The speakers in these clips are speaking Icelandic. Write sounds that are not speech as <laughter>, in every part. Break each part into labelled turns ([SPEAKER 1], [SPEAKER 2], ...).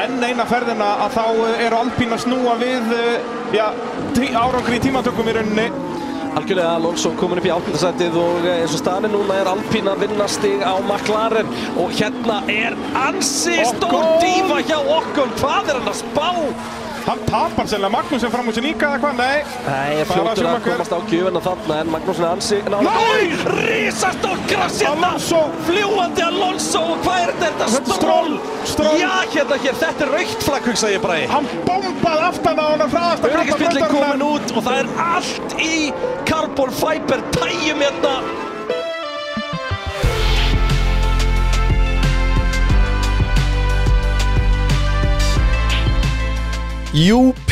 [SPEAKER 1] enn eina ferðina að þá eh, eru Alpín að snúa við eh, já, tí- árangri í tímatökum í rauninni.
[SPEAKER 2] Algjörlega Alonso komin upp í áttundasætið og eh, eins og staðin núna er Alpín að vinna stig á McLaren og hérna er ansi stór
[SPEAKER 1] Ocon.
[SPEAKER 2] dífa hjá Okkon, hvað er hann að spá?
[SPEAKER 1] Hann tapar sennilega Magnúsen fram úr sér líka eða hvað? Nei,
[SPEAKER 2] Nei,
[SPEAKER 1] Bara
[SPEAKER 2] er fljótur að
[SPEAKER 1] Schumacher.
[SPEAKER 2] komast á gjöfina þarna en Magnúsin er ansi nála
[SPEAKER 1] Nei!
[SPEAKER 2] Rísastór krass hérna!
[SPEAKER 1] Alonso!
[SPEAKER 2] Fljúandi Alonso og hvað er þetta?
[SPEAKER 1] Þetta
[SPEAKER 2] Er Þetta
[SPEAKER 1] er Stroll, Stroll.
[SPEAKER 2] Já, hérna hér, þetta er raukt flagg, hugsa ég bara í.
[SPEAKER 1] Hann bombaði aftan á hann að hraðasta
[SPEAKER 2] Öryggisbillin komin
[SPEAKER 1] brautarinnar.
[SPEAKER 2] út og það er allt í carbon fiber tæjum hérna.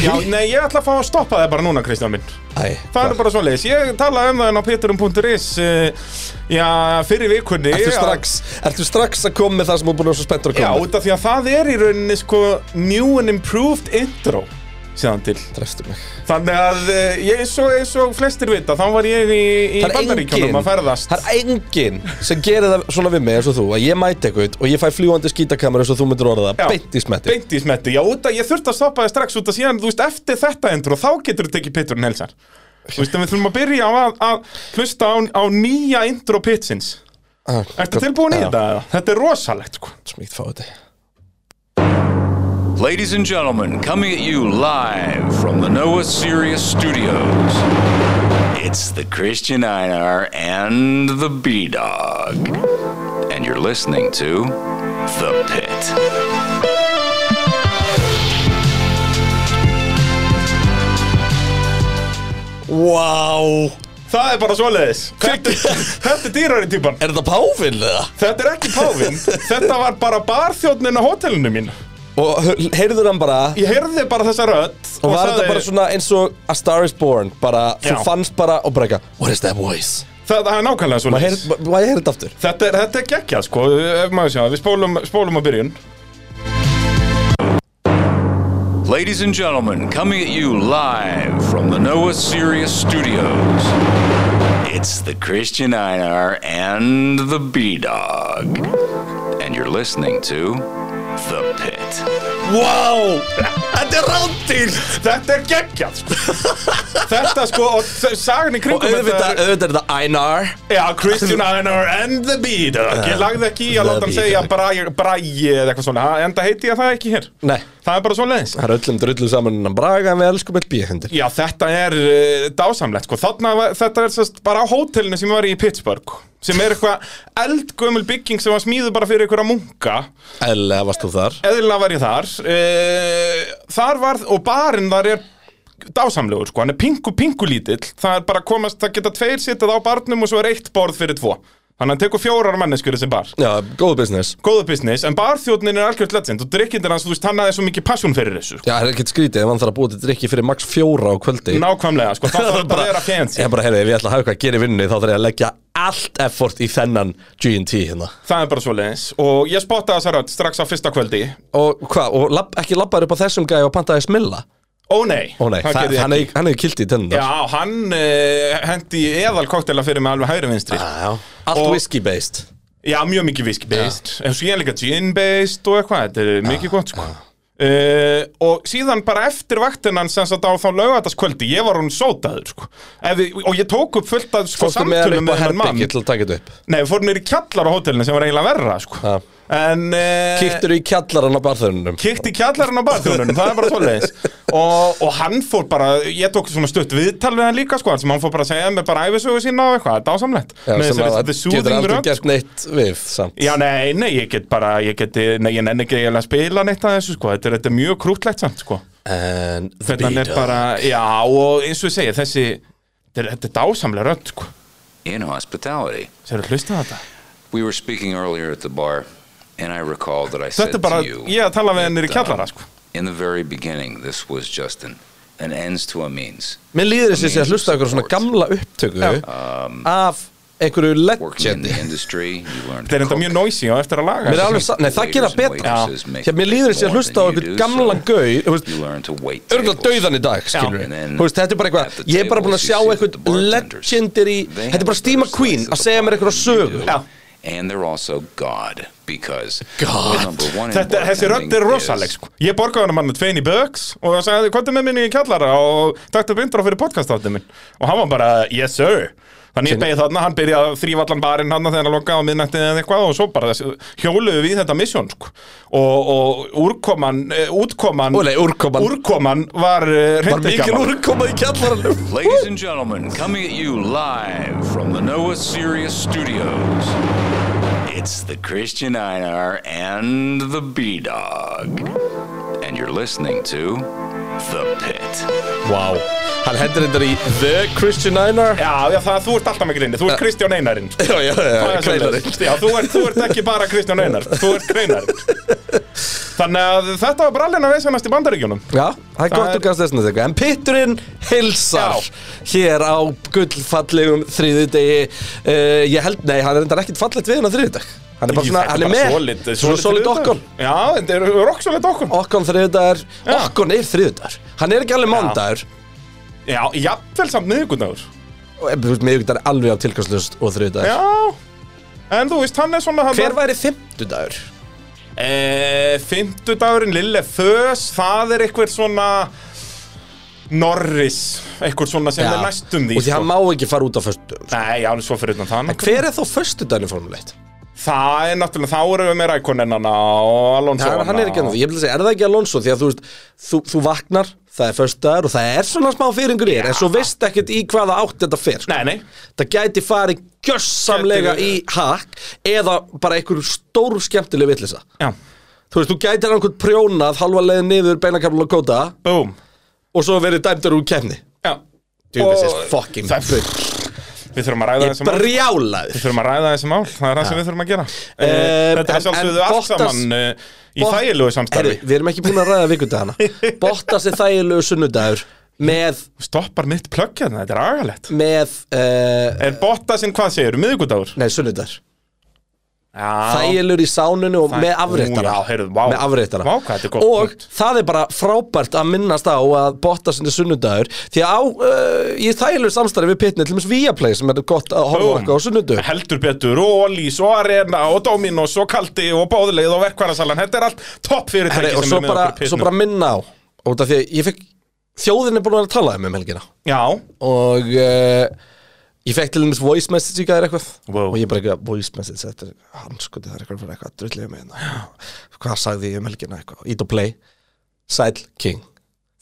[SPEAKER 1] Já, nei, ég ætla að fá að stoppa það bara núna, Kristján minn.
[SPEAKER 2] Æ,
[SPEAKER 1] Það er bara svo leiðis. Ég talaði um það en á peterum.is uh, já, fyrir vikunni.
[SPEAKER 3] Ertu
[SPEAKER 1] að-
[SPEAKER 3] strax, ertu strax að koma með það sem þú er búin að vera svo spenntur að
[SPEAKER 1] Já,
[SPEAKER 3] koma
[SPEAKER 1] út af því að það er í rauninni sko new and improved intro síðan til.
[SPEAKER 3] Trefstu mig
[SPEAKER 1] Þannig að eh, ég, eins, og, eins og flestir vita, þá var ég í, í
[SPEAKER 3] Það er
[SPEAKER 1] bandaríkjónum
[SPEAKER 3] enginn-
[SPEAKER 1] að ferðast.
[SPEAKER 3] Það er enginn sem gerir það svona við mig eins og þú Að ég mæti eitthvað og ég fæ fljúandi skítakamera eins og þú myndir orða
[SPEAKER 1] Já.
[SPEAKER 3] það Beint í smetti
[SPEAKER 1] Beint í smetti, já, út af, ég þurfti að stoppa þig strax út af síðan, þú veist, eftir þetta intro, þá getur þú tekið pitturinn helsar. Þú veist, en við þurfum að byrja á að, að hlusta á, á nýja intro pitsins.
[SPEAKER 3] Ah,
[SPEAKER 1] Ertu tilbúin í
[SPEAKER 3] já,
[SPEAKER 1] þetta? eða? Þetta er rosalegt, sko.
[SPEAKER 3] Svo mikið fá þetta
[SPEAKER 4] Ladies and gentlemen, coming at you live from the NOAA Sirius Studios, it's the Christian Einar and the B Dog. And you're listening to The Pit.
[SPEAKER 3] Wow
[SPEAKER 1] Það er bara svoleiðis. Þetta, þetta er dýrari típan.
[SPEAKER 3] Er þetta páfinn eða?
[SPEAKER 1] Þetta er ekki páfinn. Þetta var bara barþjóðnin á hótelinu mín.
[SPEAKER 3] Og hör- heyrður hann bara
[SPEAKER 1] Ég heyrði bara þessa rödd
[SPEAKER 3] Og var þetta
[SPEAKER 1] sagði-
[SPEAKER 3] bara svona eins og A Star is Born Bara,
[SPEAKER 1] Já.
[SPEAKER 3] þú fannst bara og bara eitthvað What is that voice?
[SPEAKER 1] Það það er nákvæmlega
[SPEAKER 3] Maður
[SPEAKER 1] svona
[SPEAKER 3] heyrði- Maður heyrði þetta aftur
[SPEAKER 1] Þetta er, þetta er geggjað sko, ef maður sjá, við spólum, spólum á byrjun
[SPEAKER 4] Ladies and gentlemen, coming at you live from the NOAA Sirius Studios, it's the Christian Einar and the B Dog. And you're listening to The Pit.
[SPEAKER 3] Wow Þetta er rándýrt
[SPEAKER 1] Þetta er geggjað sko Þetta sko, og þ- sagan í
[SPEAKER 3] Og
[SPEAKER 1] kringum
[SPEAKER 3] auðvitað, auðvitað er þetta Einar
[SPEAKER 1] Já, Christian Einar and the Beat Ég lagði ekki í að
[SPEAKER 3] The
[SPEAKER 1] láta hann
[SPEAKER 3] Beat,
[SPEAKER 1] segja
[SPEAKER 3] ok.
[SPEAKER 1] bræi eða eitthvað svona Ha, Enda heiti ég það ekki hér
[SPEAKER 3] Nei.
[SPEAKER 1] Það er bara svona leiðis
[SPEAKER 3] Það er öllum drullu saman innan Braga en við elskum öll bíhendur
[SPEAKER 1] Já, þetta er uh, dásamlegt sko. Þarna, var- þetta er sest, bara á hótelinu sem var í Pittsburgh sem er eitthvað eldgömmul bygging sem var smíðu bara fyrir einhverja munka
[SPEAKER 3] Eðlilega varst þú þar
[SPEAKER 1] eðlilega var ég þar uh, þar var, og barinn þar er dásamlegur sko, hann er pingu pingu lítill það er bara komast, það geta tveir sittað á barnum og svo er eitt borð fyrir tvo þannig að hann tekur fjórar manneskur þessi bar
[SPEAKER 3] Já, góð business
[SPEAKER 1] góða business, en barþjóðnin er algjörð legend og drikkindir hans, þú veist, hann aðeins svo mikið passion fyrir þessu sko.
[SPEAKER 3] Já, það er ekkert skrítið ef hann þarf að búið til drikki fyrir max fjóra á kvöldi
[SPEAKER 1] nákvæmlega, sko,
[SPEAKER 3] <laughs>
[SPEAKER 1] það þarf bara að vera fancy
[SPEAKER 3] Ég bara, heyrðu, ef ég ætla að hafa eitthvað að gera í vinnunni þá þarf ég að leggja allt effort í þennan G&T hérna
[SPEAKER 1] það er bara svo leiðis og ég spottaði þessa rödd strax á fyrsta kvöldi
[SPEAKER 3] Og hvað, og lab, ekki labbaður upp á þessum gæði og pantaði smilla?
[SPEAKER 1] ó nei,
[SPEAKER 3] Ó nei, það,
[SPEAKER 1] gerði ég
[SPEAKER 3] hann
[SPEAKER 1] ekki.
[SPEAKER 3] hefur hann hefur kilt í tennunar
[SPEAKER 1] Já, hann uh, hendi eðal koktela fyrir mig alveg hægri vinstri
[SPEAKER 3] já Allt
[SPEAKER 1] Og-
[SPEAKER 3] whisky based
[SPEAKER 1] Já, mjög mikið viski-based, en svo ég er líka gin-based og eitthvað, þetta er mikið gott sko. Uh, og síðan bara eftir vaktinan sem sagt á þá laugataskvöldi, ég var hún sótaður sko. Ef við, og ég tók upp fullt af sko,
[SPEAKER 3] Fórstu með hann
[SPEAKER 1] samtölum
[SPEAKER 3] upp á
[SPEAKER 1] með hennan mann.
[SPEAKER 3] herbyggi til að taka þetta upp
[SPEAKER 1] Nei, við fórum niður í kjallar á hótelinu sem var eiginlega verra sko.
[SPEAKER 3] Já.
[SPEAKER 1] En uh,
[SPEAKER 3] Kittur í kjallarann á barþörunum
[SPEAKER 1] kikti kjallarinn á barþjónunum, það er bara
[SPEAKER 3] <laughs>
[SPEAKER 1] svoleiðis og, og hann fór bara, ég tók svona stutt viðtal við hann líka sko, sem hann fór bara að segja með bara æfisögu sína og eitthvað, dásamlegt
[SPEAKER 3] Já,
[SPEAKER 1] Með
[SPEAKER 3] sem
[SPEAKER 1] þessari-
[SPEAKER 3] að
[SPEAKER 1] the
[SPEAKER 3] getur
[SPEAKER 1] soothing
[SPEAKER 3] aldrei
[SPEAKER 1] rödd,
[SPEAKER 3] gert neitt við samt
[SPEAKER 1] Já, nei, nei, ég get bara, ég get, nei, ég nenni ekki eiginlega að spila neitt að þessu, sko, þetta er, þetta er mjög krútlegt samt, sko.
[SPEAKER 3] En the
[SPEAKER 1] Þetta er
[SPEAKER 3] Beatles.
[SPEAKER 1] bara, já, og eins og ég segja, þessi, þetta er, þetta er dásamlega rödd, sko.
[SPEAKER 4] In hospitality.
[SPEAKER 1] Sér að hlusta á þetta?
[SPEAKER 4] We were speaking earlier at the bar, and I recall that I said
[SPEAKER 1] Þetta er bara,
[SPEAKER 4] to you,
[SPEAKER 1] ég að tala við hennir í
[SPEAKER 4] that, uh,
[SPEAKER 1] kjallara, sko.
[SPEAKER 4] In the very beginning, this was just an, an ends to a means.
[SPEAKER 3] Mér líður þessi sé að hlusta á einhverjum svona gamla upptöku af einhverju
[SPEAKER 4] Working in
[SPEAKER 3] legendi
[SPEAKER 4] the industry, you learned
[SPEAKER 1] Þetta er
[SPEAKER 4] to
[SPEAKER 1] enda
[SPEAKER 4] cook.
[SPEAKER 1] mjög noisy og eftir að laga.
[SPEAKER 3] Mér er
[SPEAKER 1] sko.
[SPEAKER 3] alveg satt, nei það gera betra
[SPEAKER 4] Waitresses make
[SPEAKER 3] Hér mér líður þessi að
[SPEAKER 4] more
[SPEAKER 3] hlusta á
[SPEAKER 4] than you
[SPEAKER 3] einhverju
[SPEAKER 4] do,
[SPEAKER 3] gamlan
[SPEAKER 4] so
[SPEAKER 3] gauð Þú veist,
[SPEAKER 4] You learn to wait
[SPEAKER 3] örgulega
[SPEAKER 4] tables.
[SPEAKER 3] dauðan í dag, skilur
[SPEAKER 4] And
[SPEAKER 3] við
[SPEAKER 4] then
[SPEAKER 3] Þú veist, þetta er bara
[SPEAKER 4] at
[SPEAKER 3] eitthvað,
[SPEAKER 4] the
[SPEAKER 3] ég er bara búinn
[SPEAKER 4] tables
[SPEAKER 3] að
[SPEAKER 4] you
[SPEAKER 3] sjá
[SPEAKER 4] see the
[SPEAKER 3] einhvern
[SPEAKER 4] bartenders.
[SPEAKER 3] legendary
[SPEAKER 4] They
[SPEAKER 3] Þetta
[SPEAKER 4] have
[SPEAKER 3] er bara
[SPEAKER 4] a
[SPEAKER 3] Steve
[SPEAKER 4] better slice
[SPEAKER 3] McQueen
[SPEAKER 4] of
[SPEAKER 3] að
[SPEAKER 4] the
[SPEAKER 3] segja mér
[SPEAKER 4] pie
[SPEAKER 3] einhverja
[SPEAKER 4] than you
[SPEAKER 3] sögu
[SPEAKER 4] do.
[SPEAKER 1] Já.
[SPEAKER 4] and they're also God because
[SPEAKER 3] God.
[SPEAKER 4] the number one in
[SPEAKER 1] Þetta, þessi rödd er
[SPEAKER 4] bartending
[SPEAKER 1] rosaleg
[SPEAKER 4] is-
[SPEAKER 1] sko. Ég borgaði hann mann tvein í Böks og það sagði, hvað er með minni í kjallara og taktu upp intro fyrir podcastáttið minn og hann var bara, yes sir Þannig ég beigði þarna, hann byrjaði að þrýfa allan barinn hann þegar hann lokaði á miðnættið eða eitthvað og svo bara þessi, hjóluðu við í þetta misjón sko. og, og úrkoman, eh, útkoman
[SPEAKER 3] Ó, nei, úrkoman.
[SPEAKER 1] úrkoman var eh,
[SPEAKER 3] Var mikil
[SPEAKER 1] reyndirgaman
[SPEAKER 3] úrkoma í kjallaranum
[SPEAKER 4] Ladies and gentlemen, coming at you live from the Noah Sirius Studios, it's the Christian Einar and the B Dog. And you're listening to The Pit.
[SPEAKER 3] Vá Hann hendur þetta í The Christian Einar
[SPEAKER 1] Já, já, það, þú ert alltaf með grinni, þú ert Kristján Einarinn sko.
[SPEAKER 3] Já, já, já,
[SPEAKER 1] Það er
[SPEAKER 3] greinarinn
[SPEAKER 1] svoleiðis. Já, þú ert, þú ert ekki bara Kristján Einar, þú ert greinarinn Þannig að þetta var brallina veðsennast í bandaríkjunum
[SPEAKER 3] Já, það er gott
[SPEAKER 1] er-
[SPEAKER 3] og gæst þessna þetta En pitturinn hilsar
[SPEAKER 1] Já.
[SPEAKER 3] hér á gullfallegum þriðudegi uh, Ég held, nei, hann er enda ekkert fallegt við hann á þriðudag Hann er bara svona, hann er með
[SPEAKER 1] solid,
[SPEAKER 3] Svona solid okkon
[SPEAKER 1] Já, þetta er rock solid okkon
[SPEAKER 3] Okkon þriðudagar,
[SPEAKER 1] Já.
[SPEAKER 3] okkon er þriðudagar Hann er ekki alveg mándagur
[SPEAKER 1] Já, jafnvel samt miðgudagur
[SPEAKER 3] eh, Miðugdagar er alveg á tilkastlust og þriðudagar
[SPEAKER 1] Já, en þú veist, hann er svona hann
[SPEAKER 3] Hver væri fimmtudagur?
[SPEAKER 1] E, Fymtudagurinn, Lille Fös, það er eitthvað svona Norris Eitthvað svona sem er næstum því sko.
[SPEAKER 3] Og því hann má ekki fara út á föstudagum
[SPEAKER 1] Nei, já, hann er svo fyrir utan það náttúrulega.
[SPEAKER 3] Hver er þá föstudagurinn formulegt?
[SPEAKER 1] Það er náttúrulega, þá erum við með rækonennana og Alonso
[SPEAKER 3] Hann, hann er ekki ennþá, ég vil segja, er það ekki Alonso því að þú veist, þú, þú vaknar, það er föstudagur og það er svona smá fyrringur í þér en svo veist ekkert í hvaða átt þetta fer sko.
[SPEAKER 1] Nei, nei,
[SPEAKER 3] það gæti farið gjössamlega
[SPEAKER 1] Gæti-
[SPEAKER 3] í hakk eða bara einhver stór skemmtileg vitlisa
[SPEAKER 1] já,
[SPEAKER 3] þú veist, þú gætir einhvern prjónað halva leiðin niður beinakafla og kóta
[SPEAKER 1] búm
[SPEAKER 3] og svo verið dæmdur úr kemni
[SPEAKER 1] Já
[SPEAKER 3] Dude, this
[SPEAKER 1] Og-
[SPEAKER 3] is fucking
[SPEAKER 1] Það-
[SPEAKER 3] bull
[SPEAKER 1] Við þurfum að ræða
[SPEAKER 3] Ég
[SPEAKER 1] þessi mál Við
[SPEAKER 3] brjálaður
[SPEAKER 1] þurfum að ræða þessi mál, það er það sem við þurfum að gera e, Þetta
[SPEAKER 3] Em, Eh, en-
[SPEAKER 1] er sjálfsögðu
[SPEAKER 3] en
[SPEAKER 1] allt
[SPEAKER 3] Bottas-
[SPEAKER 1] saman e, í
[SPEAKER 3] Bot-
[SPEAKER 1] þægilegu samstarfi
[SPEAKER 3] Herri, við erum ekki búin að ræða vikudagana Bottas er þægilegu sunnudagur með,
[SPEAKER 1] Stoppar mitt plögg hérna, þetta er agalegt
[SPEAKER 3] með uh,
[SPEAKER 1] Er Bottasinn hvað segir, miðgudagur?
[SPEAKER 3] nei, sunnudagur
[SPEAKER 1] Já,
[SPEAKER 3] þægilegur í sánunu og
[SPEAKER 1] Það-
[SPEAKER 3] með afréttara
[SPEAKER 1] Ú, já, heyrðu, vá.
[SPEAKER 3] með afréttara
[SPEAKER 1] Vá, hvað þetta er gott
[SPEAKER 3] og
[SPEAKER 1] punkt.
[SPEAKER 3] það er bara frábært að minnast á að botta sinni sunnudagur því að á, uh, ég er þægilegu samstarfi við pitni til dæmis Viaplay sem er gott að horfa
[SPEAKER 1] Búm.
[SPEAKER 3] okkar á sunnudu
[SPEAKER 1] heldur betur og Ólís og Arena og Dominos og Kaldi og Bóðleið og Verkværasalan Þetta er allt topp fyrirtæki
[SPEAKER 3] Herri, og
[SPEAKER 1] sem
[SPEAKER 3] svo
[SPEAKER 1] er með
[SPEAKER 3] bara,
[SPEAKER 1] okkur í
[SPEAKER 3] svo
[SPEAKER 1] pitnum.
[SPEAKER 3] bara minna á út af því að ég fekk þjóðin er búin að vera að tala um um helgina
[SPEAKER 1] Já,
[SPEAKER 3] og uh, ég fekk til dæmis voice message í gæðir eitthvað
[SPEAKER 1] Wow.
[SPEAKER 3] og ég bara eitthvað voice message þetta er hanskotið það er eitthvað fyrir eitthvað drullið með hérna hvað sagði ég um helgina eitthvað ít og play sæl king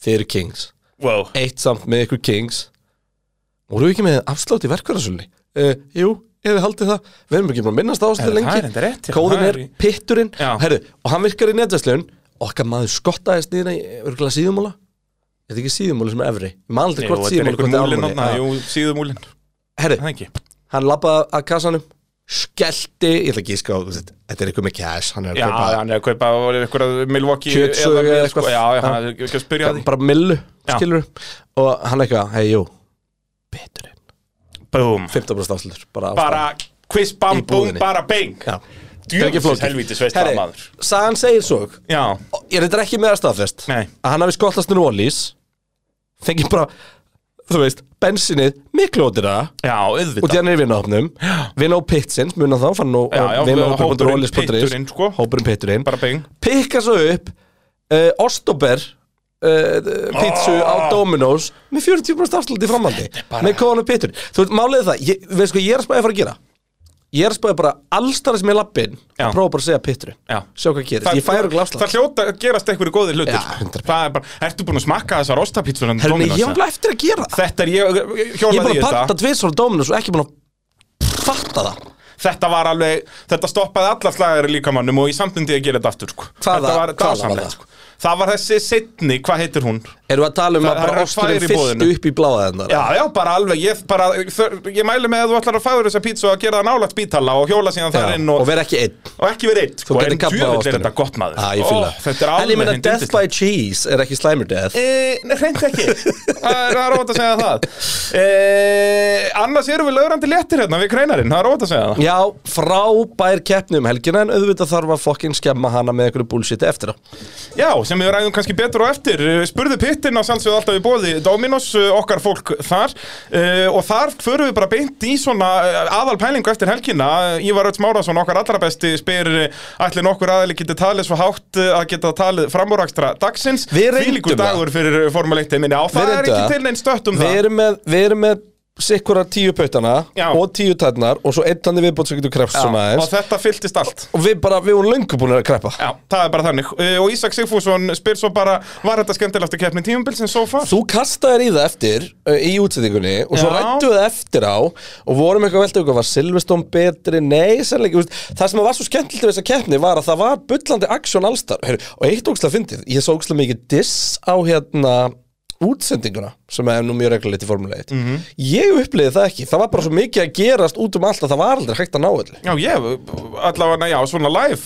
[SPEAKER 3] þið eru kings
[SPEAKER 1] wow
[SPEAKER 3] eitt samt með ykkur kings voru við ekki með afslátt í verkvarðarsölni uh, jú ef við haldið það við erum ekki búin að minnast á
[SPEAKER 1] Herru,
[SPEAKER 3] ástæðu
[SPEAKER 1] það er
[SPEAKER 3] lengi
[SPEAKER 1] enda rétt, já,
[SPEAKER 3] kóðin
[SPEAKER 1] það
[SPEAKER 3] er
[SPEAKER 1] er í-
[SPEAKER 3] pitturinn
[SPEAKER 1] Já.
[SPEAKER 3] Herru, og hann virkar í netvæsleun okkar maður skottaðist nýðina í örgulega síðumóla er þetta ekki síðumóli sem er efri ég man aldrei
[SPEAKER 1] Jú,
[SPEAKER 3] hvort
[SPEAKER 1] þetta er
[SPEAKER 3] síðumóli
[SPEAKER 1] einhver
[SPEAKER 3] hvort er
[SPEAKER 1] múlin hann,
[SPEAKER 3] álmóli
[SPEAKER 1] jú, síðumúlin
[SPEAKER 3] herru,
[SPEAKER 1] Það ekki
[SPEAKER 3] hann labbaði að kassanum skellti, ég ætla ekki að ská þetta er eitthvað með cash, hann er
[SPEAKER 1] Já,
[SPEAKER 3] að kaupa
[SPEAKER 1] hann er að kaupa einhverja Milwaukee
[SPEAKER 3] Kjötsögu
[SPEAKER 1] eða
[SPEAKER 3] eða
[SPEAKER 1] sko,
[SPEAKER 3] eitthvað.
[SPEAKER 1] Já, já,
[SPEAKER 3] Já.
[SPEAKER 1] hann er ekki að spyrja að því
[SPEAKER 3] bara millu,
[SPEAKER 1] Já.
[SPEAKER 3] skilur og hann eitthvað, hei, jú beturinn,
[SPEAKER 1] Búm
[SPEAKER 3] 15% afslutur bara,
[SPEAKER 1] Bara quiz, bam,
[SPEAKER 3] Í
[SPEAKER 1] búm,
[SPEAKER 3] búðinni.
[SPEAKER 1] bara bing
[SPEAKER 3] Já. Ekki
[SPEAKER 1] Djöfnsis
[SPEAKER 3] flókið.
[SPEAKER 1] helvítis veist það
[SPEAKER 3] Herri,
[SPEAKER 1] maður
[SPEAKER 3] sagan segir svo,
[SPEAKER 1] Já,
[SPEAKER 3] og ég reyndar ekki með að staðfest
[SPEAKER 1] Nei.
[SPEAKER 3] að hann hafi skottast nýr ólís fengið bara, þú veist bensinnið miklu ódýra
[SPEAKER 1] já,
[SPEAKER 3] og
[SPEAKER 1] auðvitað
[SPEAKER 3] þannig er vinahopnum vinna á pitsins, muna þá fann nú
[SPEAKER 1] Já, já, hópurinn Pitturinn,
[SPEAKER 3] vinahopnum.ólís.is
[SPEAKER 1] sko.
[SPEAKER 3] hópurinn pitturinn
[SPEAKER 1] Bara bing
[SPEAKER 3] pikka svo upp uh, Ostober uh, pizzu
[SPEAKER 1] Ah.
[SPEAKER 3] á Domino's með 40% afsluti framhaldi með kóðan og pittur þú veist, málið er það, ég, veist sko, ég er að spæði að fara að gera ég er að spæði bara allstara sem ég lappin
[SPEAKER 1] Já.
[SPEAKER 3] að prófa bara að segja pitturinn
[SPEAKER 1] Já.
[SPEAKER 3] sjá hvað gerist, ég færi okkur afslut
[SPEAKER 1] Það hljóta að gerast einhverju góðir hlutir
[SPEAKER 3] Já,
[SPEAKER 1] sko.
[SPEAKER 3] 100%.
[SPEAKER 1] Það er bara, ertu búin að smakka þessar ostapítsur en
[SPEAKER 3] Herni,
[SPEAKER 1] Dominos,
[SPEAKER 3] ég var bara eftir að gera það
[SPEAKER 1] Þetta er, ég
[SPEAKER 3] ég er
[SPEAKER 1] hjólaði
[SPEAKER 3] bara
[SPEAKER 1] í
[SPEAKER 3] að panta
[SPEAKER 1] þetta
[SPEAKER 3] tvisvar á Domino's og ekki búin að fatta það
[SPEAKER 1] Þetta var alveg, þetta stoppaði alla slagari líkamannum og í samtundi að gera þetta aftur sko.
[SPEAKER 3] Hvaða-
[SPEAKER 1] Þetta var
[SPEAKER 3] hvaða var
[SPEAKER 1] dásamlegt
[SPEAKER 3] það?
[SPEAKER 1] sko. Það var þessi setni, hvað heitir hún?
[SPEAKER 3] erum við að tala um
[SPEAKER 1] Það
[SPEAKER 3] að
[SPEAKER 1] er
[SPEAKER 3] bara
[SPEAKER 1] að færa í
[SPEAKER 3] osturinn fyrstu
[SPEAKER 1] boðinu.
[SPEAKER 3] upp í bláða þennar
[SPEAKER 1] Já, já, bara alveg, ég, bara, þör, ég mæli með að þú ætlar að fæður þessa pítsu og að gera það nálægt bítala og hjóla síðan þar inn
[SPEAKER 3] og
[SPEAKER 1] og, og,
[SPEAKER 3] vera ekki einn
[SPEAKER 1] ekki verið eitt,
[SPEAKER 3] Þú
[SPEAKER 1] sko,
[SPEAKER 3] getur
[SPEAKER 1] en
[SPEAKER 3] kappað á
[SPEAKER 1] djúvill er
[SPEAKER 3] ástæðunum.
[SPEAKER 1] þetta gott maður.
[SPEAKER 3] Já, ég fíla
[SPEAKER 1] Ó, Þetta er
[SPEAKER 3] En ég
[SPEAKER 1] alveg
[SPEAKER 3] meina
[SPEAKER 1] hreint
[SPEAKER 3] Death
[SPEAKER 1] yndislegt.
[SPEAKER 3] by Cheese er ekki Slimer Death
[SPEAKER 1] Eh, Nei, hreint ekki <laughs> Það er, það er ótt að segja það eh, Annars erum við lögrandi léttir hérna við kreinarinn, það er ótt að segja það
[SPEAKER 3] Já, frábær keppni um helgina en auðvitað þarf að fokkin skemma hana með einhverju bullshit eftir á
[SPEAKER 1] Já, sem við ræðum kannski betur á eftir Eh, Spurðu pittina sjálfsögðu alltaf í bóði Dominos, eh, okkar fólk þar Eh, Og þar förum við bara beint í svona eh, aðalpælingu eftir helgina Eh, Ívar Öts Márásson, okkar allra besti spyr eh, ætli nokkur aðeili geti talið svo hátt eh, að geta talið framúrakstra dagsins
[SPEAKER 3] Við reyndum
[SPEAKER 1] Þvílíkur
[SPEAKER 3] það.
[SPEAKER 1] dagur fyrir eh, formuleiktiminni á það er
[SPEAKER 3] reyndum
[SPEAKER 1] ekki
[SPEAKER 3] það.
[SPEAKER 1] til neinn stött um
[SPEAKER 3] Við
[SPEAKER 1] það
[SPEAKER 3] erum með, við erum með sikkura tíu pautana
[SPEAKER 1] Já.
[SPEAKER 3] og tíu tætnar og svo einn þannig viðbótt sem getur krefst
[SPEAKER 1] Já,
[SPEAKER 3] svona
[SPEAKER 1] Og
[SPEAKER 3] aðeins
[SPEAKER 1] þetta fylltist allt
[SPEAKER 3] og við bara, við vorum löngu búin að kreppa
[SPEAKER 1] Já, það er bara þannig Eh, Og Ísak Sigfússon spyr svo bara Var þetta skemmtilegasta keppni tímumbilsin so far?
[SPEAKER 3] Þú kastaðir í það eftir ö, í útsettingunni og svo
[SPEAKER 1] Já.
[SPEAKER 3] rættu við það eftir á og vorum eitthvað veltið eitthvað, var Silveston betri? Nei, sannleik, það sem var svo skemmtilegt við þessa keppni var að það var bullandi aksjón allstar Heru, og eitt ógslag fyndið, ég svo ógslag mikið diss á hérna útsendinguna sem er nú mjög reglulegt í formuleitt mm -hmm. ég upplýði það ekki, það var bara svo mikið að gerast út um allt að það var aldrei hægt að ná öllu
[SPEAKER 1] Já, ég, allavega, já, svona live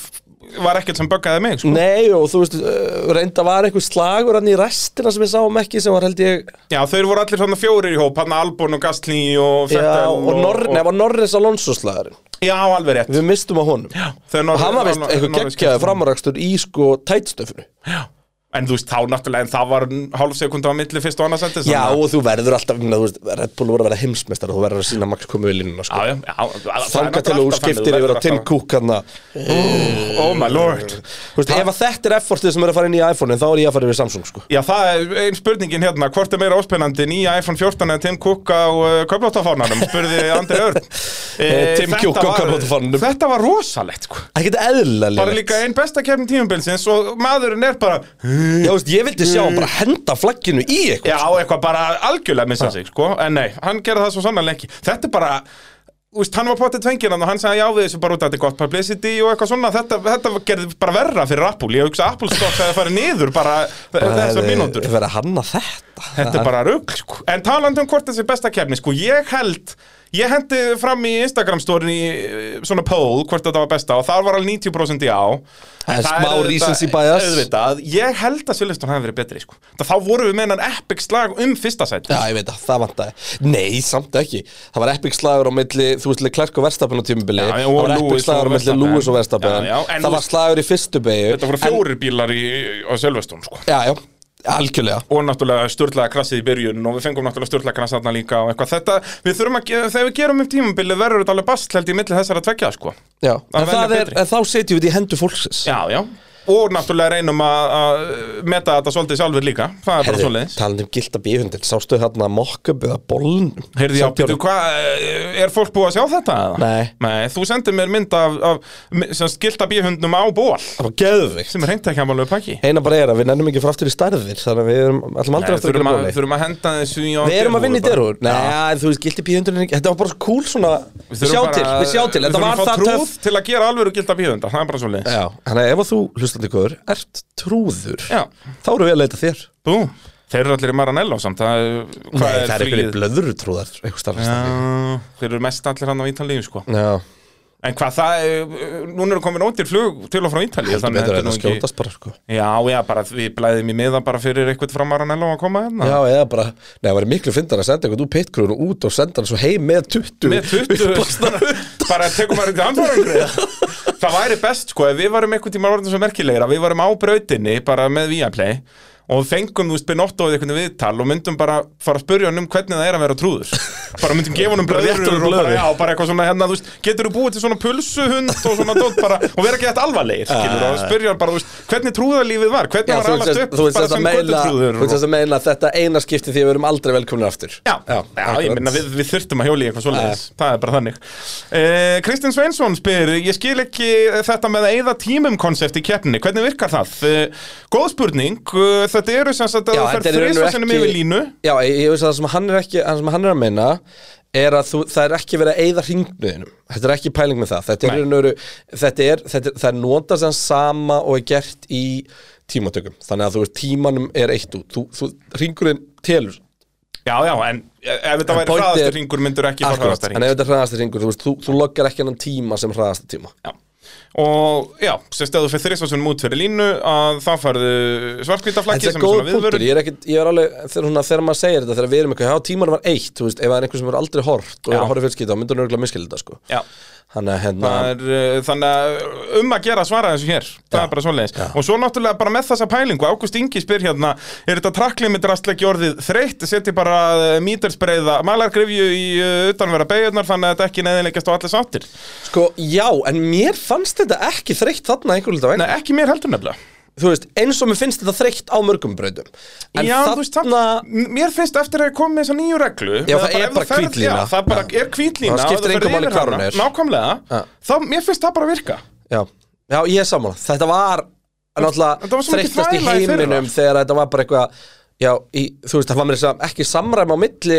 [SPEAKER 1] var ekkert sem böggaði mig, sko.
[SPEAKER 3] Nei og þú veist, ö, reynda var eitthvað slagur hann í restina sem ég sáum ekki sem var held ég
[SPEAKER 1] Já, þeir voru allir svona fjórir í hóp, hann Albon og Gastlí og
[SPEAKER 3] Já,
[SPEAKER 1] Fettel
[SPEAKER 3] og, Nor og... var Norris Alonso slagurinn
[SPEAKER 1] Já, alveg rétt.
[SPEAKER 3] Við mistum á honum Já,
[SPEAKER 1] Þegar
[SPEAKER 3] Og
[SPEAKER 1] Norris-
[SPEAKER 3] hann var veist
[SPEAKER 1] Nor-
[SPEAKER 3] eitthvað
[SPEAKER 1] Norris-
[SPEAKER 3] geggjaði framarakstur í sko tætstöfunu
[SPEAKER 1] En þú veist, þá náttúrulega, en það var hálf sekunda á milli fyrst og annars endis.
[SPEAKER 3] Já og þú verður alltaf, minna, þú veist, Red Bull voru að vera heimsmeistar og þú verður að sína Max komu við línuna sko
[SPEAKER 1] Já, já, já. það er
[SPEAKER 3] Þanga til
[SPEAKER 1] náttúrulega
[SPEAKER 3] að þú
[SPEAKER 1] alltaf
[SPEAKER 3] skiptir
[SPEAKER 1] þannig,
[SPEAKER 3] yfir á
[SPEAKER 1] verður
[SPEAKER 3] Tim
[SPEAKER 1] alltaf-
[SPEAKER 3] Cook hann að
[SPEAKER 1] Oh my lord.
[SPEAKER 3] Þú veist, ef að þetta er effortið sem er að fara inn í iPhone-in þá er ég að fara yfir í Samsung sko
[SPEAKER 1] Já, það er einn spurningin hérna, hvort er meira óspennandi, nýja iPhone 14 eða Tim Cook á uh, köflóttafánanum, spurði Andri
[SPEAKER 3] <laughs>
[SPEAKER 1] Örn. Eh,
[SPEAKER 3] Tim
[SPEAKER 1] þetta
[SPEAKER 3] Cook á
[SPEAKER 1] var-
[SPEAKER 3] köflóttafánanum.
[SPEAKER 1] Þetta var rosalegt, sko.
[SPEAKER 3] Það getur eðlilega
[SPEAKER 1] Bara líka einn besta kefni tímabilsins og maðurinn er bara
[SPEAKER 3] Já, þú veist, ég vildi sjá hann bara henda flagginu í eitthvað
[SPEAKER 1] Mm. Já, eitthvað bara algjörlega missa sig, sko En nei, hann gerði það svo sannarlega ekki Þetta er bara, þú veist, hann var potið tvenginan og hann sagði já við þessu bara út að þetta er gott publicity og eitthvað svona, þetta, þetta gerði bara verra fyrir Apple, ég hugsa að Apple stokks að það fari niður bara þessar mínútur
[SPEAKER 3] Það er að hanna þetta
[SPEAKER 1] Þetta er bara rugg, sko. En talandi um hvort þessi besta kefni, sko, ég held Ég hendi fram í Instagram-stórin í eh, svona poll hvort þetta var besta og þar var alveg 90% í á En
[SPEAKER 3] Það er smá
[SPEAKER 1] auðvitað-
[SPEAKER 3] recency bias.
[SPEAKER 1] auðvitað, Ég held að Silveston hafi verið betri sko. Það- Þá vorum við með hennan epic slag um fyrsta sæti
[SPEAKER 3] Já, ég veit það, það vantaði Nei, samt ekki Það var epic slagur á milli, þú veist, Klerk og Verstapin á tímubili
[SPEAKER 1] Já, já,
[SPEAKER 3] Það
[SPEAKER 1] og
[SPEAKER 3] var epic
[SPEAKER 1] Lewis
[SPEAKER 3] slagur á
[SPEAKER 1] og
[SPEAKER 3] milli
[SPEAKER 1] Verstappen.
[SPEAKER 3] Lewis og
[SPEAKER 1] Já,
[SPEAKER 3] Verstapin
[SPEAKER 1] já, en
[SPEAKER 3] Það
[SPEAKER 1] þú
[SPEAKER 3] var
[SPEAKER 1] veist-
[SPEAKER 3] slagur í fyrstu beigju
[SPEAKER 1] Þetta voru fjórir bílar í, á Silveston sko.
[SPEAKER 3] Já, já, algjörlega
[SPEAKER 1] og náttúrulega störtlega krassið í byrjun og við fengum náttúrulega störtlega krassaðna líka og eitthvað þetta, við þurfum að, ge- þegar við gerum upp tímabilið verður þetta alveg bast held í milli þessara tveggja sko.
[SPEAKER 3] Já,
[SPEAKER 1] Það
[SPEAKER 3] en,
[SPEAKER 1] venja
[SPEAKER 3] það er,
[SPEAKER 1] betri.
[SPEAKER 3] en þá setjum við þetta í hendur fólksins
[SPEAKER 1] Já, já Og náttúrulega reynum að að meta þetta svolítið sjálfur líka Það er bara svolítið
[SPEAKER 3] talandi um gilda bíhundin Sástu þarna mock-up eða bolnum
[SPEAKER 1] Heyrðu, já,
[SPEAKER 3] Sátti
[SPEAKER 1] býtu,
[SPEAKER 3] honum-
[SPEAKER 1] hvað, eh, er fólk búið að sjá þetta? eða?
[SPEAKER 3] Nei.
[SPEAKER 1] Nei, þú sendir mér mynd af, af sem skilta bíhundnum á ból
[SPEAKER 3] Það var geðvikt
[SPEAKER 1] sem er hreint ekki að málega pakki
[SPEAKER 3] Eina bara er að við nennum ekki frá aftur í stærðir Þannig að við erum allum aldrei aftur að
[SPEAKER 1] Þurfum
[SPEAKER 3] gera
[SPEAKER 1] að,
[SPEAKER 3] bóli
[SPEAKER 1] þurfum að henda þessu í
[SPEAKER 3] Við erum að vinna í derhúr Nei,
[SPEAKER 1] Já.
[SPEAKER 3] þú veist, gildi bíhundin Þetta var bara svo cool svona Við
[SPEAKER 1] þurfum
[SPEAKER 3] sjá
[SPEAKER 1] bara-
[SPEAKER 3] til, við sjá til Þetta
[SPEAKER 1] þurfum
[SPEAKER 3] var
[SPEAKER 1] að fá
[SPEAKER 3] það
[SPEAKER 1] trúð
[SPEAKER 3] töff
[SPEAKER 1] Til að gera alvöru gilda bíhunda, það er bara svolítið
[SPEAKER 3] Já, þannig að ef að þú, hlustandi ykkur, ert trúður
[SPEAKER 1] Já.
[SPEAKER 3] Þá eru við að leita þér
[SPEAKER 1] Bú, þeir eru allir í Maranello samt það er- hvað
[SPEAKER 3] Nei, það er
[SPEAKER 1] flugið?
[SPEAKER 3] einhverjir blöðuru trúðar Eitthvað starfist
[SPEAKER 1] Já, Þeir eru mest allir hann á Ítalíu sko
[SPEAKER 3] Já,
[SPEAKER 1] En hvað það, er- núna eru komin ódýr flug til og frá Ítalíu
[SPEAKER 3] heldur
[SPEAKER 1] þannig
[SPEAKER 3] betur
[SPEAKER 1] þetta er
[SPEAKER 3] en
[SPEAKER 1] nú
[SPEAKER 3] að
[SPEAKER 1] ekki-
[SPEAKER 3] skjótast bara sko
[SPEAKER 1] Já, já, bara við blæðum í miða bara fyrir eitthvað frá Maranello að koma hérna
[SPEAKER 3] Já, eða bara, nei, það væri miklu fyndar að senda eitthvað úr pitkrúinu út og senda hann svo heim með 20
[SPEAKER 1] Með <laughs>
[SPEAKER 3] <laughs>
[SPEAKER 1] 20 Bara tekum maður eitthvað handfárangri Það væri best, sko, ef við varum einhvern tíma orðin svo merkilegra, við varum á brautinni bara með Viaplay og fengum, þú veist, Benotto eða einhvern viðtal og myndum bara fara að spurja hann um hvernig það er að vera trúður bara myndum gefa hann um
[SPEAKER 3] Bara rétta
[SPEAKER 1] blöður
[SPEAKER 3] honum
[SPEAKER 1] og bara,
[SPEAKER 3] blöðru.
[SPEAKER 1] já, bara eitthvað svona hérna, þú veist, getur þú búið til svona pulsuhund og svona dótt bara, og vera ekki þetta alvarlegir skilur, og spurja hann bara, þú veist, hvernig trúðarlífið var hvernig
[SPEAKER 3] Já,
[SPEAKER 1] var
[SPEAKER 3] þú veist
[SPEAKER 1] allast
[SPEAKER 3] þess-
[SPEAKER 1] upp
[SPEAKER 3] þú veist
[SPEAKER 1] bara
[SPEAKER 3] þess að
[SPEAKER 1] sem
[SPEAKER 3] meina
[SPEAKER 1] götutrúður
[SPEAKER 3] Þú veist þess að meina að þetta eina skipti því að við erum aldrei velkomin aftur
[SPEAKER 1] Já, já, ég
[SPEAKER 3] akkurat.
[SPEAKER 1] minna við, við þurftum að hjóla í eitthvað svoleiðis Það er bara þannig eh, Kristinn Sveinsson spyr Ég skil ekki þetta með að eyða tímum konsept í keppninni Hvernig virkar það? Eh, góð spurning eh, Þetta eru sem sagt að
[SPEAKER 3] Já,
[SPEAKER 1] það
[SPEAKER 3] þetta
[SPEAKER 1] fer
[SPEAKER 3] er í raun og
[SPEAKER 1] þrýsa sinnum
[SPEAKER 3] ekki-
[SPEAKER 1] yfir línu
[SPEAKER 3] Já, ég, ég veist að það sem hann er ekki það sem hann er að meina er að þú, það er ekki verið að eyða hringnuðinum þetta er ekki pæling með það þetta er,
[SPEAKER 1] Nei.
[SPEAKER 3] nöru, þetta er, þetta er, það er nota sem sama og er gert í tímatökum þannig að þú veist tímanum er eitt út þú, þú hringurinn telur
[SPEAKER 1] Já, já, en eh, ef þetta væri
[SPEAKER 3] pointið er-
[SPEAKER 1] hraðastur ringur myndur ekki fara
[SPEAKER 3] Akkurat,
[SPEAKER 1] hraðastur
[SPEAKER 3] en ef
[SPEAKER 1] ringur
[SPEAKER 3] þetta er hraðast hringur þú, veist, þú, þú loggar ekki hennan tíma sem hraðast tíma
[SPEAKER 1] Já. Og já, sem stöðu fyrir þrýsa sinnum út fyrir línu að það farðu svartkvítaflakki
[SPEAKER 3] Þetta er góð punktur, ég er, ekkit, ég er alveg þegar, svona, þegar maður segir þetta, þegar við erum eitthvað, já tímanum var eitt þú veist, ef það er einhver sem er aldrei hort og er
[SPEAKER 1] Já.
[SPEAKER 3] að horfa fjölskylda, þá myndur hann örgulega miskilita sko.
[SPEAKER 1] Já.
[SPEAKER 3] Þannig að hérna
[SPEAKER 1] Það er, uh, þannig að um að gera að svara þessu hér það
[SPEAKER 3] Já.
[SPEAKER 1] er bara svoleiðis
[SPEAKER 3] Já.
[SPEAKER 1] og svo náttúrulega bara með þessa pælingu Ágúst Ingi spyr hérna er þetta trakklimit ekki orðið þreytt seti bara uh, mítersbreiða malargrifju í uh, utanvera beigurnar þannig að þetta ekki neðinleikast á allir sáttir
[SPEAKER 3] Sko, já, en mér fannst þetta ekki þreytt þarna einhver lítið
[SPEAKER 1] Nei,
[SPEAKER 3] væn
[SPEAKER 1] ekki mér heldur nefnilega
[SPEAKER 3] Þú veist, eins og mér finnst þetta þreytt á mörgum brautum En
[SPEAKER 1] já, þú
[SPEAKER 3] þarna
[SPEAKER 1] veist, það, m- mér finnst eftir að ég kom með þessa nýju reglu
[SPEAKER 3] Já,
[SPEAKER 1] eða
[SPEAKER 3] það er
[SPEAKER 1] ef
[SPEAKER 3] bara
[SPEAKER 1] þú ferð-
[SPEAKER 3] hvítlína.
[SPEAKER 1] Já, það bara er kvítlína
[SPEAKER 3] Það skiptir engu máli hvar hún er.
[SPEAKER 1] Nákvæmlega,
[SPEAKER 3] Já.
[SPEAKER 1] þá mér finnst það bara að virka
[SPEAKER 3] Já, já ég er sammála Þetta var
[SPEAKER 1] Þetta var
[SPEAKER 3] náttúrulega
[SPEAKER 1] svo mikið
[SPEAKER 3] þreyttast í
[SPEAKER 1] þvæla í fyrra.
[SPEAKER 3] heiminum þegar þetta var bara eitthvað Já, í, þú veist, það var mér þess að ekki samræma á milli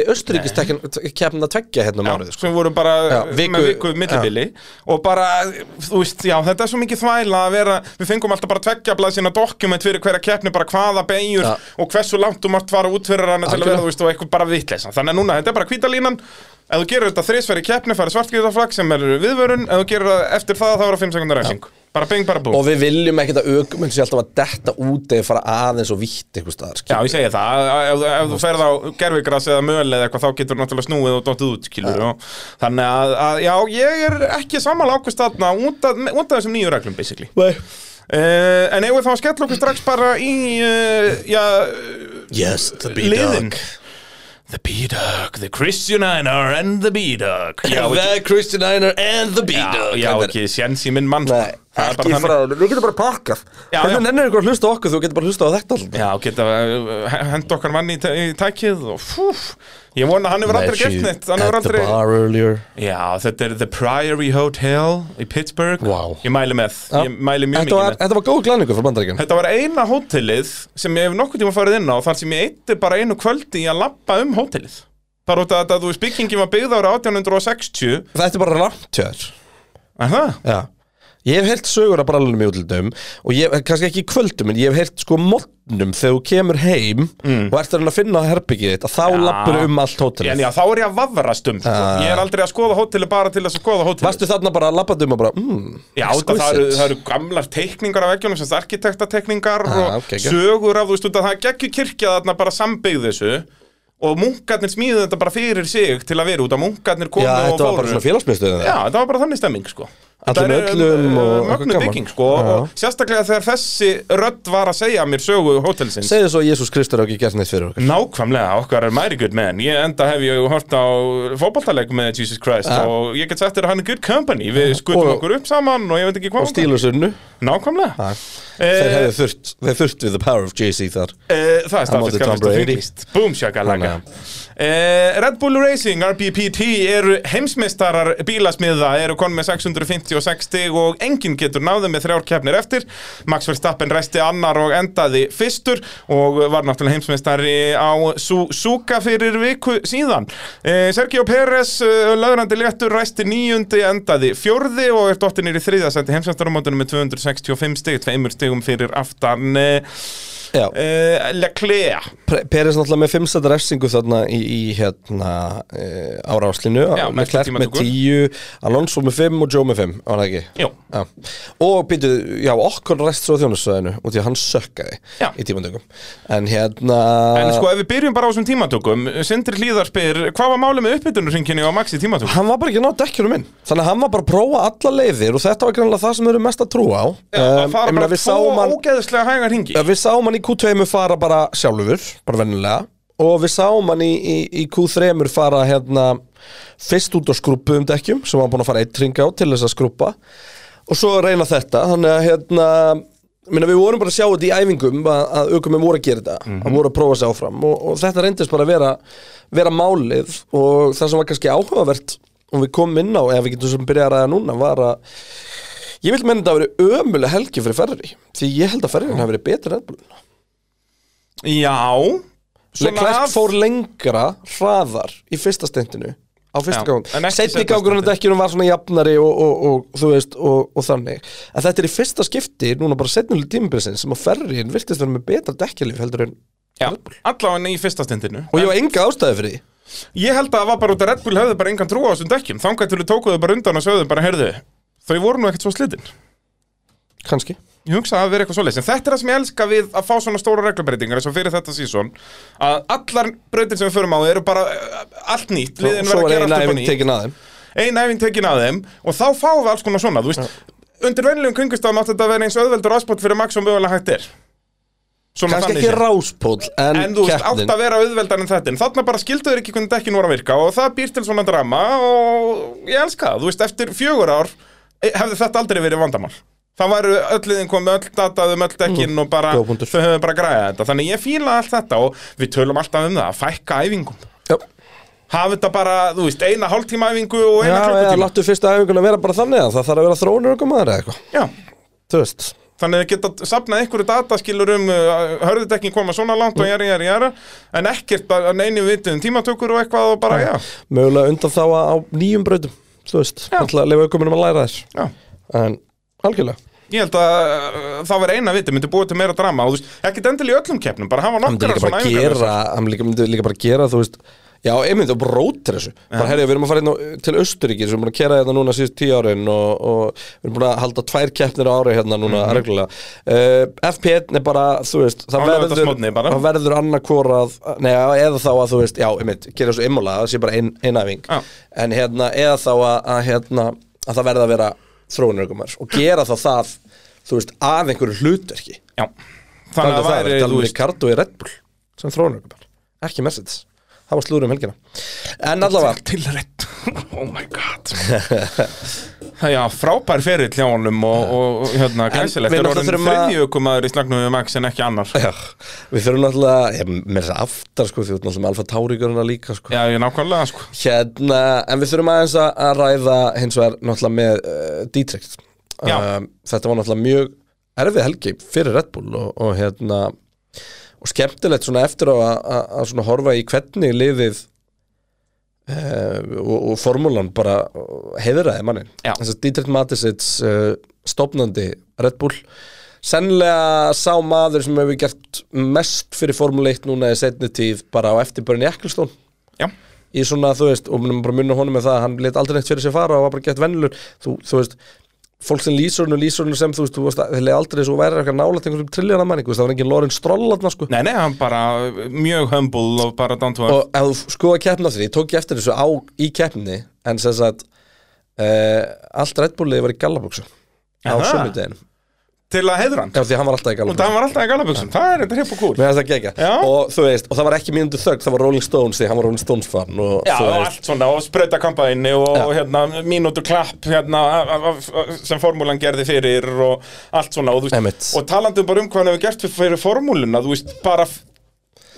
[SPEAKER 3] Östuríkistekna tveggja hérna um
[SPEAKER 1] Já,
[SPEAKER 3] árið sko.
[SPEAKER 1] sem voru bara eh,
[SPEAKER 3] Já, viku-
[SPEAKER 1] með viku millibili og bara, þú veist, já, þetta er svo mikið þvæla að vera, við fengum alltaf bara tveggja blaðsina dokument fyrir hverja keppni, bara hvaða beigjur
[SPEAKER 3] Já.
[SPEAKER 1] og hversu langt þú mátt fara út fyrir hana til að
[SPEAKER 3] Algjörlega.
[SPEAKER 1] vera, þú veist, og eitthvað bara vitleysa þannig að núna, þetta er bara hvítalínan ef þú gerir þetta þrisverði keppni, farið svartgjöðaflag sem er viðvörun, ef þú gerir það eftir það þá er það 5 sekundar refsing, bara beng, bara bú
[SPEAKER 3] Og við viljum ekkert að aukumenn sem alltaf að detta út eða fara aðeins og vitt einhvers staðar
[SPEAKER 1] Já,
[SPEAKER 3] skilur.
[SPEAKER 1] ég segi það, ef, ef þú ferð á gerfigras eða möl eða eitthvað þá getur náttúrulega snúið og dottið út, skilur og, Þannig að, að, já, ég er ekki sammála ákvist þarna út af út af þessum nýju reglum, basically
[SPEAKER 3] Nei.
[SPEAKER 1] uh, En eigum við þá að skella okkur strax bara í, uh, já,
[SPEAKER 3] Yes, the
[SPEAKER 1] liðin
[SPEAKER 3] B-Dog
[SPEAKER 1] The B-Dog, the Christian Einar and the B-Dog Já, ekki,
[SPEAKER 3] The Christian Einar and the
[SPEAKER 1] já,
[SPEAKER 3] B-Dog
[SPEAKER 1] já, ekki, séns í minn mann sko.
[SPEAKER 3] Nei,
[SPEAKER 1] Það er bara
[SPEAKER 3] ekki
[SPEAKER 1] þannig.
[SPEAKER 3] frá, þú getur bara pakkað
[SPEAKER 1] Já,
[SPEAKER 3] Hvernig
[SPEAKER 1] já.
[SPEAKER 3] nennir ykkur að hlusta á okkur, þú getur bara að hlusta á þetta alltaf
[SPEAKER 1] Já, geta uh, henda okkar manni í, tæ- í tækið og fúf Ég vona að hann hefur aldrei gert neitt Hann hefur aldrei
[SPEAKER 3] earlier
[SPEAKER 1] Já, þetta er The Priory Hotel í Pittsburgh
[SPEAKER 3] Vá.
[SPEAKER 1] Ég mæli með, ég mæli mjög
[SPEAKER 3] Þetta
[SPEAKER 1] mikið
[SPEAKER 3] var,
[SPEAKER 1] með
[SPEAKER 3] þetta var góð glæningu frá bandaríkjum
[SPEAKER 1] Þetta var eina hótelið sem ég hef nokkuð tíma farið inn á þar sem ég eitti bara einu kvöldi í að lappa um hótelið Það er út af að þú veist byggingin var byggð ára 1860
[SPEAKER 3] Þetta er bara rámt hjá þér
[SPEAKER 1] Er það?
[SPEAKER 3] Já Ég hef heyrt sögur af brallunum í útlindum og ég, kannski ekki í kvöldum, en ég hef heyrt sko mótnum þegar þú kemur heim og ert að reyna að finna herbyggið þitt að þá lappur um allt
[SPEAKER 1] Mm. En
[SPEAKER 3] hótelið
[SPEAKER 1] já, þá er ég að vafrast um sko.
[SPEAKER 3] Ah.
[SPEAKER 1] Ég er aldrei að skoða hótelið bara til þess að skoða hótelið
[SPEAKER 3] Varstu þarna bara að lappandi um og bara mm,
[SPEAKER 1] Já, það, það, eru, það eru gamlar teikningar af veggjónum, sem sagt arkitektateikningar
[SPEAKER 3] Ah,
[SPEAKER 1] og
[SPEAKER 3] ok, ok.
[SPEAKER 1] sögur af, þú veist, út að það geggjur kirkja þarna bara sambyggð þessu og munkarnir smíðu þetta bara fyrir sig til að vera út að munkarnir komu
[SPEAKER 3] Já,
[SPEAKER 1] og
[SPEAKER 3] þetta var bara
[SPEAKER 1] fóru
[SPEAKER 3] svona félagsmiðstöðin
[SPEAKER 1] Já, þetta var bara þannig stemming, sko
[SPEAKER 3] Allir með
[SPEAKER 1] Þetta er,
[SPEAKER 3] öllum
[SPEAKER 1] uh,
[SPEAKER 3] og eitthvað
[SPEAKER 1] Mögnu
[SPEAKER 3] gaman.
[SPEAKER 1] bygging, sko
[SPEAKER 3] Já.
[SPEAKER 1] og sérstaklega þegar þessi rödd var að segja mér sögu hótelsins
[SPEAKER 3] Segðu svo að Jésús Kristur hafi ekki gert neitt fyrir okkur
[SPEAKER 1] Nákvæmlega, okkar er mæri good man Ég enda hef ég hort á fótballtaleik með Jesus Christ og ég get sagt þér að hann er good company Við skutum
[SPEAKER 3] Og-
[SPEAKER 1] okkur upp saman og ég veit ekki hvað
[SPEAKER 3] Og stílu sunnu
[SPEAKER 1] Nákvæmlega
[SPEAKER 3] Þeir
[SPEAKER 1] Eh,
[SPEAKER 3] hefðu þurft, þeir þurft við the power of JC þar
[SPEAKER 1] Eh, Það er
[SPEAKER 3] móti
[SPEAKER 1] staðfest
[SPEAKER 3] Tom
[SPEAKER 1] kannast og
[SPEAKER 3] Brady.
[SPEAKER 1] fyrkist Boom shakalaka
[SPEAKER 3] Þannig
[SPEAKER 1] eh, Red Bull Racing, RBPT eru heimsmeistarar bílasmiða eru konn með 656 stig og enginn getur náðu með þrjár keppnir eftir Max Verstappen resti annar og endaði fyrstur og var náttúrulega heimsmeistari á Suzuka fyrir viku síðan eh, Sergio Pérez, eh, löðrandi léttur resti níundi, endaði fjórði og er dottinir í þriða sendi heimsmeistaramótinu með 265 stig, tveimur stigum fyrir aftan eh,
[SPEAKER 3] Já,
[SPEAKER 1] uh, Leclerc
[SPEAKER 3] Pre- Peres náttúrulega með 5 seta refsingu þarna í, í hérna uh, áráslinu
[SPEAKER 1] Já,
[SPEAKER 3] með
[SPEAKER 1] mestu
[SPEAKER 3] Klerk með
[SPEAKER 1] tímatöku.
[SPEAKER 3] 10, Alonso með 5 og Joe með 5, var það ekki?
[SPEAKER 1] Jú.
[SPEAKER 3] Já. Og býtu, já, okkur rest svo á þjónusvæðinu út í að hann sökkaði
[SPEAKER 1] Já.
[SPEAKER 3] í tímandökum En hérna
[SPEAKER 1] En sko, ef við byrjum bara á þessum tímatökum Sindri Hlíðar spyr, hvað var málið með uppbytunurringinni á Maxi tímatökum?
[SPEAKER 3] Hann var bara ekki að ná dekkjunum inn Þannig að hann var bara að prófa alla leiðir og þetta var grannlega það sem við erum mest að trúa á
[SPEAKER 1] Það
[SPEAKER 3] Em,
[SPEAKER 1] fara
[SPEAKER 3] Um, ég meina,
[SPEAKER 1] bara
[SPEAKER 3] við sáum
[SPEAKER 1] tvo
[SPEAKER 3] hann-
[SPEAKER 1] ógeðslega hægar ringi
[SPEAKER 3] Já, við sáum hann í Q2 fara bara sjálfur, bara vennilega og við sáum hann í, í, í Q3 fara hérna fyrst út á skrúpuðum dekkjum sem hann búin að fara eitt ring á til þess að skrúpa og svo reyna þetta, þannig að hérna Minna, við vorum bara að sjá þetta í æfingum að, að aukumum voru að gera þetta, mm voru að prófa sig áfram og, og þetta reyndist bara að vera, vera málið og það sem var kannski áhugavert og við komum inn á, eða við getum sem byrjað að ræða núna, var að Ég vil menna þetta að vera ömuleg helgi fyrir Ferrari Því ég held að Ferrari hafi verið betur en Red
[SPEAKER 1] Já
[SPEAKER 3] Leclerc
[SPEAKER 1] af-
[SPEAKER 3] fór lengra hraðar í fyrsta stendinu á
[SPEAKER 1] Já,
[SPEAKER 3] fyrsta
[SPEAKER 1] en
[SPEAKER 3] gangun
[SPEAKER 1] ekki
[SPEAKER 3] Setni
[SPEAKER 1] seinna
[SPEAKER 3] gangur hann
[SPEAKER 1] stundin.
[SPEAKER 3] ekki var svona jafnari og, og, og þú veist og, og þannig að þetta er í fyrsta skipti núna bara setnileg tímabilsin sem að Ferrari virtist vera með betra dekkjalif heldur en
[SPEAKER 1] Já, allavega í fyrsta stundinu
[SPEAKER 3] og ég var enga ástæði fyrir því
[SPEAKER 1] Ég held að það var bara út að Red Bull höfðu bara engan trú á þessum dekkjum Þangar til við tókuðu bara undan og sögðu bara, heyrðu Þau voru nú ekkert svo slitinn
[SPEAKER 3] kannski
[SPEAKER 1] Ég hugsa að það hafi verið eitthvað svoleiðis En þetta er það sem ég elska við að fá svona stóra reglubreitingar eins og fyrir þetta sísón Að allar breytin sem við förum á eru bara eh, allt nýtt
[SPEAKER 3] og
[SPEAKER 1] liðin
[SPEAKER 3] svo
[SPEAKER 1] verða að gera allt upp
[SPEAKER 3] var eiginlega
[SPEAKER 1] á
[SPEAKER 3] æfing
[SPEAKER 1] nýtt
[SPEAKER 3] tekin aðeim
[SPEAKER 1] ein æfing tekin að þeim og þá fáum við alls konar svona, þú veist undir vennilegum kringustafum átt þetta að vera eins öðveldur áspott fyrir Max og mögulega hægt er Svona
[SPEAKER 3] Kannski
[SPEAKER 1] þannig
[SPEAKER 3] ekki
[SPEAKER 1] séð.
[SPEAKER 3] ráspóll, en,
[SPEAKER 1] En þú veist, átt
[SPEAKER 3] keppnin
[SPEAKER 1] að vera auðveldar en þetta En þarna bara skilduður ekki hvernig dekkin voru að virka Og það býr til svona drama Og ég elska það, þú veist, eftir fjögur ár eh, Hefði þetta aldrei verið vandamál Það væru öll liðin komið, öll datað um öll dekkin Og bara,
[SPEAKER 3] góð Mm. punktur.
[SPEAKER 1] þau hefðu bara græðið þetta Þannig ég fíla allt þetta og við tölum alltaf um það Að fækka æfingum
[SPEAKER 3] Já,
[SPEAKER 1] Hafa þetta bara, þú veist, eina hálftíma æfingu Og
[SPEAKER 3] já
[SPEAKER 1] eina
[SPEAKER 3] eða
[SPEAKER 1] klukkutíma
[SPEAKER 3] láttu fyrsta æfinguna vera bara þannig að það þarf að vera þrónur okkur maður eða eitthvað
[SPEAKER 1] Já,
[SPEAKER 3] Þú veist,
[SPEAKER 1] Þannig að geta safnað einhverju dataskilur um uh, hörðutekkin koma svona langt
[SPEAKER 3] Mm.
[SPEAKER 1] og jæra, jæra, jæra en ekkert að að neinu vitið um tímatökur og eitthvað og bara,
[SPEAKER 3] Mm.
[SPEAKER 1] já,
[SPEAKER 3] mögulega undan þá á nýjum brautum Þú veist, alltaf lefa aukumunum að læra þér
[SPEAKER 1] já.
[SPEAKER 3] En, algjörlega
[SPEAKER 1] Ég held að uh, það var eina vitið, myndi búið til meira drama og þú veist, ekkert endil í öllum keppnum, bara hafa
[SPEAKER 3] hann myndi
[SPEAKER 1] nokkara
[SPEAKER 3] líka bara
[SPEAKER 1] svona æfingar
[SPEAKER 3] gera hann líka, myndi líka bara gera þú veist já, einmitt og bara rótir þessu bara herja, við erum að fara inn á, til Östuríki sem við erum búin að kera hérna núna síðust tíu árin og, og við erum búin að halda tvær keppnir á ári hérna núna reglulega uh, FP1 er bara, þú veist
[SPEAKER 1] Mhm. Á
[SPEAKER 3] það verður,
[SPEAKER 1] laugardagsmorgni bara.
[SPEAKER 3] það verður annarkor að neða, eða þá að þú veist, já, einmitt gera þessu immola, það sé bara ein, einæfing
[SPEAKER 1] Já.
[SPEAKER 3] en hérna, eða þá að, að hérna, að það verða að vera þróunir og gera þá það, þú veist, af einhverju hlutverki
[SPEAKER 1] Já, þannig að
[SPEAKER 3] Alveg
[SPEAKER 1] það væri,
[SPEAKER 3] er
[SPEAKER 1] þú
[SPEAKER 3] alveg
[SPEAKER 1] veist,
[SPEAKER 3] Ricardo í Red Bull sem þróunarökumann, ekki Mercedes það var slúður um helgina en allavega,
[SPEAKER 1] til rétt <laughs> Oh my god Já, frábær ferill hjá honum og, og hérna, glæsilegt Það
[SPEAKER 3] við
[SPEAKER 1] er
[SPEAKER 3] náttúrulega
[SPEAKER 1] orðin
[SPEAKER 3] þurfum að-
[SPEAKER 1] þriðjökumaður í snagnum við Max en ekki annar
[SPEAKER 3] já, við þurfum náttúrulega ég, með þess að aftar sko, því við erum náttúrulega með Alfa Taurigurina líka sko.
[SPEAKER 1] Já, ég nákvæmlega, sko
[SPEAKER 3] hérna, en við þurfum aðeins að- að ræða hins vegar náttúrulega með uh, Dietrich
[SPEAKER 1] Já.
[SPEAKER 3] um, þetta var náttúrulega mjög erfið helgi fyrir Red Bull og, og hérna og skemmtilegt svona eftir á að- að að svona horfa í hvernig liðið uh, og, og formúlan bara heiðraði mannin
[SPEAKER 1] Já.
[SPEAKER 3] þess að Dietrich Matisits uh, stopnandi Red Bull sennilega sá maður sem hefur gert mest fyrir formúla 1 núna í setni tíð bara á eftir Bernie Ecclestone
[SPEAKER 1] Já,
[SPEAKER 3] í svona, þú veist, og munum bara munna honum með það að hann let aldrei neitt fyrir sér fara og var bara gett vennilur þú, þú veist, fólk sem lýsur hann og lýsur hann sem, þú veist, þú veist, þeir leið aldrei svo væri eitthvað nálægt einhverjum trilljarna manni, þú veist, það var engin Lorenz Strollatna, sko,
[SPEAKER 1] nei, nei, hann bara uh, mjög humble og bara down to earth
[SPEAKER 3] og ef þú skoða keppna því, ég tók ég eftir þessu á, í keppni en sem sagt uh, allt Red Bull-liði var í Gallabuksu á
[SPEAKER 1] Aha.
[SPEAKER 3] sumudeginu,
[SPEAKER 1] til að heiðra hann
[SPEAKER 3] já, því hann var alltaf í
[SPEAKER 1] og það
[SPEAKER 3] Gallabuksu
[SPEAKER 1] var alltaf í galabuxum, það er þetta hrepp og kúl
[SPEAKER 3] Mér finnst það gegja,
[SPEAKER 1] Já.
[SPEAKER 3] og þú veist, og það var ekki mínundu þögg, það var Rolling Stones því, hann var Rolling Stones fan og
[SPEAKER 1] Já,
[SPEAKER 3] þú
[SPEAKER 1] og
[SPEAKER 3] veist,
[SPEAKER 1] allt svona, og sprauta kampaðinni og hérna, mínútu klapp hérna, af- af- af- sem formúlan gerði fyrir og allt svona og, þú veist,
[SPEAKER 3] Einmitt.
[SPEAKER 1] og talandi bara um hvað hann hefur gert fyrir- fyrir formúluna þú veist, bara f-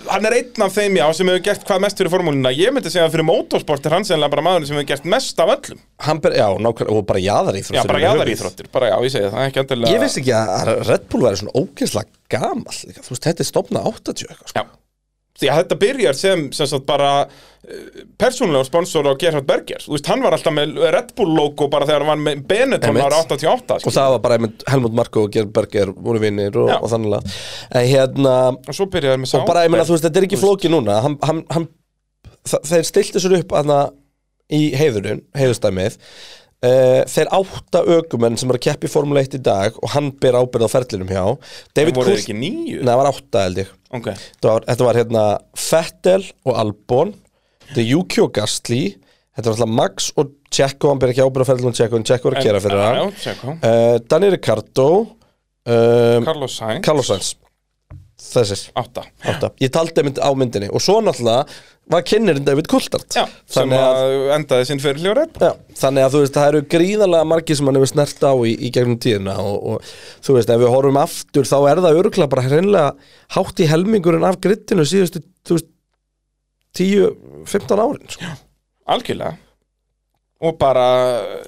[SPEAKER 1] hann er einn af þeim já sem hefur gert hvað mest fyrir formúluna ég myndi segja að fyrir motorsport er hann sennilega bara maðurinn sem hefur gert mest af öllum
[SPEAKER 3] hann ber, já, nákvæmlega, og bara jaðaríþróttir
[SPEAKER 1] já, bara jáðar íþróttir, bara já, ég segi það ekki endilega
[SPEAKER 3] Ég vissi ekki að Red Bull væri svona ógeinslega gamall líka. Þú veist, þetta er stopna 80 eitthvað sko.
[SPEAKER 1] Já. Því að þetta byrjar sem, sem sagt, bara eh, persónulegur sponsor á Gerhard Berger Þú veist, hann var alltaf með Red Bull logo bara þegar hann var með Benetton
[SPEAKER 3] Einmitt.
[SPEAKER 1] ára 88
[SPEAKER 3] Og
[SPEAKER 1] skilur.
[SPEAKER 3] það var bara einmitt Helmut Marko og Gerard Berger voru vinnir og,
[SPEAKER 1] Já.
[SPEAKER 3] og þannig að En hérna,
[SPEAKER 1] Og svo byrjaði með sá
[SPEAKER 3] og bara, ég meina, þú veist, þetta er ekki flóki núna hann, hann, hann, þa- Þeir stiltu sér upp aðna í heiðurinn, heiðustæmið Uh, þeir átta ökumenn sem eru að keppa í Formule 1 í dag og hann ber ábyrð á ferlinum hjá David
[SPEAKER 1] voru þeir
[SPEAKER 3] Coulth,
[SPEAKER 1] ekki nýju
[SPEAKER 3] neða var átta held ég
[SPEAKER 1] Ok,
[SPEAKER 3] þetta var, þetta var hérna Fettel og Albon þetta er Juki og Gastli þetta var alltaf Max og Tjekko hann ber ekki ábyrða ferðil og Tjekko en Tjekko er að kera fyrir
[SPEAKER 1] já,
[SPEAKER 3] hann
[SPEAKER 1] tjekkum.
[SPEAKER 3] uh, Danny Ricardo um,
[SPEAKER 1] Carlos Sainz
[SPEAKER 3] Carlos Sainz þessir
[SPEAKER 1] Átta
[SPEAKER 3] átta ég taldi mynd á myndinni og svo náttúrulega var kynnirinn David Coulthard
[SPEAKER 1] Já, sem
[SPEAKER 3] þannig að
[SPEAKER 1] að endaði sinn fyrir hljóð Red Bull
[SPEAKER 3] Já, þannig að þú veist, það eru gríðarlega margir sem hann hefur snert á í, í gegnum tíðina og, og þú veist, ef við horfum aftur þá er það örgulega bara hreinlega hátt í helmingurinn af grittinu síðustu, þú veist, 10-15 árin sko.
[SPEAKER 1] Algjörlega Og bara,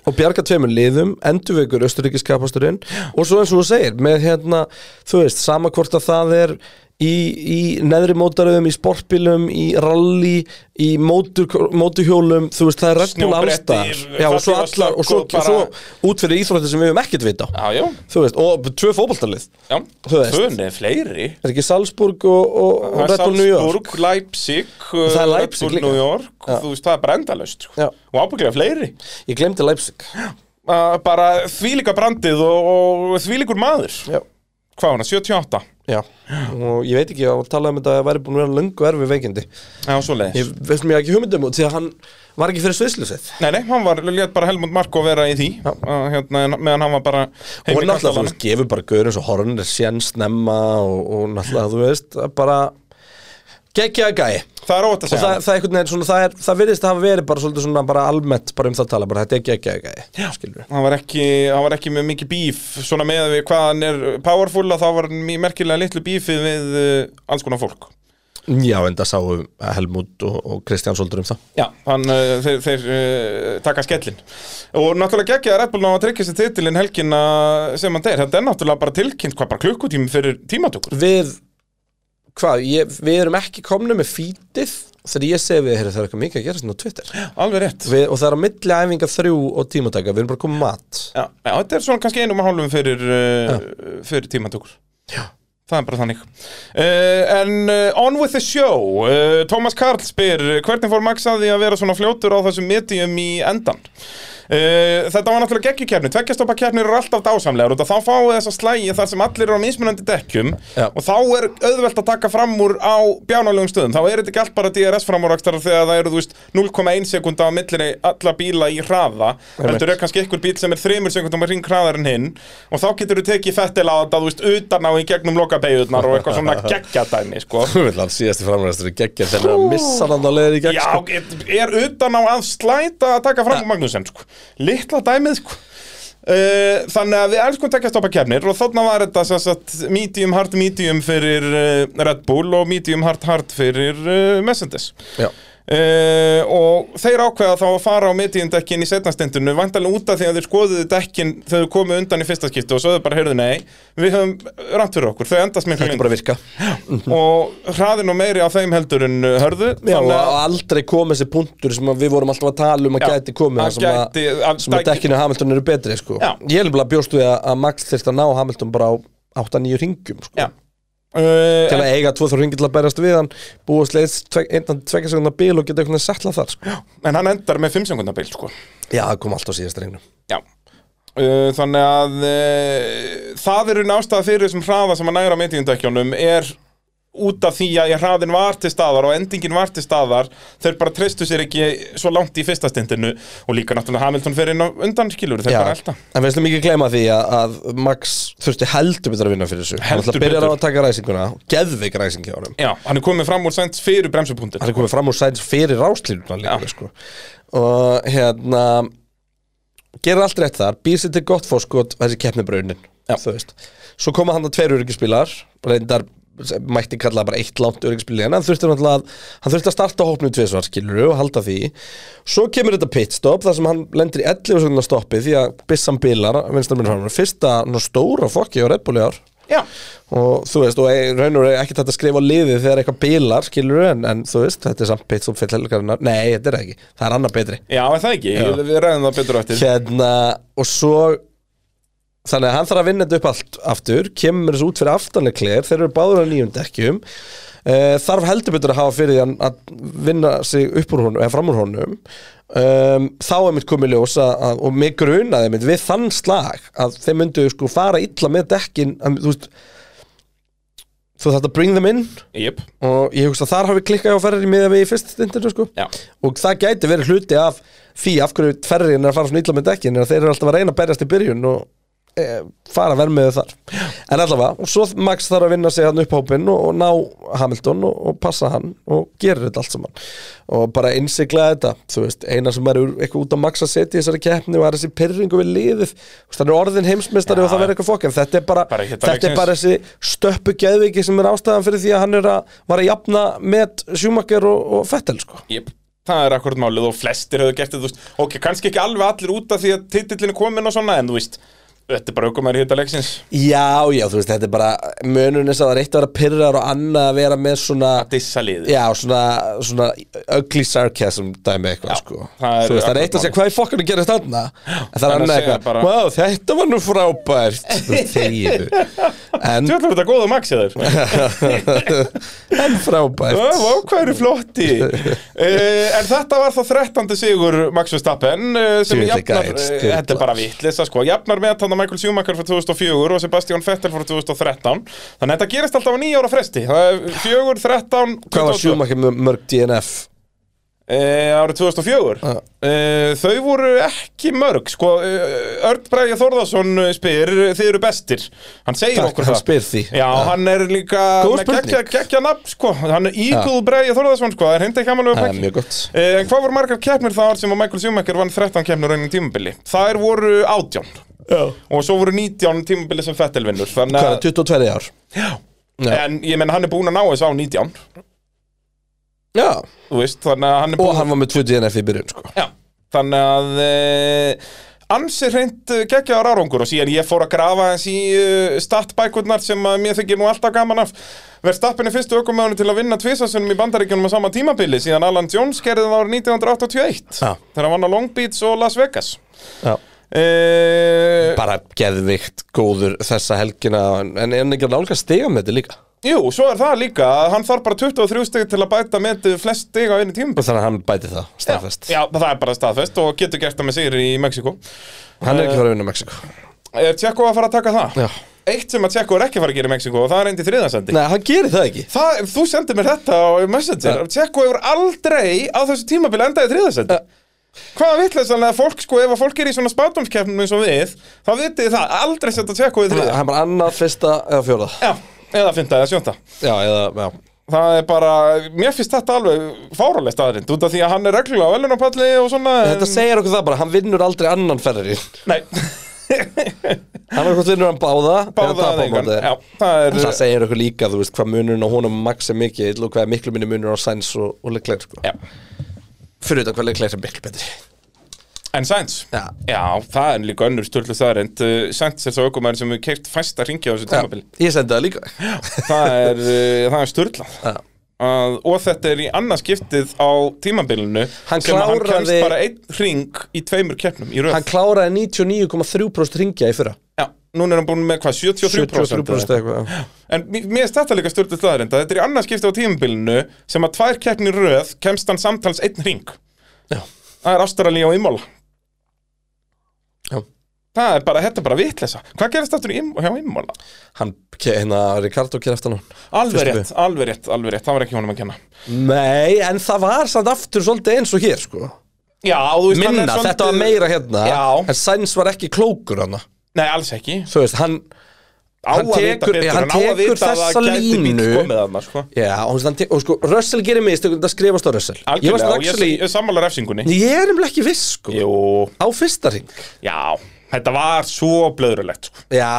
[SPEAKER 3] og bjarga tveimur liðum, endurveikur östuríkiskapasturinn og svo eins og þú segir með hérna, þú veist, sama hvort að það er í, í neðri mótaröðum, í sportbílum, í rally í mótur, mótuhjólum þú veist, það er reddbúl
[SPEAKER 1] Snjóbretti,
[SPEAKER 3] allstar já, og svo allar, og svo,
[SPEAKER 1] og bara-
[SPEAKER 3] og svo út fyrir íþróttir sem við höfum ekkert vita á.
[SPEAKER 1] já, já,
[SPEAKER 3] þú veist, og tvö fótboltalið
[SPEAKER 1] já
[SPEAKER 3] Þú veist.
[SPEAKER 1] Tvöni, fleiri
[SPEAKER 3] er ekki Salzburg og, og, og Red Bull New York
[SPEAKER 1] Salzburg, Leipzig, uh,
[SPEAKER 3] það er
[SPEAKER 1] Red
[SPEAKER 3] Leipzig
[SPEAKER 1] Bull
[SPEAKER 3] líka.
[SPEAKER 1] New York
[SPEAKER 3] Já.
[SPEAKER 1] Þú veist, það er bara endalaust sko.
[SPEAKER 3] Já.
[SPEAKER 1] Og ábygglega fleiri
[SPEAKER 3] ég glemdi Leipzig
[SPEAKER 1] að bara þvílíka brandið og, og þvílíkur maður
[SPEAKER 3] já.
[SPEAKER 1] hvað var það, 78
[SPEAKER 3] Já, og ég veit ekki, ég var að tala um þetta að væri búin að vera löngu erfi veikindi
[SPEAKER 1] eða svo leiðis
[SPEAKER 3] Ég veist mér ekki hugmyndum út því að hann var ekki fyrir sviðsljósið
[SPEAKER 1] Nei, nei, hann var, létt bara Helmut Marko vera í því að, hérna, en- meðan hann var bara heima
[SPEAKER 3] Og
[SPEAKER 1] í
[SPEAKER 3] náttúrulega, þú
[SPEAKER 1] kastalanum.
[SPEAKER 3] veist, gefur bara gaur eins og hornir sén snemma og, og náttúrulega, þú veist, að bara geggjaði gæi
[SPEAKER 1] Það er óvægt að
[SPEAKER 3] Og það,
[SPEAKER 1] segja
[SPEAKER 3] það, einhvern veginn, svona, það, er, það virðist að hafa verið bara svolítið svona bara almennt bara um það að tala, bara þetta er geggjaði gæi skilurðu.
[SPEAKER 1] Hann var, ekki, hann var ekki með mikið bíf svona með við hvað hann er powerful að þá var hann í merkilega litlu bífið við uh, alls konar fólk
[SPEAKER 3] Já, en það sáum Helmut og, og Kristján svolítið um það
[SPEAKER 1] Já, hann, uh, þeir, þeir uh, taka skellin og náttúrulega geggja að Red Bull ná að tryggja sér titilin helgina sem hann deyr, þetta er náttúrulega bara tilkynnt hvað bara klukkutími fyrir tímatökur
[SPEAKER 3] Við, hvað, ég, við erum ekki komnu með fítið þegar ég segi við, heyrðu, það er eitthvað mikið að gera svona á Twitter
[SPEAKER 1] alveg rétt
[SPEAKER 3] við, og það er á milli æfinga þrjú og tímataka við erum bara komið mat
[SPEAKER 1] Já, já, þetta er svona kannski einum og hálfum fyrir, uh, fyrir tímatökur
[SPEAKER 3] Já.
[SPEAKER 1] Það er bara þannig uh, En uh, on with the show uh, Thomas Karl spyr Hvernig fór Max að því að vera svona fljótur á þessum medium í endan? Uh, þetta var náttúrulega geggjukefni Tveggjastoppa kefnir eru alltaf dásamlegar og þá fáið þess að slægi þar sem allir eru á mismunandi dekkjum
[SPEAKER 3] Já.
[SPEAKER 1] og þá er auðvelt að taka fram úr á bjánalegum stöðum þá er þetta ekki allt bara DRS framúrakstara þegar það eru þú veist 0,1 sekunda á millinni alla bíla í hraða heldur er kannski einhver bíl sem er 3 sekundum að ring hraðar en hinn og þá getur þú tekið fettil á þetta þú veist utan á í gegnum lokabeyðunar og eitthvað svona geggjadæmi sko
[SPEAKER 3] Við viljum síðast í framræðastur í geggja þegar að missa hann á leiðir í gegn
[SPEAKER 1] Já,
[SPEAKER 3] sko.
[SPEAKER 1] er utan á að slæta að taka fram úr Magnúsen, sko. Litla dæmið, sko. Uh, þannig að við elskum tekjastoppa kefnir og þarna var þetta sem sagt medium hard medium fyrir uh, Red Bull og medium hard hard fyrir uh, Mercedes
[SPEAKER 3] Já.
[SPEAKER 1] uh, og þeir ákveða þá að fara á medium dekkin í setnastendinu vandalega út af því að þeir skoðuðu dekkin þegar þau komu undan í fyrsta skipti og sögðu bara heyrðu nei, við höfum rant fyrir okkur, þau endast miklu
[SPEAKER 3] Þetta er bara að virka
[SPEAKER 1] lengur og hraðin og meiri á þeim heldur en uh, hörðu
[SPEAKER 3] Já,
[SPEAKER 1] Þannig
[SPEAKER 3] og
[SPEAKER 1] að-
[SPEAKER 3] aldrei komið þessi punktur sem að við vorum alltaf að tala um að
[SPEAKER 1] Já,
[SPEAKER 3] gæti komið
[SPEAKER 1] að
[SPEAKER 3] þar sem, að,
[SPEAKER 1] gæti- að
[SPEAKER 3] sem að
[SPEAKER 1] dæki-
[SPEAKER 3] dekkinu Hamilton eru betri sko.
[SPEAKER 1] Já.
[SPEAKER 3] Ég er bara bjóst við að, að Max þyrst að ná Hamilton bara á 8-9 ringum sko.
[SPEAKER 1] Já Uh,
[SPEAKER 3] til
[SPEAKER 1] en,
[SPEAKER 3] að eiga 2-3 ringi til að berjast við hann búið sleiðs einnig tvekja sekundar bíl og geta einhvern veginn settla þar sko.
[SPEAKER 1] en hann endar með 5 sekundar bíl sko.
[SPEAKER 3] Já, það kom allt á síðast regnum
[SPEAKER 1] Já uh, Þannig að uh, það eru nástaða fyrir þessum hraða sem að næra meitiðindökkjónum er út af því að hraðin var til staðar og endingin var til staðar þeir bara treystu sér ekki svo langt í fyrsta stindinu og líka náttúrulega Hamilton fer inn á undan skilur þeir bara elda
[SPEAKER 3] en við slum ekki gleyma því að, að Max þurfti heldur betur að vinna fyrir þessu Hann
[SPEAKER 1] Heldur
[SPEAKER 3] alltaf byrjar á
[SPEAKER 1] betur.
[SPEAKER 3] að taka ræsinguna geðveik ræsingi á honum
[SPEAKER 1] Já, hann er komið fram úr sænt fyrir bremsupunktin
[SPEAKER 3] hann er komið fram úr sætis fyrir ráslínuna líka sko. og hérna gerir allt rétt þar býr sér til gott fórskot þessi keppnibraunin þú veist svo koma hann að tveir öryggisbílar reyndar mætti kalla bara eitt langt öryggisbíl en hann þurfti náttúrulega að hann þurfti að starta hópnum tvisvar skilur og halda því svo kemur þetta pitstop þar sem hann lendir í 11 sekundar stoppi því að byssan bílar vinstar minn hann fyrsta ná, stóra fokki á Red Bull í ár
[SPEAKER 1] Já,
[SPEAKER 3] og þú veist, og ein- raun og raunur er ekkert hægt að skrifa á liðið þegar eitthvað bilar, skilur en, en þú veist, þetta er samt pitstop fyrir helgarinnar nei, þetta er það ekki, það er annað betri
[SPEAKER 1] Já er það ekki,
[SPEAKER 3] Já.
[SPEAKER 1] við ræðum það betur á eftir
[SPEAKER 3] hérna, og svo þannig að hann þarf að vinna þetta upp allt aftur, kemur þessu út fyrir aftanleikleir þeir eru báður á nýjum dekkjum uh, þarf heldur betur að hafa fyrir því að- að vinna sig upp úr honum eða fram úr honum um, þá er mitt komið ljós að, að, og mig grunaði mitt við þann slag að þeir myndu sko fara illa með dekkin að, þú veist þú þarft að bring them in
[SPEAKER 1] Jep,
[SPEAKER 3] og ég hugsa að þar hafi klikkað á ferri miða við í fyrst stundinu sko
[SPEAKER 1] já
[SPEAKER 3] og það gæti verið hluti af því af hverju ferriðin er að fara svona illa með dekkin er að þeir eru alltaf að reyna að berjast í byrjun og e, fara verð með þau þar en allavega, og svo Max þarf að vinna sig hann upp hópinn og, og ná Hamilton og, og passa hann og gerir þetta allt saman og bara innsigla þetta þú veist, eina sem er úr- eitthvað út á Max að setja í þessari keppni og er þessi pyrringu við liðið Þú veist, hann er orðin heimsmeistari og það verður eitthvað fokk en þetta er bara,
[SPEAKER 1] Bara hitta
[SPEAKER 3] þetta er
[SPEAKER 1] leiksins.
[SPEAKER 3] bara þessi stöppu geðviki sem er ástæðan fyrir því að hann er að var að jafna með Schumacher og, og Fettel sko
[SPEAKER 1] Jep. Það er akkurat málið og flestir höfðu gert þetta, þú veist, ok, kannski ekki alveg allir út af því að titillin er komin og svona, en þú veist, þetta er bara aukumæri hitta leiksins.
[SPEAKER 3] Já, já, þú veist, þetta er bara munurinn þess að það er eitt að vera pyrrar og annað að vera með svona
[SPEAKER 1] Dissa liðið.
[SPEAKER 3] Já, svona, svona ugly sarcasm dæmi eitthvað,
[SPEAKER 1] Já,
[SPEAKER 3] sko
[SPEAKER 1] það er
[SPEAKER 3] Þú veist, það er eitt
[SPEAKER 1] akkurat
[SPEAKER 3] að segja hvað í fokkanu gerist þarna En það er
[SPEAKER 1] en að
[SPEAKER 3] annað
[SPEAKER 1] segja
[SPEAKER 3] eitthvað,
[SPEAKER 1] bara- <laughs>
[SPEAKER 3] wow, þetta var nú frábært Þú veist, þegiðu En,
[SPEAKER 1] Þú ætlum þetta góða maxið þér
[SPEAKER 3] <laughs> en frábært
[SPEAKER 1] Vá, hvað eru flotti
[SPEAKER 3] <laughs>
[SPEAKER 1] uh, En þetta var þá 13. sigur Max Verstappen uh, sem
[SPEAKER 3] Djöfull er
[SPEAKER 1] jafnar,
[SPEAKER 3] gæðin,
[SPEAKER 1] uh,
[SPEAKER 3] styrla.
[SPEAKER 1] þetta er bara vitlisa sko, jafnar með þannig Michael Schumacher frá 2004 og Sebastian Vettel frá 2013 þannig að þetta gerist alltaf á nýja ára fresti það er 4, 13,
[SPEAKER 3] Hvað
[SPEAKER 1] 22.
[SPEAKER 3] var Schumacher með mörg DNF?
[SPEAKER 1] Eh, árið 2004
[SPEAKER 3] Já.
[SPEAKER 1] eh, Þau voru ekki mörg sko, eh, Örn Bræði Þórðarsson spyr Þið eru bestir Hann segir
[SPEAKER 3] Takk,
[SPEAKER 1] okkur
[SPEAKER 3] hann
[SPEAKER 1] það
[SPEAKER 3] spyr því.
[SPEAKER 1] Já, hann er líka
[SPEAKER 3] Góð
[SPEAKER 1] með
[SPEAKER 3] spurning.
[SPEAKER 1] geggja, geggja nafn sko. Hann er Eagle Bræði Þórðarsson sko. Það er hindi ekki amalega
[SPEAKER 3] Það er mjög gott
[SPEAKER 1] Eh, En hvað voru margar keppnir það ár sem að Michael Schumacher vann 13 keppnir raunin tímabili? Þær voru 18
[SPEAKER 3] Já.
[SPEAKER 1] og svo voru 19 tímabili sem Fettel vinnur Þannig
[SPEAKER 3] Hvað er
[SPEAKER 1] að,
[SPEAKER 3] 22 ár? Já.
[SPEAKER 1] en ég menn hann er búin að ná þessu á 19
[SPEAKER 3] Já,
[SPEAKER 1] Þú veist, þannig að hann er
[SPEAKER 3] og
[SPEAKER 1] búinn-
[SPEAKER 3] hann var með 2 DNF í byrjun sko
[SPEAKER 1] Já, þannig að uh, ansi hreint eh, geggjaðar árangur og síðan ég fór að grafa eins í uh, startbækurnar sem að mér þykir nú alltaf gaman af Verstappen er fyrstu ökumöðunum til að vinna tvisasunum í bandaríkjunum á sama tímabili síðan Alan Jones gerði það árið 1981
[SPEAKER 3] Já.
[SPEAKER 1] þegar hann vann á Long Beach og Las Vegas
[SPEAKER 3] Já.
[SPEAKER 1] uh,
[SPEAKER 3] Bara geðvikt góður þessa helgina En er hann ekki að nálga stiga með þetta líka?
[SPEAKER 1] Jú, svo er það líka að hann þarf bara 23 stig til að bæta með flest stig á einu tímabili
[SPEAKER 3] Þannig að hann bæti það, staðfest
[SPEAKER 1] Já, það er bara staðfest og getur gert það með sigri í Mexiko
[SPEAKER 3] Hann er ekki að fara að vinna Mexiko
[SPEAKER 1] Er Tjekko að fara að taka það?
[SPEAKER 3] Já.
[SPEAKER 1] Eitt sem að Tjekko er ekki að fara að gera í Mexiko og það er endi þriðansendi
[SPEAKER 3] Nei, hann gerir það ekki
[SPEAKER 1] það, Þú sendir mér þetta á Messenger
[SPEAKER 3] Já.
[SPEAKER 1] Tjekko hefur aldrei á þessu tímabili endaði þriðansendi
[SPEAKER 3] Já.
[SPEAKER 1] Hvaða vitlega að fólk, sko, ef að fólk er í svona spátumskeppnum eins og við þá vitið þið það, aldrei setja Tjekko í þriða
[SPEAKER 3] Hann er bara annað, fyrsta eða fjóða
[SPEAKER 1] Já, eða fynda eða sjónda
[SPEAKER 3] Já, eða, já
[SPEAKER 1] Það er bara, mér finnst þetta alveg fárálega staðarind út af því að hann er reglulega á velunarpalli og svona en-
[SPEAKER 3] Þetta segir okkur það bara, hann vinnur aldrei annan ferrarinn
[SPEAKER 1] Nei,
[SPEAKER 3] Hann er hvort vinnur hann báða
[SPEAKER 1] <laughs> báða að engan Já, það er
[SPEAKER 3] Það segir okkur líka, þú veist, hvað munurinn á honum Max er mikill og hvað er miklu minni munur á Sainz og, og Leclerc sko.
[SPEAKER 1] Já.
[SPEAKER 3] Fyrir þetta hvað Leclerc er miklu betri
[SPEAKER 1] En Sainz,
[SPEAKER 3] Já.
[SPEAKER 1] það er líka önnur störlu staðarind Uh, Sainz er svo ökumæður sem hefur keirt fæsta ringi á þessu tímabili
[SPEAKER 3] Ég sendi það líka
[SPEAKER 1] Það er, uh, það er störlað
[SPEAKER 3] Já.
[SPEAKER 1] að, Og þetta er í annars skiptið á tímabilinu
[SPEAKER 3] Hann
[SPEAKER 1] sem að hann kemst
[SPEAKER 3] kláraði-
[SPEAKER 1] bara einn ring í tveimur keppnum í röð
[SPEAKER 3] Hann kláraði 99,3% ringja í fyrra
[SPEAKER 1] Já, núna er hann búin með hvað, 73%,
[SPEAKER 3] 73%
[SPEAKER 1] eða eitthvað.
[SPEAKER 3] eitthvað já.
[SPEAKER 1] En mér mér finnst þetta líka störlu staðarind að þetta er í annars skiptið á tímabilinu sem að tvær keppni í röð kemst hann samtals einn ring
[SPEAKER 3] Já.
[SPEAKER 1] Það er Ástralía og Imola
[SPEAKER 3] Já.
[SPEAKER 1] Það er bara, þetta er bara vitleysa Hvað gerist aftur í Im- hjá Imola?
[SPEAKER 3] Hann, ke- hérna, Ricardo ker eftir hann
[SPEAKER 1] Alveg
[SPEAKER 3] Fyrstu
[SPEAKER 1] rétt, alveg rétt, alveg rétt, það var ekki honum að kenna
[SPEAKER 3] Nei, en það var samt aftur svolítið eins og hér sko.
[SPEAKER 1] Já, þú veist,
[SPEAKER 3] Minna, þetta var meira hérna
[SPEAKER 1] Já.
[SPEAKER 3] En Sainz var ekki klókur hann
[SPEAKER 1] Nei, alls ekki
[SPEAKER 3] Þú veist, hann
[SPEAKER 1] Á
[SPEAKER 3] Hann
[SPEAKER 1] að vita
[SPEAKER 3] tekur-
[SPEAKER 1] betur,
[SPEAKER 3] hann
[SPEAKER 1] hann á að
[SPEAKER 3] tekur
[SPEAKER 1] vita að
[SPEAKER 3] þessa
[SPEAKER 1] það gæti bíl
[SPEAKER 3] línu.
[SPEAKER 1] komið að maður, sko
[SPEAKER 3] Já, og, þú veist, hann te- og sko, Russell gerir mistök en Það skrifast á Russell Ég var
[SPEAKER 1] Algjörlega, og
[SPEAKER 3] strax
[SPEAKER 1] ég,
[SPEAKER 3] í
[SPEAKER 1] ég sammála refsingunni
[SPEAKER 3] Ég er nefnilega ekki viss sko
[SPEAKER 1] Jú,
[SPEAKER 3] Á fyrsta ring
[SPEAKER 1] já, þetta var svo blöðrulegt, sko
[SPEAKER 3] Já,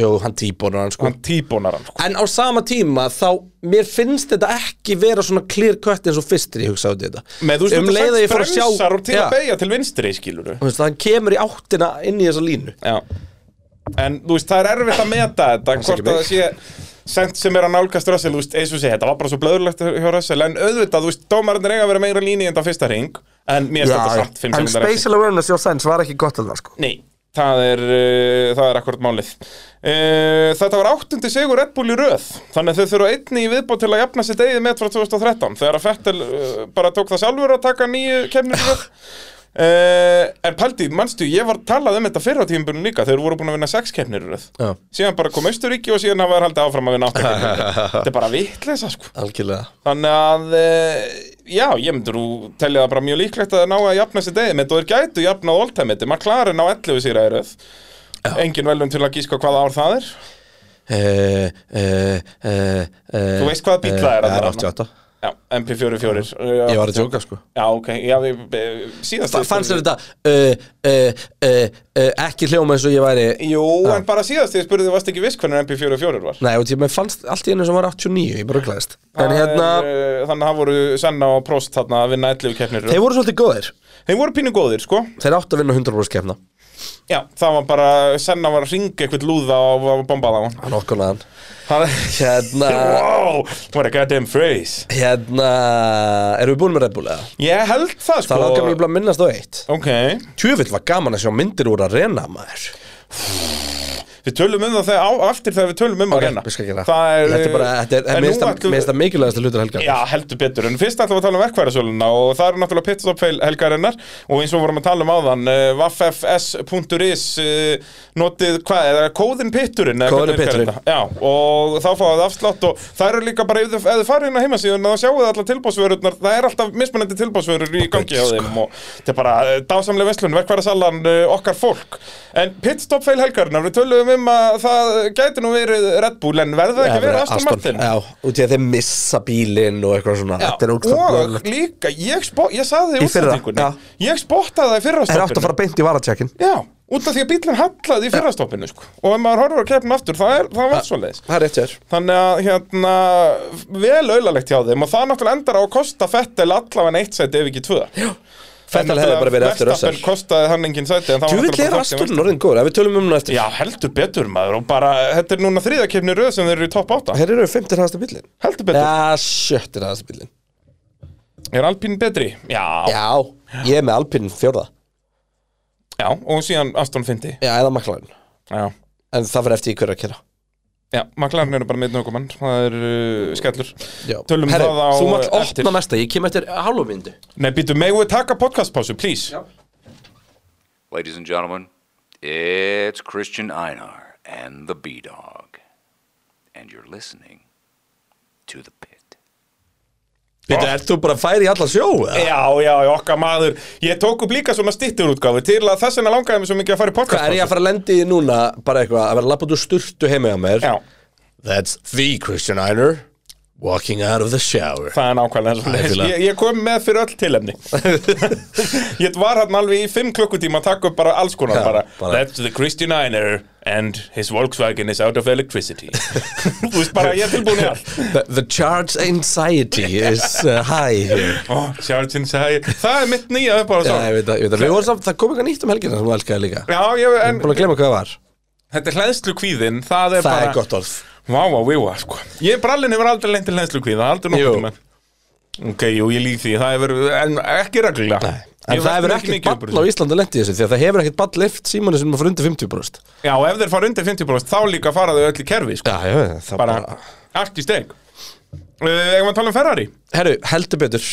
[SPEAKER 3] jú, hann tíbónar hann sko
[SPEAKER 1] Hann tíbónar hann, sko
[SPEAKER 3] En á sama tíma þá, mér finnst þetta ekki vera svona clear cut eins og fyrstir ég hugsaði þetta
[SPEAKER 1] Með þú veist,
[SPEAKER 3] Um leið að ég fór að sjá
[SPEAKER 1] bremsar og til
[SPEAKER 3] Já,
[SPEAKER 1] að beigja til vinstri, skilur
[SPEAKER 3] þú veist, Hann kemur í áttina inn í þessa línu
[SPEAKER 1] Já En þú veist, það er erfitt að meta þetta
[SPEAKER 3] ekki
[SPEAKER 1] Hvort að
[SPEAKER 3] mig.
[SPEAKER 1] það sé sent sem er að nálgast Russell Þú veist, eins og sé, þetta var bara svo blöðurlegt hjá Russell En auðvitað, þú veist, dómarinn er eiga að vera meira líni En það fyrsta ring En mér stöndar samt 5 sekundar eftir
[SPEAKER 3] awareness hjá Sainz var ekki gott alveg sko
[SPEAKER 1] Nei, það er, uh, það er akkurat málið uh, Þetta var áttundi sigur Red Bull í röð Þannig að þau þurfa einni í viðbót til að jafna sitt eigið met frá 2013 Þegar að Fettel uh, bara tók það sjálfur að taka nýju kemnir
[SPEAKER 3] <laughs>
[SPEAKER 1] röð Uh, en Paldi, manstu, ég var talað um þetta fyrra tímabunum líka, þeir voru búin að vinna sex keppnir í röð
[SPEAKER 3] Já.
[SPEAKER 1] síðan bara kom Austuríki og síðan hafa þær haldið áfram að vinna átta keppnir í röð.
[SPEAKER 3] <laughs>
[SPEAKER 1] þetta er bara vitleysa sko
[SPEAKER 3] Algjörlega
[SPEAKER 1] Þannig að, eh, já, ég myndi nú telja það bara mjög líklegt að ná að jafna sér degi mitt og þeir gætu jafnað oldtæmiti, maður klarið ná 11 síra í röð Engin velum til að gíska hvaða ár það er
[SPEAKER 3] Eh, Þú
[SPEAKER 1] Þú veist hvaða bíll það er
[SPEAKER 3] Það eh, er
[SPEAKER 1] þarna.
[SPEAKER 3] 88
[SPEAKER 1] Já, MP44 uh,
[SPEAKER 3] Ég var að djóka sko
[SPEAKER 1] Já, ok, já, við, eh, síðast
[SPEAKER 3] Fa- Fannst þér þetta uh, uh, uh, uh, ekki hljóma eins og ég væri
[SPEAKER 1] Jú, en bara síðast því spurði, varst ekki viss hvernig MP44 var
[SPEAKER 3] Nei, og því mér fannst allt í einu sem var 89, ég bara glæðist En
[SPEAKER 1] Það er,
[SPEAKER 3] hérna,
[SPEAKER 1] eh, Þannig að það voru Senna og Prost þarna að vinna 11 keppnir í röð.
[SPEAKER 3] þeir voru svolítið góðir
[SPEAKER 1] Þeir voru pínu góðir, sko
[SPEAKER 3] Þeir áttu að vinna 100% kefna
[SPEAKER 1] Já, það var bara, Senna var að ringa eitthvað lúða og var bombað á hann
[SPEAKER 3] Hann okkurnaðan
[SPEAKER 1] Það- <laughs>
[SPEAKER 3] Hérna,
[SPEAKER 1] Wow, what a goddamn phrase
[SPEAKER 3] hérna Erum við búin með Red Bull eða?
[SPEAKER 1] Ég held það sko
[SPEAKER 3] Það langar mér bara að minnast á eitt
[SPEAKER 1] Ok
[SPEAKER 3] Tjöfill var gaman að sjá myndir úr að reyna maður
[SPEAKER 1] Við tölum um það þegar, á, aftur þegar við tölum um
[SPEAKER 3] Ok,
[SPEAKER 1] að reyna
[SPEAKER 3] við skal gera
[SPEAKER 1] Það er,
[SPEAKER 3] Þetta er bara, þetta
[SPEAKER 1] en
[SPEAKER 3] er
[SPEAKER 1] nú
[SPEAKER 3] meðist
[SPEAKER 1] ætlum-
[SPEAKER 3] að mikilvægast hlutur helgar
[SPEAKER 1] Já, heldur betur, en fyrst ætlum við að tala um verkværasöluna og það eru náttúrulega pitstopfeil helgarinnar og eins og vorum að tala um áðan uh, vaffs.is uh, notið, hvað, er það kóðin pitturinn? eða
[SPEAKER 3] Kóðinn
[SPEAKER 1] hvernig virkar
[SPEAKER 3] pitturinn.
[SPEAKER 1] þetta? Já, og þá fáið afslátt og það eru líka bara, ef þið- ef þið farið inn á heimasíðun þá sjáuð þið allar tilbásvörurnar, það er alltaf mismunandi tilbásvörur í gangi á þeim og þetta er bara uh, dásamlega veslun, verkværasalan uh, okkar fólk, en pitstopfeil helgarinnar, við tölum um að það gæti nú verið Red Bull, en verður það ekki verið Aston Eh, Martin?
[SPEAKER 3] Já, út í að þeir missa bílinn og eitthvað svona
[SPEAKER 1] Já,
[SPEAKER 3] Þetta er
[SPEAKER 1] og
[SPEAKER 3] ógstofnlega
[SPEAKER 1] líka, ég, spó, ég saði
[SPEAKER 3] Í
[SPEAKER 1] því
[SPEAKER 3] fyrra,
[SPEAKER 1] útsetningunni,
[SPEAKER 3] já.
[SPEAKER 1] ég spottaði það í
[SPEAKER 3] Það er átt að
[SPEAKER 1] fyrrastoppinu
[SPEAKER 3] fara beint í varatjekkin
[SPEAKER 1] Já, út af því að bílinn hallaði í fyrrastoppinu sko. og ef maður horfur að keppin aftur, það, er, það var svo leiðis
[SPEAKER 3] Það er rétt hjá þér
[SPEAKER 1] Þannig að, hérna, vel auðalegt hjá þeim og það náttúrulega endar á að kosta Fettel allavega eitt sæti ef ekki tvö En
[SPEAKER 3] Fettal hefði
[SPEAKER 1] náttúrulega
[SPEAKER 3] bara verið eftir
[SPEAKER 1] Verstappen
[SPEAKER 3] Russell
[SPEAKER 1] kostaði hann engin sæti en það var
[SPEAKER 3] Þú vil
[SPEAKER 1] náttúrulega
[SPEAKER 3] lera
[SPEAKER 1] bara fólk sem-
[SPEAKER 3] Aston orðin góður, ef við tölum um hún á eftir
[SPEAKER 1] Já, heldur betur maður og bara, þetta er núna þriðakefni röð sem þeir eru í topp 8
[SPEAKER 3] Hér eru 15 hægsta bílinn
[SPEAKER 1] Heldur betur,
[SPEAKER 3] Já, sjöttir hægsta bílinn
[SPEAKER 1] er Alpín betri? Já, já,
[SPEAKER 3] Já, ég er með Alpin fjórða
[SPEAKER 1] og síðan Aston Findi
[SPEAKER 3] Já, eða McLaren
[SPEAKER 1] Já
[SPEAKER 3] En það fyrir eftir í hverju að kera
[SPEAKER 1] Já, McLaren eru bara með nögumann, það er uh, skellur
[SPEAKER 3] Já.
[SPEAKER 1] Tölum
[SPEAKER 3] Herri,
[SPEAKER 1] það á
[SPEAKER 3] Þú mátt
[SPEAKER 1] eftir.
[SPEAKER 3] opna næsta, ég kem eftir halvmyndu
[SPEAKER 1] Nei, býtu, megum við taka podcastpásu, please
[SPEAKER 4] Ladies and gentlemen, it's Christian Einar and the B Dog. And you're listening to the pit.
[SPEAKER 3] Býttu, ert þú bara að færa í alla sjó? eða?
[SPEAKER 1] Já, já, já, okkar maður Ég tók upp líka svona stittur útgáfi til að þess vegna langaði mig svo mikið að fara í
[SPEAKER 3] Hvað er ég að
[SPEAKER 1] podcastpásu
[SPEAKER 3] fara að lendi í núna, bara eitthvað, að vera labbað úr sturtu heima hjá mér?
[SPEAKER 1] Já,
[SPEAKER 3] That's the Christian Einar walking out of the shower.
[SPEAKER 1] það er nákvæmlega svo leiðis
[SPEAKER 3] Ætlilega.
[SPEAKER 1] ég, ég kom með fyrir öll
[SPEAKER 3] <laughs>
[SPEAKER 1] tilefni Ég var hann alveg í fimm klukkutíma að taka upp bara alls konar
[SPEAKER 3] Já,
[SPEAKER 1] bara,
[SPEAKER 3] bara-
[SPEAKER 1] That's the Christian Einer and his Volkswagen is out of
[SPEAKER 3] <laughs>
[SPEAKER 1] electricity Þú veist bara, ég er tilbúin í allt
[SPEAKER 3] The, the charge anxiety is uh, high here.
[SPEAKER 1] Ó, Sjálfsinn sagði, það er mitt nýja upp á
[SPEAKER 3] Já, ég veit að, ég veit að, við vorum samt, það kom eitthvað nýtt um helgina sem þú elskaði líka.
[SPEAKER 1] Já, ég, en
[SPEAKER 3] Búin að glemma hvað það var.
[SPEAKER 1] Þetta er hlæðslu kvíðin, það er
[SPEAKER 3] Það
[SPEAKER 1] bara
[SPEAKER 3] er gott orð.
[SPEAKER 1] Vá, vá, víva, sko Ég brallin hefur aldrei lengt til hlæðslu kvíða, aldrei
[SPEAKER 3] Jú.
[SPEAKER 1] nokkuð með Ok, jú, ég lík því, það hefur En ekki reglulega
[SPEAKER 3] Nei. En það hefur ekkert
[SPEAKER 1] um
[SPEAKER 3] ball á Íslandi lent í þessu því að það hefur ekkert ball lift símanu sem er fyrir undir 50 brúst.
[SPEAKER 1] Já, og ef þeir fara undir 50% þá líka fara þau öll í kerfi, sko
[SPEAKER 3] Já, já, það
[SPEAKER 1] Bara, allt í steg Uh, Ef maður tala um Ferrari
[SPEAKER 3] Herru, heldur betur.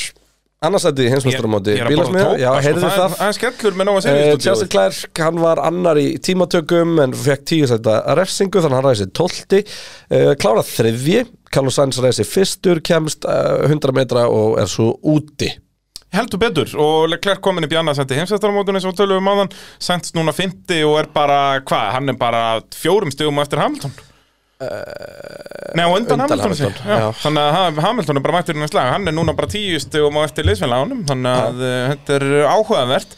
[SPEAKER 3] Annars ætti heimsmestramóti.
[SPEAKER 1] Ég er að borða tóbak,
[SPEAKER 3] Já,
[SPEAKER 1] sko,
[SPEAKER 3] heyrðu
[SPEAKER 1] það er-
[SPEAKER 3] það.
[SPEAKER 1] Það er skellur með nóga
[SPEAKER 3] Eh,
[SPEAKER 1] serið
[SPEAKER 3] Chelsea Clerk, hann var annar í tímatökum en fekk tíu sætta refsingu þannig að hann ræði sér tólti uh, klárað þriðji, Carlos Sainz ræði sér fyrstur kemst uh, 100 metra og er svo úti
[SPEAKER 1] Heldur betur og Leclerc komin upp í annað sendi heimsættarmótun eins og tölum um áðan Sænts núna 50 og er bara, hvað, hann er bara fjórum stegum eftir Hamilton Nei, og Eh, undan,
[SPEAKER 3] undan
[SPEAKER 1] Hamilton,
[SPEAKER 3] Hamilton,
[SPEAKER 1] Hamilton já.
[SPEAKER 3] já.
[SPEAKER 1] Þannig að Ha- Hamilton er bara mættur inn í slag Hann er núna bara tíu stegum eftir liðsfélagunum Þannig að eh, þetta er áhugavert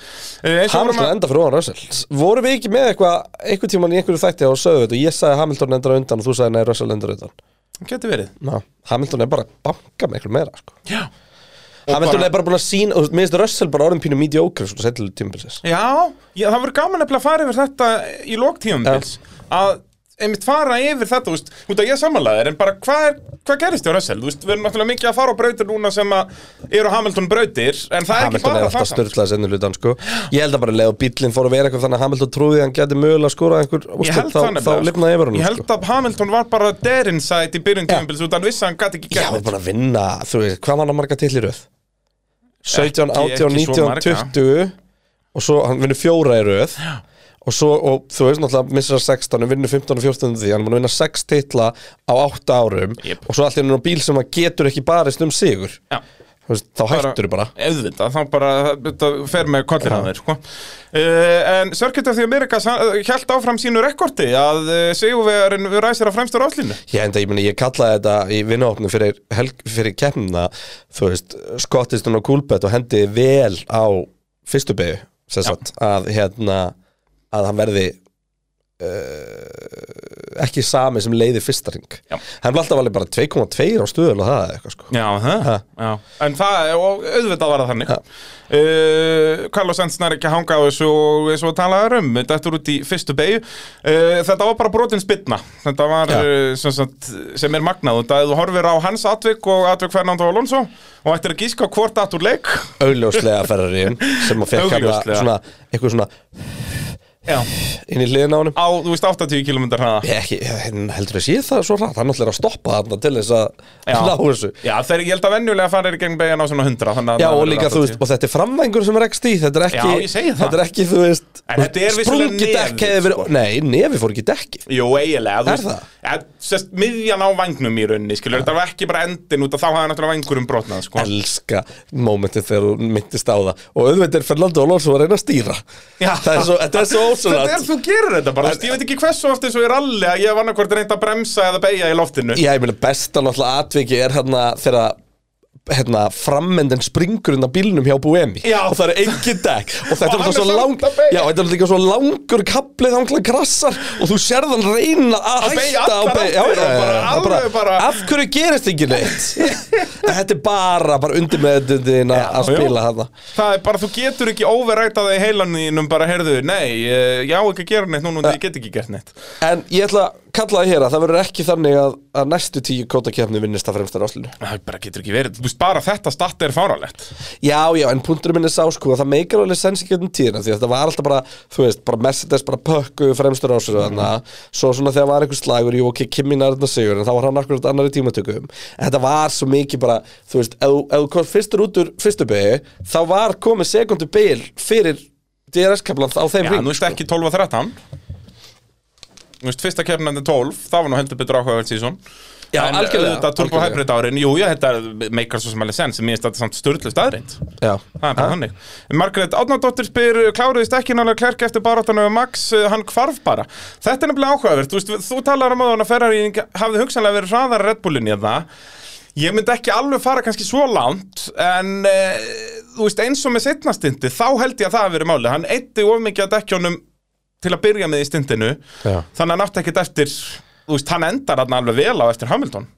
[SPEAKER 1] Eh, eins og vorum
[SPEAKER 3] Hamilton
[SPEAKER 1] að-
[SPEAKER 3] enda fyrir ofan Russell voru við ekki með eitthvað, einhver tíman í einhverju þætti og sögðu þetta og ég sagði Hamilton endar á undan og þú sagði nei Russell endar á undan
[SPEAKER 1] Geti verið
[SPEAKER 3] Ná, Hamilton er bara að banka með einhverju meira sko.
[SPEAKER 1] Já
[SPEAKER 3] Hamilton
[SPEAKER 1] bara-
[SPEAKER 3] er bara búin að sína, og þú veist, mér finnst Russell bara orðin pínu mediocre svona settilu tímabilsins
[SPEAKER 1] Já, já það verður gaman nefnilega að fara yfir þetta í lóktíðumbils að einmitt fara yfir þetta, þú veist, út að ég samanlega þér en bara hvað, er, hvað gerist hjá Russell, þú veist, við erum náttúrulega mikið að fara á brautir núna sem að eru Hamilton brautir, en það er ekki
[SPEAKER 3] Hamilton er
[SPEAKER 1] bara
[SPEAKER 3] alltaf
[SPEAKER 1] það samt.
[SPEAKER 3] störtlaði sennu hlutan sko. Ég held að bara leið og bíllinn fór að vera eitthvað þannig að Hamilton trúði að hann geti mögulega að skora einhver
[SPEAKER 1] Ég held
[SPEAKER 3] úrslit
[SPEAKER 1] það
[SPEAKER 3] þá, þá
[SPEAKER 1] nefnilega, sko.
[SPEAKER 3] lifnaði yfir hann
[SPEAKER 1] Ég held að Hamilton var bara dead inside í byrjun tíðumbils út að hann vissi að hann gæti ekki
[SPEAKER 3] Já,
[SPEAKER 1] gert
[SPEAKER 3] við búin að vinna, þú veist, hvað var hann að marga til í röð? 17,
[SPEAKER 1] Ekki-
[SPEAKER 3] 18,
[SPEAKER 1] ekki svo
[SPEAKER 3] 19,
[SPEAKER 1] marga.
[SPEAKER 3] 20 og svo hann vinnur fjóra í röð og svo, og þú veist náttúrulega missir að 16 og vinnur 15 og 14 því, hann er búin að vinna 6 titla á 8 árum
[SPEAKER 1] Jep.
[SPEAKER 3] og svo allt er hann á bíl sem hann getur ekki barist um sigur
[SPEAKER 1] Já.
[SPEAKER 3] Þú veist, þá hættur bara
[SPEAKER 1] Auðvitað, þá bara þetta fer með kollir hann þér sko. uh, En Circuit of the Americas held áfram sínu rekordi að uh, Sigurvegarinn ræsir á fremstur áslínu
[SPEAKER 3] Ég enda, ég meni, ég kallaði þetta í vinnáfnum fyrir, helg- fyrir kemna, þú veist, skottist hún á kúlbett og hendi vel á fyrstu byggu, sem sagt, að hérna, að hann verði uh, ekki sami sem leiði fyrsta ring.
[SPEAKER 1] Já.
[SPEAKER 3] Hann var alltaf alveg bara 2,2 á stuðul og það eða eitthvað, sko.
[SPEAKER 1] Já, það, já. En það, og auðvitað var það þannig
[SPEAKER 3] Ha.
[SPEAKER 1] uh, Carlos Sainz nær ekki að hanga á þessu og eins og talaður um Þetta er út í fyrstu beigju uh, Þetta var bara brotin spilna Þetta var,
[SPEAKER 3] Já.
[SPEAKER 1] uh, sem, sagt, sem er magnað Þetta ef þú horfir á hans atvik og atvik Fernando Alonso og ættir að gíska hvort atur leik
[SPEAKER 3] Augljóslega ferraríun sem að fekk hann
[SPEAKER 1] Augljóslega.
[SPEAKER 3] svona, eitthvað svona
[SPEAKER 1] Já.
[SPEAKER 3] inn í hliðina á honum
[SPEAKER 1] á, þú veist, 80 km hraða
[SPEAKER 3] Ég ekki, ég heldur að sé það svo hratt hann náttúrulega er að stoppa þarna til þess
[SPEAKER 1] Já.
[SPEAKER 3] að ná þessu
[SPEAKER 1] Já, þeir, ég held að venjulega fara í gegn beigjan á svona 100 þannig að
[SPEAKER 3] Já,
[SPEAKER 1] það
[SPEAKER 3] og
[SPEAKER 1] verður
[SPEAKER 3] líka, þú
[SPEAKER 1] 80.
[SPEAKER 3] veist, og þetta er framvængur sem rekst í, þetta er ekki,
[SPEAKER 1] Já, ég segi það.
[SPEAKER 3] þetta er ekki, þú veist,
[SPEAKER 1] En þetta er vissulega
[SPEAKER 3] sprungið dekk
[SPEAKER 1] nefið,
[SPEAKER 3] hefði verið,
[SPEAKER 1] sko.
[SPEAKER 3] nei, nefi fór ekki í dekkið.
[SPEAKER 1] Jú, eiginlega þú
[SPEAKER 3] Er
[SPEAKER 1] veist,
[SPEAKER 3] það?
[SPEAKER 1] að, sest, Miðjan á vangnum í rauninni skilur, Þetta var ekki bara endin út að þá hafði náttúrulega vangurum brotnað sko.
[SPEAKER 3] Elska mómentið þegar þú myndist á það, og auðvitað er Fernando Alonso að reyna að stýra.
[SPEAKER 1] Já.
[SPEAKER 3] Það er svo, þetta er svo
[SPEAKER 1] Þetta er,
[SPEAKER 3] ósvöld.
[SPEAKER 1] þú gerir þetta bara, þú veist, ég veit ekki hversu oft eins og ég ralli að ég hef annarkvort reynd að bremsa eða beigja í loftinu
[SPEAKER 3] Já, ég meina, besta náttúrulega atviki er hérna þegar hérna, frammendin springur inn á bílnum hjá Buemi
[SPEAKER 1] Já.
[SPEAKER 3] og það er engin dekk og
[SPEAKER 1] Og
[SPEAKER 3] þetta er
[SPEAKER 1] hann
[SPEAKER 3] náttúrulega
[SPEAKER 1] er
[SPEAKER 3] svo
[SPEAKER 1] samt
[SPEAKER 3] lang
[SPEAKER 1] að beygja.
[SPEAKER 3] já, þetta er líka svo langur kaplið hangla krassar og þú sérð hann reyna að
[SPEAKER 1] Að beygja
[SPEAKER 3] hætta
[SPEAKER 1] allar
[SPEAKER 3] beygja-
[SPEAKER 1] áttir og bara
[SPEAKER 3] það er
[SPEAKER 1] alveg bara-
[SPEAKER 3] af hverju gerist ekki neitt
[SPEAKER 1] <laughs>
[SPEAKER 3] En þetta er bara, bara undir meðdundin að
[SPEAKER 1] Já, já.
[SPEAKER 3] spila hann
[SPEAKER 1] Það er bara, þú getur ekki overræta það í heilaninum bara, heyrðu, nei, eh, ég á ekki að gera neitt núna og ég get ekki gert neitt
[SPEAKER 3] en ég ætla að kalla það hér að það verður ekki þannig að, að næstu tíu kótakefni vinnist að fremsta ráslinu
[SPEAKER 1] Það bara getur ekki verið, þú veist, bara þetta statt er fáralegt
[SPEAKER 3] Já, já, en punkturinn minn er sá sko að það meikar alveg sens ekki um tíðina því að þetta var alltaf bara, þú veist, bara Mercedes bara pökku fremstur á sér þarna svo svona þegar var einhver slagur, jú, ok, Kimi nærðna sigur en þá var hann akkurat annar í tímatökum en þetta var svo mikið bara, þú veist ef ef þú kom fyrstur út úr fyrstu begi þá var komið sekundu bil fyrir DRS-kaplan á þeim
[SPEAKER 1] Já,
[SPEAKER 3] hring, sko.
[SPEAKER 1] nú veist ekki 12 að 13 Þú veist, fyrsta kefnandi 12, það var nú heldur betur áhugaverð síðan
[SPEAKER 3] Já, algjörlega,
[SPEAKER 1] Þetta turbo
[SPEAKER 3] algjörlega.
[SPEAKER 1] hybrid árin, jú, já, þetta meikar svo sem alveg sens Mér finnst þetta samt störtlust aðrind
[SPEAKER 3] Já,
[SPEAKER 1] Það er bara þannig. Margrét Átnardóttir spyr, eh, kláruðist ekki nálega klerk eftir baráttan og Max, eh, hann hvarf bara. Þetta er nefnilega áhugavert, þú, veist, þú talar um áðan að Ferrari hafði hugsanlega verið hraðar Red Bullinni eða Ég myndi ekki alveg fara kannski svo langt, en eh, þú veist, eins og með setna stindi, þá held ég að það hafi verið málið. Hann eitti of mikið að dekkjónum til að byrja með í stindinu,
[SPEAKER 3] Já.
[SPEAKER 1] þannig að hann átti ekkert eftir, þú veist, hann endar hann alveg vel á eftir Hamilton.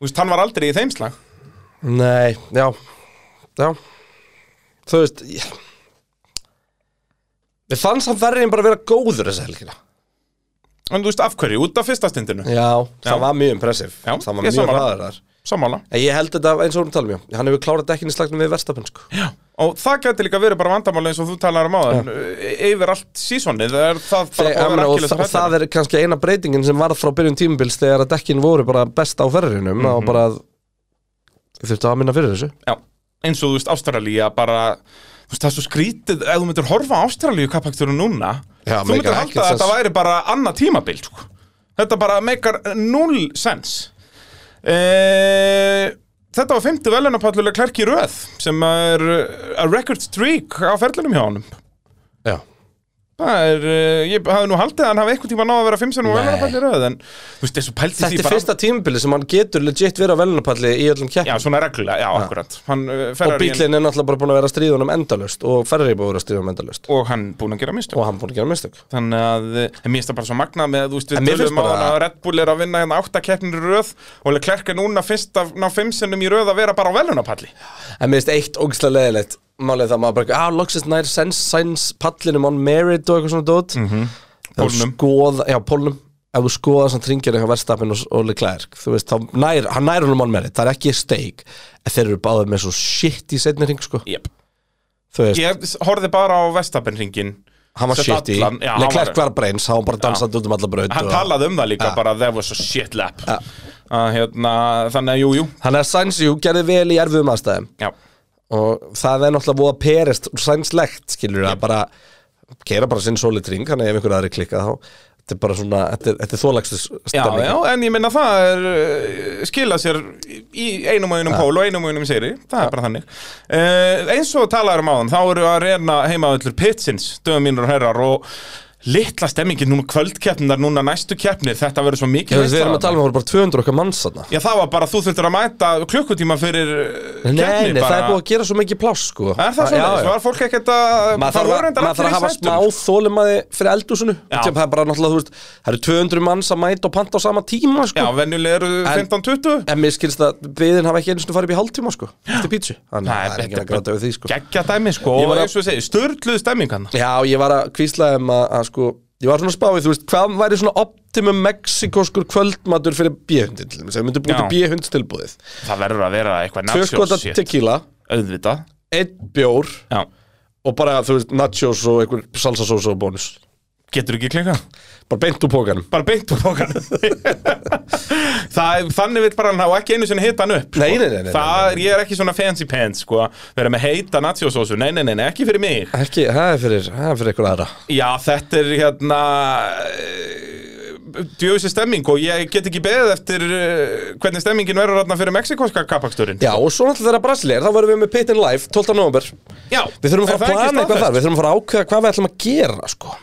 [SPEAKER 1] Þú veist, hann var aldrei í þeimslag.
[SPEAKER 3] Nei, já, já Þú veist, ég Við fannst hann verðin bara að vera góður þessa helgina
[SPEAKER 1] En þú veist, af hverju? Út af fyrsta stindinu?
[SPEAKER 3] Já,
[SPEAKER 1] Já.
[SPEAKER 3] það var mjög impressiv
[SPEAKER 1] Já,
[SPEAKER 3] Það var
[SPEAKER 1] ég
[SPEAKER 3] mjög
[SPEAKER 1] sammála.
[SPEAKER 3] hraður þar
[SPEAKER 1] Sammála.
[SPEAKER 3] En ég held þetta eins og hún tala mjög Hann hefur klárað dekkin í slagnum við verstafinn sko.
[SPEAKER 1] Og það gæti líka verið bara vandamáli eins og þú talar um áðan e- Yfir allt sísonið er það bara
[SPEAKER 3] Þegar,
[SPEAKER 1] búið að
[SPEAKER 3] og,
[SPEAKER 1] vera
[SPEAKER 3] og, og
[SPEAKER 1] akkilis
[SPEAKER 3] það er kannski eina breytingin sem varð frá byrjun tímubils þegar að dekkin voru bara best á ferrinum mm
[SPEAKER 1] Mhm.
[SPEAKER 3] og bara þurftu að minna fyrir þessu
[SPEAKER 1] Já, eins og þú veist Ástralía bara Þú veist það er svo skrítið Ef þú myndir horfa á Ástralíu kapakturinn núna
[SPEAKER 3] Já,
[SPEAKER 1] Þú myndir
[SPEAKER 3] meikar
[SPEAKER 1] halda
[SPEAKER 3] ekkert
[SPEAKER 1] að
[SPEAKER 3] sens.
[SPEAKER 1] þetta væri bara annað tímabil sko. Þetta bara meikar null sens e Þetta var 50 velunapallulega klærki röð sem er uh, a record streak á ferlinum hjá honum
[SPEAKER 3] Já,
[SPEAKER 1] Það er, eh, ég hafði nú haldið að hann hafi eitthvað tíma náð að vera 5 sem og
[SPEAKER 3] Nei.
[SPEAKER 1] velunarfalli röð en þú veist, þessu pælti
[SPEAKER 3] Þetta
[SPEAKER 1] því
[SPEAKER 3] er fyrsta tímubili sem hann getur legit verið á velunapalli í öllum
[SPEAKER 1] Já,
[SPEAKER 3] keppnum
[SPEAKER 1] svona reglulega, já, akkurat hann, eh,
[SPEAKER 3] Og
[SPEAKER 1] Ferrari-
[SPEAKER 3] bílinn er náttúrulega bara búin að vera að stríða honum endalaust og ferri búin að vera að stríða honum endalaust
[SPEAKER 1] Og hann búinn að gera mistök
[SPEAKER 3] og hann búin að gera mistök
[SPEAKER 1] Þannig að, eh, en mér finnst það bara svo magnað með, þú veist, við
[SPEAKER 3] En mér
[SPEAKER 1] tölum
[SPEAKER 3] finnst
[SPEAKER 1] á
[SPEAKER 3] bara-
[SPEAKER 1] hann að Red Bull er að vinna hérna 8 keppnir í röð og Leclerc er núna fyrst að ná 5 sinnum í röð að vera bara á velunarpalli
[SPEAKER 3] En mér finnst eitt ógislega leðilegt Málið það maður bara, ah, loksist nær sens, sens pallinum on merit og eitthvað svona dót mm -hmm.
[SPEAKER 1] Mhm. Pólnum.
[SPEAKER 3] skoða, Já, pólnum Ef þú skoða sem tringir eitthvað verðstapin og, og Leclerc Þú veist, þá nær, hann nær honum on merit Það er ekki steik En þeir eru báðið með svo shit í setni hring, sko
[SPEAKER 1] yep.
[SPEAKER 3] Þú veist,
[SPEAKER 1] Ég horfði bara á Vestapen ringin
[SPEAKER 3] hann var
[SPEAKER 1] set
[SPEAKER 3] shit í
[SPEAKER 1] allan- já, hann
[SPEAKER 3] Leclerc
[SPEAKER 1] var-
[SPEAKER 3] var breins, hann var bara dansandi út um alla braut
[SPEAKER 1] Hann
[SPEAKER 3] og-
[SPEAKER 1] talaði um það líka
[SPEAKER 3] Ja.
[SPEAKER 1] bara, there was a shit lap að, hérna, Þannig að, jú, jú,
[SPEAKER 3] Þannig að Sainz, jú, gerði vel í erfiðum aðstæðum
[SPEAKER 1] já
[SPEAKER 3] og það er náttúrulega búið að perist sænslegt, skilur það bara keira bara sinn sólit ring, þannig ef einhver aðri klikka þá, þetta er bara svona þetta er, þetta er þólægstu
[SPEAKER 1] Já,
[SPEAKER 3] stemning
[SPEAKER 1] já, en ég minna það er uh, skila sér í einum og einum pól og einum og einum séri, það er bara þannig uh, eins og talaður um áðan, þá eru að reyna heimaðallur pitsins, dögum mínur og herrar og litla stemmingin núna kvöldkeppnar, núna næstu keppnir þetta verður svo mikið
[SPEAKER 3] Við erum að tala um að það voru bara 200 okkar manns þarna
[SPEAKER 1] Já, það var bara, þú þurftur að mæta klukkutíma fyrir uh,
[SPEAKER 3] Nei,
[SPEAKER 1] keppni
[SPEAKER 3] nei, það
[SPEAKER 1] bara.
[SPEAKER 3] er búið að gera svo mikið pláss sko
[SPEAKER 1] Er það
[SPEAKER 3] Já,
[SPEAKER 1] svona,
[SPEAKER 3] já.
[SPEAKER 1] það var fólk ekkert að
[SPEAKER 3] Maður
[SPEAKER 1] það
[SPEAKER 3] þarf
[SPEAKER 1] voru
[SPEAKER 3] að,
[SPEAKER 1] reyndar
[SPEAKER 3] maður þarf að
[SPEAKER 1] allir í
[SPEAKER 3] hafa smá
[SPEAKER 1] sætum.
[SPEAKER 3] þólimaði fyrir eldúsinu
[SPEAKER 1] Já.
[SPEAKER 3] Það er bara náttúrulega, þú veist, það eru 200 manns að mæta og panta á sama tíma
[SPEAKER 1] Já,
[SPEAKER 3] sko
[SPEAKER 1] venjulega eru 15-20
[SPEAKER 3] En mér skilst að byðin hafa ekki einu sinni farið upp í hálftíma sko Eftir pítsu Þannig
[SPEAKER 1] Nei,
[SPEAKER 3] að það er ekki
[SPEAKER 1] þetta-
[SPEAKER 3] að gráta við því sko
[SPEAKER 1] Gekkja dæmi, sko,
[SPEAKER 3] Ég
[SPEAKER 1] og
[SPEAKER 3] var að-
[SPEAKER 1] eins og ég segi, störluð stemmingan
[SPEAKER 3] Já, ég var að kvísla um að, að sko Ég var svona að spáið, þú veist, hvað væri svona optimum mexikoskur kvöldmatur fyrir bíhundin til þess að við myndum búið
[SPEAKER 1] Já. Ah,
[SPEAKER 3] til bíhundstilbúðið
[SPEAKER 1] Það verður að vera eitthvað
[SPEAKER 3] Tvö
[SPEAKER 1] nachos
[SPEAKER 3] skota
[SPEAKER 1] shit.
[SPEAKER 3] tequila,
[SPEAKER 1] Auðvitað
[SPEAKER 3] einn bjór
[SPEAKER 1] Já
[SPEAKER 3] og bara, þú veist, nachos og einhver salsasós og bónus
[SPEAKER 1] Getur ekki klikkað?
[SPEAKER 3] bara beint úr pókanum
[SPEAKER 1] Bara beint úr pókanum <laughs> Það- Þannig vil bara hann hafa ekki einu sinni hita hann upp sko.
[SPEAKER 3] Nei, nei, nei, nei, nei,
[SPEAKER 1] Það er, ég er ekki svona fancy pants sko Verða með heita natsjósósu, nei, nei, nei, nei, ekki fyrir mig
[SPEAKER 3] ekki, það er fyrir, það er fyrir einhver aðra
[SPEAKER 1] Já, þetta er hérna djöfusi stemming og ég get ekki beðið eftir eh, hvernig stemmingin verður hérna fyrir mexikoska kappaksturinn
[SPEAKER 3] já, og svo náttúrulega þeirra brasileir, þá verðum við með Pit in Life 12. november,
[SPEAKER 1] Já,
[SPEAKER 3] við þurfum að
[SPEAKER 1] er það
[SPEAKER 3] fara að
[SPEAKER 1] ekki
[SPEAKER 3] plana eitthvað
[SPEAKER 1] staðfest?
[SPEAKER 3] þar, við þurfum að fara að ákveða hvað við ætlum að gera, sko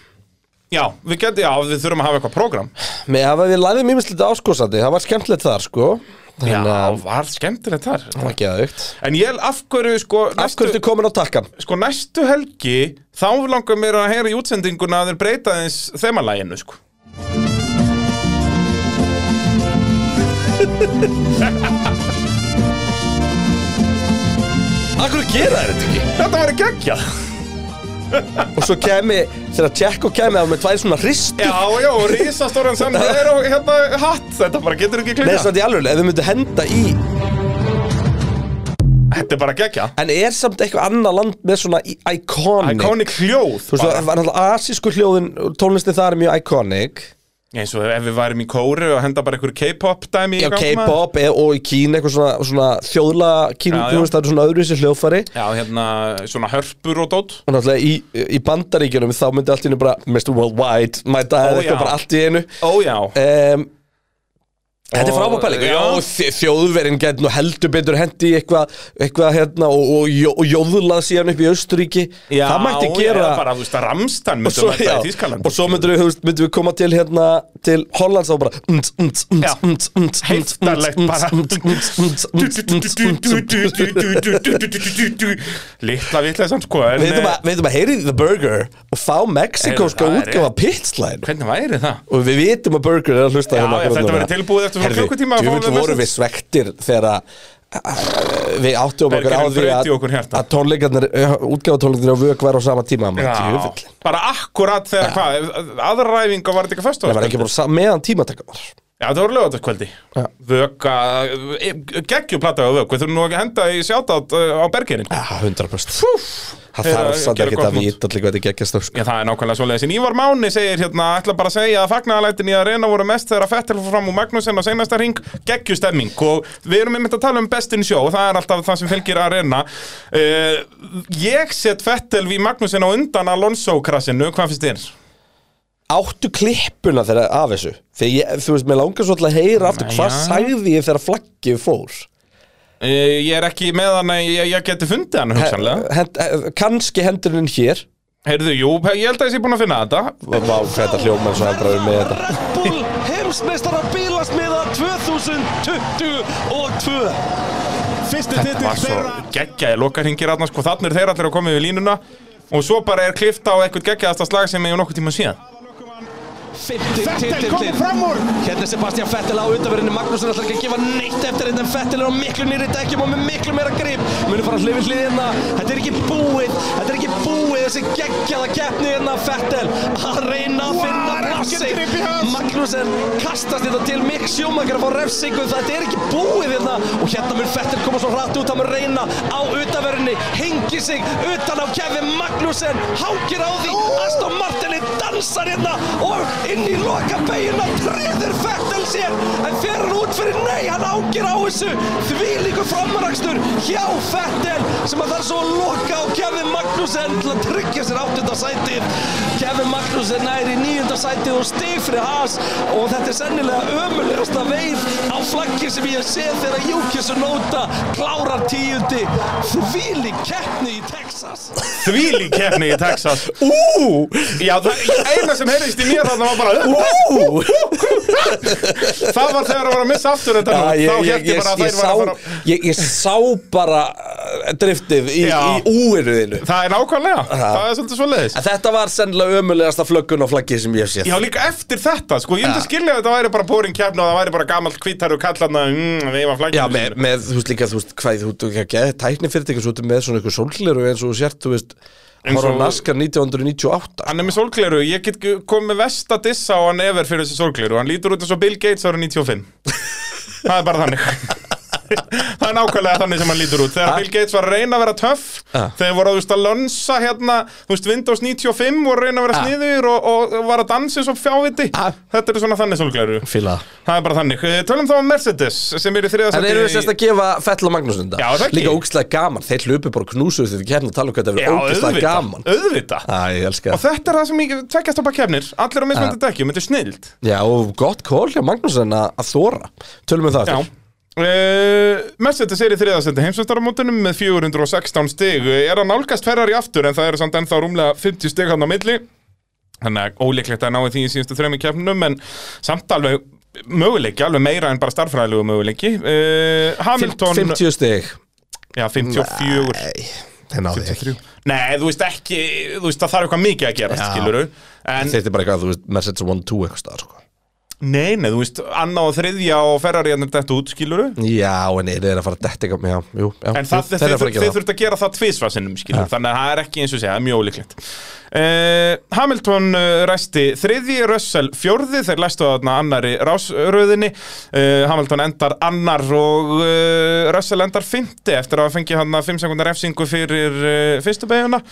[SPEAKER 1] Já, við getum, já, við þurfum að hafa eitthvað prógram
[SPEAKER 3] með að við læðum ímislítið áskosandi, það var skemmtilegt þar, sko
[SPEAKER 1] Já,
[SPEAKER 3] þannig að,
[SPEAKER 1] var skemmtilegt þar
[SPEAKER 3] það var geðaukt
[SPEAKER 1] En ég, af hverju, sko,
[SPEAKER 3] af
[SPEAKER 1] næstu,
[SPEAKER 3] hverju ertu komin á takkan?
[SPEAKER 1] sko, næstu helgi þá langar mér að heyra í útsendinguna að þeir breyta þins þemalæginu, sko
[SPEAKER 3] af hverju gera þeir þetta ekki?
[SPEAKER 1] Þetta var ekki ekki
[SPEAKER 3] og svo kemi, þegar Jacko kemi af með tvær svona hristi
[SPEAKER 1] Já, já, og risastóran sem er og hérna hatt Þetta bara getur ekki
[SPEAKER 3] Nei,
[SPEAKER 1] klika
[SPEAKER 3] samt í alveg, ef við myndum henda í
[SPEAKER 1] Þetta er bara gegja
[SPEAKER 3] En er samt eitthvað annað land með svona í- iconic
[SPEAKER 1] Iconic hljóð
[SPEAKER 3] Þú veist,
[SPEAKER 1] bara.
[SPEAKER 3] það var náttúrulega asísku hljóðin Tónlistin það er mjög iconic
[SPEAKER 1] eins og ef við værim í kóru og henda bara einhverju K-pop dæmi í
[SPEAKER 3] Já,
[SPEAKER 1] gang, maður.
[SPEAKER 3] K-pop eða- og í Kín eitthvað svona, svona þjóðla Kín,
[SPEAKER 1] Já, já.
[SPEAKER 3] þú veist, það er svona öðru sér hljóðfari
[SPEAKER 1] Já, hérna, svona hörpur og dót
[SPEAKER 3] Og náttúrulega í, í bandaríkjunum þá myndi allt í einu bara Mr. Worldwide, my
[SPEAKER 1] Ó,
[SPEAKER 3] dad,
[SPEAKER 1] já.
[SPEAKER 3] eitthvað bara allt í einu
[SPEAKER 1] Ó já,
[SPEAKER 3] um, Þetta er
[SPEAKER 1] Og-
[SPEAKER 3] frábær pæling
[SPEAKER 1] já.
[SPEAKER 3] Já, þj- þjóðverin gæti nú heldur betur hendi eitthvað, eitthvað hérna og, og, jó- og jóðlað síðan upp í Austuríki
[SPEAKER 1] já
[SPEAKER 3] Það mætti gera
[SPEAKER 1] eða bara, þú veist, að Ramstan
[SPEAKER 3] og svo,
[SPEAKER 1] myndum
[SPEAKER 3] já,
[SPEAKER 1] þetta í Þískaland
[SPEAKER 3] og svo myndum við, þú veist, myndum við koma til hérna til Hollands og bara mt, mt, mt,
[SPEAKER 1] Já.
[SPEAKER 3] mt, mt, mt,
[SPEAKER 1] Heiftarlegt
[SPEAKER 3] mt,
[SPEAKER 1] bara.
[SPEAKER 3] mt, mt, mt, mt, mt, mt, mt.
[SPEAKER 1] Littla vitleysan sko en,
[SPEAKER 3] Við ætlum
[SPEAKER 1] eh,
[SPEAKER 3] að- við ætlum að heyri The Burger og fá mexikóska
[SPEAKER 1] Heyrðu, það er
[SPEAKER 3] útgáfa
[SPEAKER 1] rétt.
[SPEAKER 3] pitslæn
[SPEAKER 1] Hvernig væri það?
[SPEAKER 3] og við vitum að Burger er að hlusta
[SPEAKER 1] Já,
[SPEAKER 3] hérna
[SPEAKER 1] já,
[SPEAKER 3] akkurat
[SPEAKER 1] þetta
[SPEAKER 3] núna.
[SPEAKER 1] verður tilbúið eftir svona
[SPEAKER 3] Heyrðu,
[SPEAKER 1] klukkutíma að fá
[SPEAKER 3] djöfull
[SPEAKER 1] við
[SPEAKER 3] voru við
[SPEAKER 1] message.
[SPEAKER 3] svektir þegar að- að- við áttum okkur á
[SPEAKER 1] Bergerinn
[SPEAKER 3] því
[SPEAKER 1] braut í okkur
[SPEAKER 3] að,
[SPEAKER 1] hjarta.
[SPEAKER 3] að tónleikarnir útgáfa tónleikarnir á vök var á sama tíma maður,
[SPEAKER 1] Já,
[SPEAKER 3] djöfull.
[SPEAKER 1] bara akkurat þegar hvað aðræfinga var þetta ekki fyrst
[SPEAKER 3] það var ekki bara sa- meðan tímatakar var
[SPEAKER 1] Já, þetta voru lögataskvöldi
[SPEAKER 3] Já.
[SPEAKER 1] Vöka, geggjuplata á vök Við þurfum nú ekki að henda í sjátátt á bergerinn
[SPEAKER 3] Já, 100% Það þarf
[SPEAKER 1] Gera-
[SPEAKER 3] samt
[SPEAKER 1] gera
[SPEAKER 3] ekki
[SPEAKER 1] gott
[SPEAKER 3] að
[SPEAKER 1] mót.
[SPEAKER 3] vita allir hvað þetta gekkjast sko.
[SPEAKER 1] Já, það er nákvæmlega svoleiðis. En Ívar Máni segir hérna, ætla bara að segja að fagnaðalætin í að reyna voru mest þegar að Fettel fór fram úr Magnúsin á seinasta ring, geggju stemming. Og við erum einmitt að tala um bestin sjó, og það er alltaf það sem fylgir að reyna. ég set Fettel við Magnúsin á undan Alonso-krassinu, hvað finnst þér?
[SPEAKER 3] Áttu klippuna þegar af þessu Þegar ég, þú veist, mér langar svo alltaf að heyra aftur Hvað
[SPEAKER 1] já.
[SPEAKER 3] sagði ég þegar flaggið fór
[SPEAKER 1] Uh, ég er ekki með hann að ég, ég geti fundið hann hugsanlega.
[SPEAKER 3] hend, Kanski eh, hendurinn hér
[SPEAKER 1] Heyrðu, jú, ég held að ég sé búin að finna þetta.
[SPEAKER 3] Vá, þetta hljóma eins og hann draður með þetta
[SPEAKER 2] Red Bull heimsmeistara bílasmiða 2022 Fyrsti
[SPEAKER 1] Þetta
[SPEAKER 2] titill
[SPEAKER 1] var svo
[SPEAKER 2] þeirra
[SPEAKER 1] geggjaði lokarhingir aðna, sko, þannig er þeir allir að koma við línuna. Og svo bara er klifta á eitthvað geggjaðasta slag sem ég hef nokkuð tíma síðan.
[SPEAKER 2] Fymti
[SPEAKER 5] Fettel komið
[SPEAKER 2] titillin
[SPEAKER 5] fram úr
[SPEAKER 2] Hérna er Sebastian Fettel á undanverðinni Magnússon ætlar ekki að gefa neitt eftir þetta en Fettel er á miklu nýri dekkjum og með miklu meira grip Munu fara hlifin hliðina hérna. Þetta er ekki búið Þetta er ekki búið Þessi geggjaða keppni hérna Fettel að reyna að finna
[SPEAKER 5] Var ekki grip í
[SPEAKER 2] plassi
[SPEAKER 5] hans.
[SPEAKER 2] Magnússon kastast þetta til Mick Schumacher að fá refsingu Þetta er ekki búið hérna Og hérna mun Fettel koma svo hratt út Hann mun reyna á undanverðinni Hengi sig utan á Kevin Magnússon Hákir á því Aston Martin dansar hérna Og inn í loka beiguna Treður Fettel sér En fer hann út fyrir nei Hann ákir á þessu Því líkur framarakstur Hjá Fettel Sem að það er svo að loka á Kevin Magnússon Til að tryggja sér áttunda sætið Kevin Magnússon nær í nýjunda sætið og stig fyrir Haas og þetta er sennilega ömulegasta veif á flaggi sem ég hef séð þegar Júkis og Nóta klárar tíundi þvíli keppni í Texas
[SPEAKER 1] Þvílík keppni í Texas
[SPEAKER 3] Ú,
[SPEAKER 1] Já, það, eina sem heyrðist í mér þarna var bara "Ú!"
[SPEAKER 3] ú
[SPEAKER 1] Það var þegar að var að missa aftur þetta
[SPEAKER 3] Já,
[SPEAKER 1] nú
[SPEAKER 3] ég,
[SPEAKER 1] Þá
[SPEAKER 3] ég,
[SPEAKER 1] hérti
[SPEAKER 3] ég,
[SPEAKER 1] bara að þær var að
[SPEAKER 3] ég, sá,
[SPEAKER 1] fara
[SPEAKER 3] ég, ég sá bara uh, driftið í,
[SPEAKER 1] Já.
[SPEAKER 3] í úinuðinu
[SPEAKER 1] Það er nákvæmlega, það er svolítið svo leiðis
[SPEAKER 3] Þetta var sennilega ömulegasta flöggun á flaggið sem ég hef séð
[SPEAKER 1] Já, líka eftir þetta, sko, ég myndi að skilja að þetta væri bara boring keppni og það væri bara gamalt hvítar og kallarna mm, veifa flagginu
[SPEAKER 3] Já, með,
[SPEAKER 1] sínu.
[SPEAKER 3] með, þú veist líka, þú veist, hvað, þú veist, ekki að tækni fyrirtækja svo út með svona ykkur sólgleru eins og þú sért, þú veist,
[SPEAKER 1] Eins
[SPEAKER 3] horf á
[SPEAKER 1] og-
[SPEAKER 3] naskar 1998
[SPEAKER 1] Hann er með sólgleru, ég get komið með vest að dissa á
[SPEAKER 3] <laughs>
[SPEAKER 1] hann efer fyrir þessi sólgleru Hann lítur út eins og Bill Gates ára 95 Það er bara þannig <laughs> það er nákvæmlega þannig sem hann lítur út
[SPEAKER 3] Ah.
[SPEAKER 1] þegar Bill Gates var að reyna að vera töff þegar voru þú veist, að lönsa hérna þú veist, Windows 95 og reyna að vera sniður og, og var að dansa eins og fjáviti
[SPEAKER 3] Ah.
[SPEAKER 1] þetta er svona þannig solglæru
[SPEAKER 3] Fíla
[SPEAKER 1] það er bara þannig Eh, tölum þá um Mercedes sem eru
[SPEAKER 3] En
[SPEAKER 1] þriðasætti
[SPEAKER 3] erum við sérst að gefa Fettel og Magnús þetta?
[SPEAKER 1] Já, það ekki.
[SPEAKER 3] Líka ógstlega gaman, þeir hlupu bara og knúsuðu því við kemna og tala um hvað þetta verið ógstlega gaman
[SPEAKER 1] auðvita
[SPEAKER 3] Æ, ég elska
[SPEAKER 1] og
[SPEAKER 3] það
[SPEAKER 1] þetta er það sem ég tveggjast upp að kefnir allir á mismöndi
[SPEAKER 3] Ah.
[SPEAKER 1] dekkjum, þetta er snild
[SPEAKER 3] Já, og gott kól hjá Magnúsin að að þóra Tölum við það
[SPEAKER 1] Já
[SPEAKER 3] eftir
[SPEAKER 1] Uh, Mercedes er í þriðasendi heimsvöstarmótunum með 416 stig er að nálgast Ferrari aftur en það eru samt ennþá rúmlega 50 stig hann á milli þannig að óleiklegt að náði því í síðustu þrejum í keppnum en samt alveg möguleiki, alveg meira en bara starffræðilegu möguleiki uh, Hamilton
[SPEAKER 3] 50 stig
[SPEAKER 1] já, 54
[SPEAKER 3] Nei, þeir náðu því ekki
[SPEAKER 1] Nei, þú veist ekki, þú veist það þarf eitthvað mikið að gera
[SPEAKER 3] Já.
[SPEAKER 1] skiluru en
[SPEAKER 3] Þetta er bara eitthvað, þú veist, Mercedes 1-2 eitthvað staðar, sko
[SPEAKER 1] nei, nei, þú veist annað og þriðja og Ferrari ennum þetta út skiluru
[SPEAKER 3] Já, en þeir eru að fara að detta eitthvað Já, jú, já,
[SPEAKER 1] En það,
[SPEAKER 3] þeir
[SPEAKER 1] þeir,
[SPEAKER 3] eru að fara
[SPEAKER 1] þeir
[SPEAKER 3] að gera það
[SPEAKER 1] þurft að gera það tvísvarsinnum skilur, þannig að það er ekki eins og segja, það er mjög ólíklegt uh, Hamilton uh, resti þriði, Russell fjórði þeir lestu þarna annari rásröðinni uh, Hamilton endar annar og uh, Russell endar fymti eftir að hafa fengið hann að 5 sekundar refsingu fyrir uh, fyrstu beiguna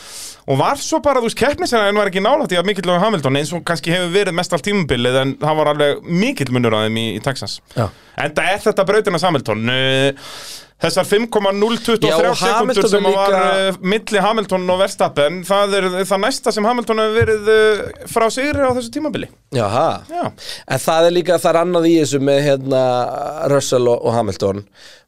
[SPEAKER 1] og var svo bara, þú veist, keppnisæðan var ekki nálætt í að mikill og Hamilton eins og kannski hefur verið mest allt tímabilið en það var alveg mikill munur á þeim í, í Texas
[SPEAKER 3] Já.
[SPEAKER 1] Enda er þetta brautina Hamilton uh, Þessar 5,023
[SPEAKER 3] Já, og
[SPEAKER 1] sekundur
[SPEAKER 3] Hamilton
[SPEAKER 1] sem
[SPEAKER 3] er líka-
[SPEAKER 1] var uh, milli Hamilton og Verstappen það er það næsta sem Hamilton hefur verið uh, frá sigri á þessu tímabili
[SPEAKER 3] Jaha
[SPEAKER 1] Já.
[SPEAKER 3] En það er líka, það er annað í þessu með hérna Russell og, og Hamilton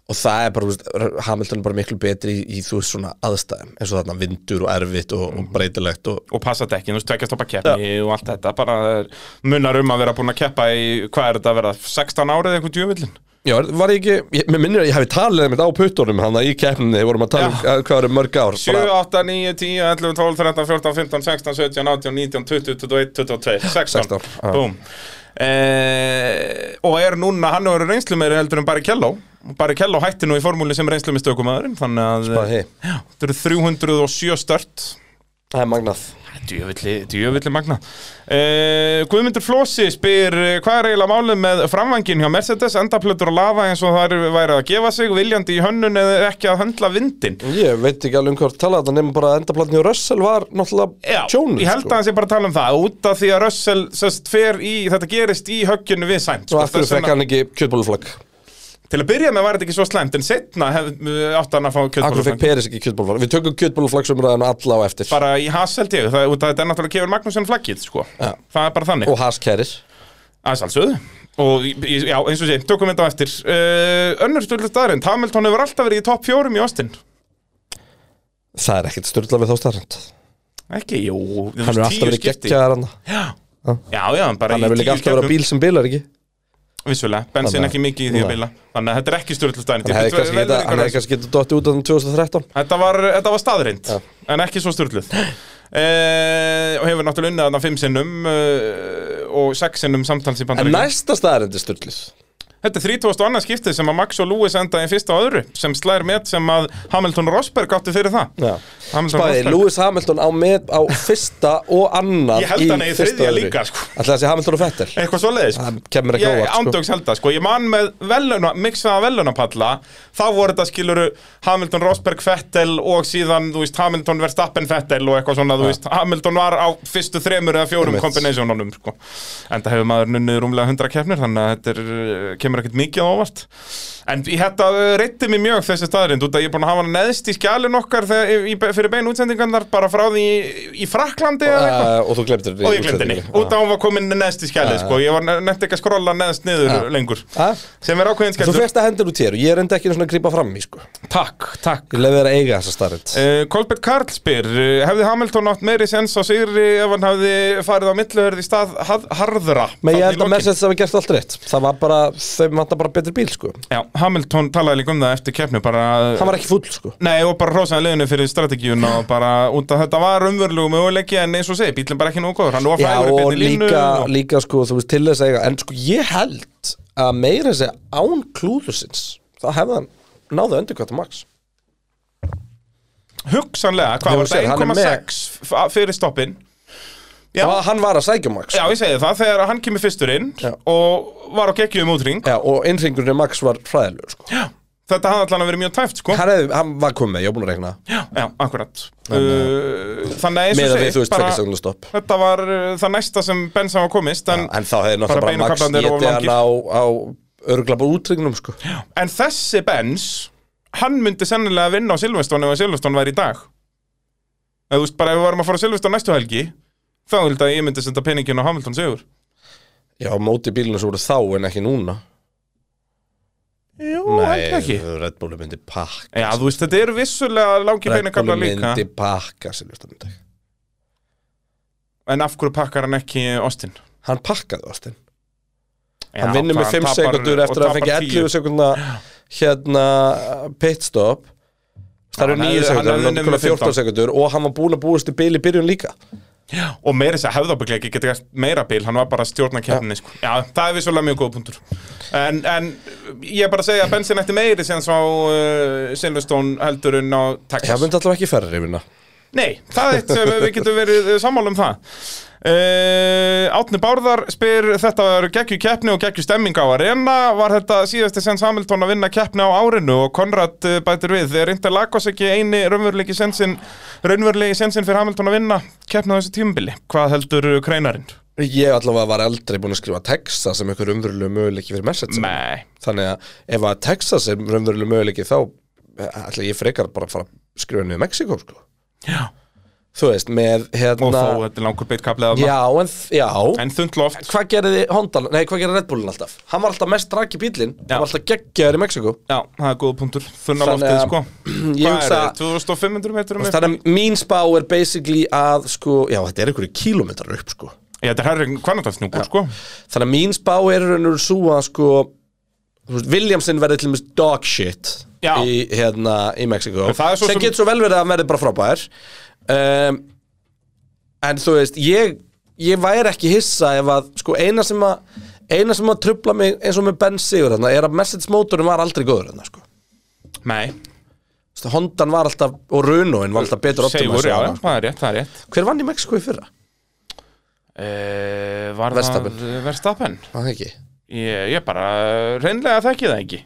[SPEAKER 3] og það er bara, þú veist, R- Hamilton er bara miklu betri í, í þú veist svona aðstæðum eins og þarna vindur og erfitt og, og breytilegt og
[SPEAKER 1] og passa dekkin, þú veist, tvekja stoppa keppni og allt þetta, bara er munar um að vera búin að keppa í, hvað er þetta að vera 16 árið eitthvað djöfullin?
[SPEAKER 3] Já, var ég ekki, ég, mér minnir að ég hefði talið einmitt á puttunum hann að í keppninni vorum að tala um
[SPEAKER 1] Já.
[SPEAKER 3] að- hvað eru mörg ár
[SPEAKER 1] 7, 8, 9, 10, 11, 12, 13, 14, 15, 16, 17, 18, 19, 20, 21, 22, 16,
[SPEAKER 3] 16, já.
[SPEAKER 1] Búm eh, Og er núna, hann hefur reynslu meiri heldur en Barry Kello Barry Kello hætti nú í formúli sem reynslu með stökumæðurinn Þannig að eh,
[SPEAKER 3] Spáði því.
[SPEAKER 1] Já, þetta eru 307 stört
[SPEAKER 3] Það er magnað
[SPEAKER 1] Djöfulli, djöfulli magna eh, Guðmundur Flósi spyr eh, Hvað er eiginlega málið með framvangin hjá Mercedes Endaplötur og lava eins og það væri að gefa sig Viljandi í hönnun eða ekki að höndla vindin
[SPEAKER 3] Ég veit ekki alveg um hvað talað þetta nefnum bara að endaplatni og Russell var náttúrulega
[SPEAKER 1] Já,
[SPEAKER 3] tjónið sko.
[SPEAKER 1] ég held að hans ég bara að tala um það út af því að Russell sest, fer í, þetta gerist í högginu við sæmt
[SPEAKER 3] Svo af hverju fekk hann ekki kjötbóluflag
[SPEAKER 1] Til að byrja með var þetta ekki svo slæmt en setna hef, átt hann að fá
[SPEAKER 3] Akkur fekk
[SPEAKER 1] kjötbólufang
[SPEAKER 3] Peris ekki kjötbóluflag Við tökum kjötbóluflagsumræðan alla á eftir
[SPEAKER 1] Bara í has held ég, það, út af þetta er náttúrulega kefur Magnússon flaggið sko.
[SPEAKER 3] Já.
[SPEAKER 1] Það er bara þannig,
[SPEAKER 3] Og Haas kærir
[SPEAKER 1] aðeins alls öðu Og í- í- já, eins og sé, tökum þetta á eftir uh, Önnur stöldið staðarind, Hamilton hefur alltaf verið í topp fjórum í Austin
[SPEAKER 3] Það er ekkert styrla við þá starrend
[SPEAKER 1] Ekki, jú, þú veist,
[SPEAKER 3] Hann er
[SPEAKER 1] tíu
[SPEAKER 3] alltaf verið
[SPEAKER 1] skipti.
[SPEAKER 3] geggjaðar hann
[SPEAKER 1] Já, já, já, bara
[SPEAKER 3] Hann er vel
[SPEAKER 1] tíu
[SPEAKER 3] ekki alltaf
[SPEAKER 1] keppnum.
[SPEAKER 3] verið á bíl sem bílar ekki
[SPEAKER 1] Vissulega, bensin
[SPEAKER 3] Þannig að-
[SPEAKER 1] ekki mikið í því að
[SPEAKER 3] Nei.
[SPEAKER 1] bila Þannig að þetta er ekki stjórnlega staðarind
[SPEAKER 3] Hann hefði kannski geta- hann hefði kannski getað dottið út á 2013
[SPEAKER 1] Þetta var, þetta var staðrind, en ekki svo styrluð eh, Og hefur náttúrulega unnið þarna fimm sinnum eh, og sex sinnum samtals í
[SPEAKER 3] En
[SPEAKER 1] bandaríkjum
[SPEAKER 3] næsta staðarend er styrlis
[SPEAKER 1] Þetta er 32. annað skiptið sem að Max og Lewis enda í fyrsta og öðru sem slær met sem að Hamilton og Rosberg áttu fyrir það
[SPEAKER 3] Já
[SPEAKER 1] Hamilton og
[SPEAKER 3] Bæði,
[SPEAKER 1] Rosberg
[SPEAKER 3] Lewis Hamilton á, með, á fyrsta og annan
[SPEAKER 1] Ég held hann eigi þriðja líka, sko.
[SPEAKER 3] Ætli það sé Hamilton og Fettel
[SPEAKER 1] Eitthvað svoleiðis
[SPEAKER 3] Það kemur ekki
[SPEAKER 1] Ég
[SPEAKER 3] óvart, sko.
[SPEAKER 1] ándöks held það, sko Ég man með veluna, miksaða velunapalla Þá voru þetta skiluru Hamilton, Rosberg, Vettel Og síðan, þú veist, Hamilton, Verstappen, Vettel Og eitthvað svona, þú veist Hamilton var á fyrstu þremur eða fjórum
[SPEAKER 3] Einmitt.
[SPEAKER 1] kombinæsjónunum sko. En það hefur maður nunnið rúmlega 100 keppnir Þannig að þetta er, eh, kemur ekkert mikið á óvart En ég þetta reytti mér mjög þessi staðrind Út að ég er búin að hafa hann neðst í skjælin okkar þegar, í, fyrir bein útsendingarnar Bara frá því í, í Fraklandi eða eitthvað
[SPEAKER 3] uh, Og þú glemtir
[SPEAKER 1] og ég glemdi henni út af hún var komin neðst í skjalið sko. ég var nefnt ekki að skrolla neðst niður lengur
[SPEAKER 3] Ha?
[SPEAKER 1] sem er ákveðin
[SPEAKER 3] Þú
[SPEAKER 1] skjaldur
[SPEAKER 3] fyrst að hendur út hér og ég er enda ekki einu svona að grípa fram í sko
[SPEAKER 1] takk, takk
[SPEAKER 3] Ég lefði þér að eiga þessa starrend
[SPEAKER 1] Uh, Kolbert Karl spyr, uh, hefði Hamilton átt meiri sens á sigri ef hann hefði farið á milluhörð í stað hað, harðra? Þarna
[SPEAKER 3] Men ég
[SPEAKER 1] í
[SPEAKER 3] held að
[SPEAKER 1] lokin.
[SPEAKER 3] Mercedes hafa gert allt rétt Það var bara, þau vantar bara betri bíl sko
[SPEAKER 1] Já, Hamilton talaði líka um það eftir keppni bara
[SPEAKER 3] Hann var ekki full sko
[SPEAKER 1] Nei, og bara rosaði liðinu fyrir strategíun og bara út að þetta var umvörlugum möguleiki en eins og segi, bílinn bara ekki nógu góður hann var
[SPEAKER 3] Já
[SPEAKER 1] frægur í
[SPEAKER 3] og
[SPEAKER 1] beinni línu
[SPEAKER 3] líka,
[SPEAKER 1] og...
[SPEAKER 3] líka sko, þú veist til þess að eiga En sko ég held að meira þessi án klúðusins Það hefði hann náðu undir hvað það max
[SPEAKER 1] hugsanlega,
[SPEAKER 3] Ég
[SPEAKER 1] hvað var
[SPEAKER 3] sé, hann er
[SPEAKER 1] þetta
[SPEAKER 3] með-
[SPEAKER 1] 1,6 f- fyrir stoppin Já.
[SPEAKER 3] Já, hann var að sækja um max
[SPEAKER 1] Já, ég segi það, þegar hann kemur fyrstur inn
[SPEAKER 3] Já.
[SPEAKER 1] og var á geggjum útring
[SPEAKER 3] Já, og innringurinn í Max var fræðilegur sko.
[SPEAKER 1] Já. Þetta hafði allan að vera mjög tæft, sko
[SPEAKER 3] Hann, hef, hann var komið, ég var búin að rekna
[SPEAKER 1] Já, já akkurat uh, Þannig að eins
[SPEAKER 3] Með
[SPEAKER 1] og
[SPEAKER 3] að við, þú veist, tvekja
[SPEAKER 1] bara,
[SPEAKER 3] sekundar stopp
[SPEAKER 1] Þetta var uh, það næsta sem Ben sá að komist En,
[SPEAKER 3] En þá hefði
[SPEAKER 1] bara
[SPEAKER 3] náttúrulega
[SPEAKER 1] beinu
[SPEAKER 3] bara Max
[SPEAKER 1] kaflarnir eru of
[SPEAKER 3] getið hann
[SPEAKER 1] langir.
[SPEAKER 3] á, á örgla bara útrygnum, sko Já,
[SPEAKER 1] en þessi Benz Hann myndi sennilega vinna á Silveston Ef að Silveston væri í dag Eða þú veist, bara ef við varum að fara á Silveston næstu helgi Þá held að ég myndi senda peningin á Hamilton sigur
[SPEAKER 3] móti bílunum sem voru þá en ekki núna
[SPEAKER 1] Jú,
[SPEAKER 3] Nei,
[SPEAKER 1] held ekki
[SPEAKER 3] Red Bulli myndi pakka
[SPEAKER 1] Já, þú veist, þetta eru vissulega langi
[SPEAKER 3] Red
[SPEAKER 1] beinu
[SPEAKER 3] Bulli
[SPEAKER 1] kaflar líka
[SPEAKER 3] myndi pakka Silveston í dag
[SPEAKER 1] En af hverju pakkar hann ekki Austin?
[SPEAKER 3] Hann pakkaði Austin
[SPEAKER 1] Já,
[SPEAKER 3] Hann vinnur með 5
[SPEAKER 1] tapar-
[SPEAKER 3] sekundur
[SPEAKER 1] og
[SPEAKER 3] eftir að hann fengi
[SPEAKER 1] tapar 10.
[SPEAKER 3] 11 sekundna hérna pitstop Það eru
[SPEAKER 1] hann hefði-
[SPEAKER 3] 9
[SPEAKER 1] hann
[SPEAKER 3] sekundur,
[SPEAKER 1] hefði
[SPEAKER 3] hann
[SPEAKER 1] unnið
[SPEAKER 3] er
[SPEAKER 1] með
[SPEAKER 3] 14 sekundur og hann var búin að búast í bil í byrjun líka
[SPEAKER 1] Og meira þess að hefðabögglega ekki geta gert meira bíl, hann var bara að stjórna keppninni sko. Já, það er vissulega mjög góð punktur En, en ég er bara að segja að bensin eftir meiri sem sá uh, Silveston heldur en á
[SPEAKER 3] Já,
[SPEAKER 1] Texas
[SPEAKER 3] myndi alltaf ekki ferri yfirna
[SPEAKER 1] Nei, það er eitt sem við getum verið eh, sammála um það uh, Átni Bárðar spyr þetta var geggju keppni og geggju stemming á arena Var þetta síðasti sem Samilton að vinna keppni á árinu og Konrad eh, bætir við Er Interlagos ekki eini raunverulegi sensin, raunverulegi sensin fyrir Hamilton að vinna keppni á þessu tímabili? Hvað heldur kreinarinn?
[SPEAKER 3] Ég allavega var aldrei búin að skrifa Texas sem einhver umverulega möguleiki fyrir message
[SPEAKER 1] Nei,
[SPEAKER 3] Þannig að ef að Texas er umverulega möguleiki þá eh, ætla ég frekar bara að fara að skrifa niður Mexiko sko.
[SPEAKER 1] já
[SPEAKER 3] Þú veist, með
[SPEAKER 1] Og
[SPEAKER 3] hérna
[SPEAKER 1] þó, þetta er langur beitt kaplið
[SPEAKER 3] Já, en, þ- já,
[SPEAKER 1] En þund loft
[SPEAKER 3] hvað gerði Honda, nei hvað gerði Red Bullin alltaf hann var alltaf mest draki bílinn, hann var alltaf geggjaður í Mexiko
[SPEAKER 1] Já, það er góða punktur Þunna
[SPEAKER 3] Þannig
[SPEAKER 1] loftið,
[SPEAKER 3] að-
[SPEAKER 1] sko
[SPEAKER 3] <clears throat> Ég
[SPEAKER 1] Hvað er
[SPEAKER 3] hugsa-
[SPEAKER 1] þetta? 2500 metrum upp?
[SPEAKER 3] þannig að mín spá er basically að sko, já þetta er einhverju kílómetrar upp sko
[SPEAKER 1] Já, þetta er herri kvarnatafsnjúkur, sko
[SPEAKER 3] þannig að mín spá er raunur svo að sko þú veist, Williamson verði til og með dog shit
[SPEAKER 1] Já.
[SPEAKER 3] í, hérna, í Mexiko
[SPEAKER 1] En það er svo
[SPEAKER 3] sem
[SPEAKER 1] sem-
[SPEAKER 3] getur svo vel verið að hann verði bara frábær um, en þú veist ég, ég væri ekki hissa ef að sko eina sem að eina sem að trubla mig eins og með Ben Sigur þarna, er að message motorin var aldrei góður þarna, sko.
[SPEAKER 1] Nei,
[SPEAKER 3] Þú veist, Hondan var alltaf og Runoin var alltaf betur
[SPEAKER 1] Segur,
[SPEAKER 3] optimized
[SPEAKER 1] já,
[SPEAKER 3] þarna, sko.
[SPEAKER 1] það er rétt, það er rétt
[SPEAKER 3] hver vann í Mexiko í fyrra?
[SPEAKER 1] uh, Var
[SPEAKER 3] Verstappen.
[SPEAKER 1] það Verstappen?
[SPEAKER 3] Var Það ekki
[SPEAKER 1] Ég, ég bara, eh, reynlega þekki það ekki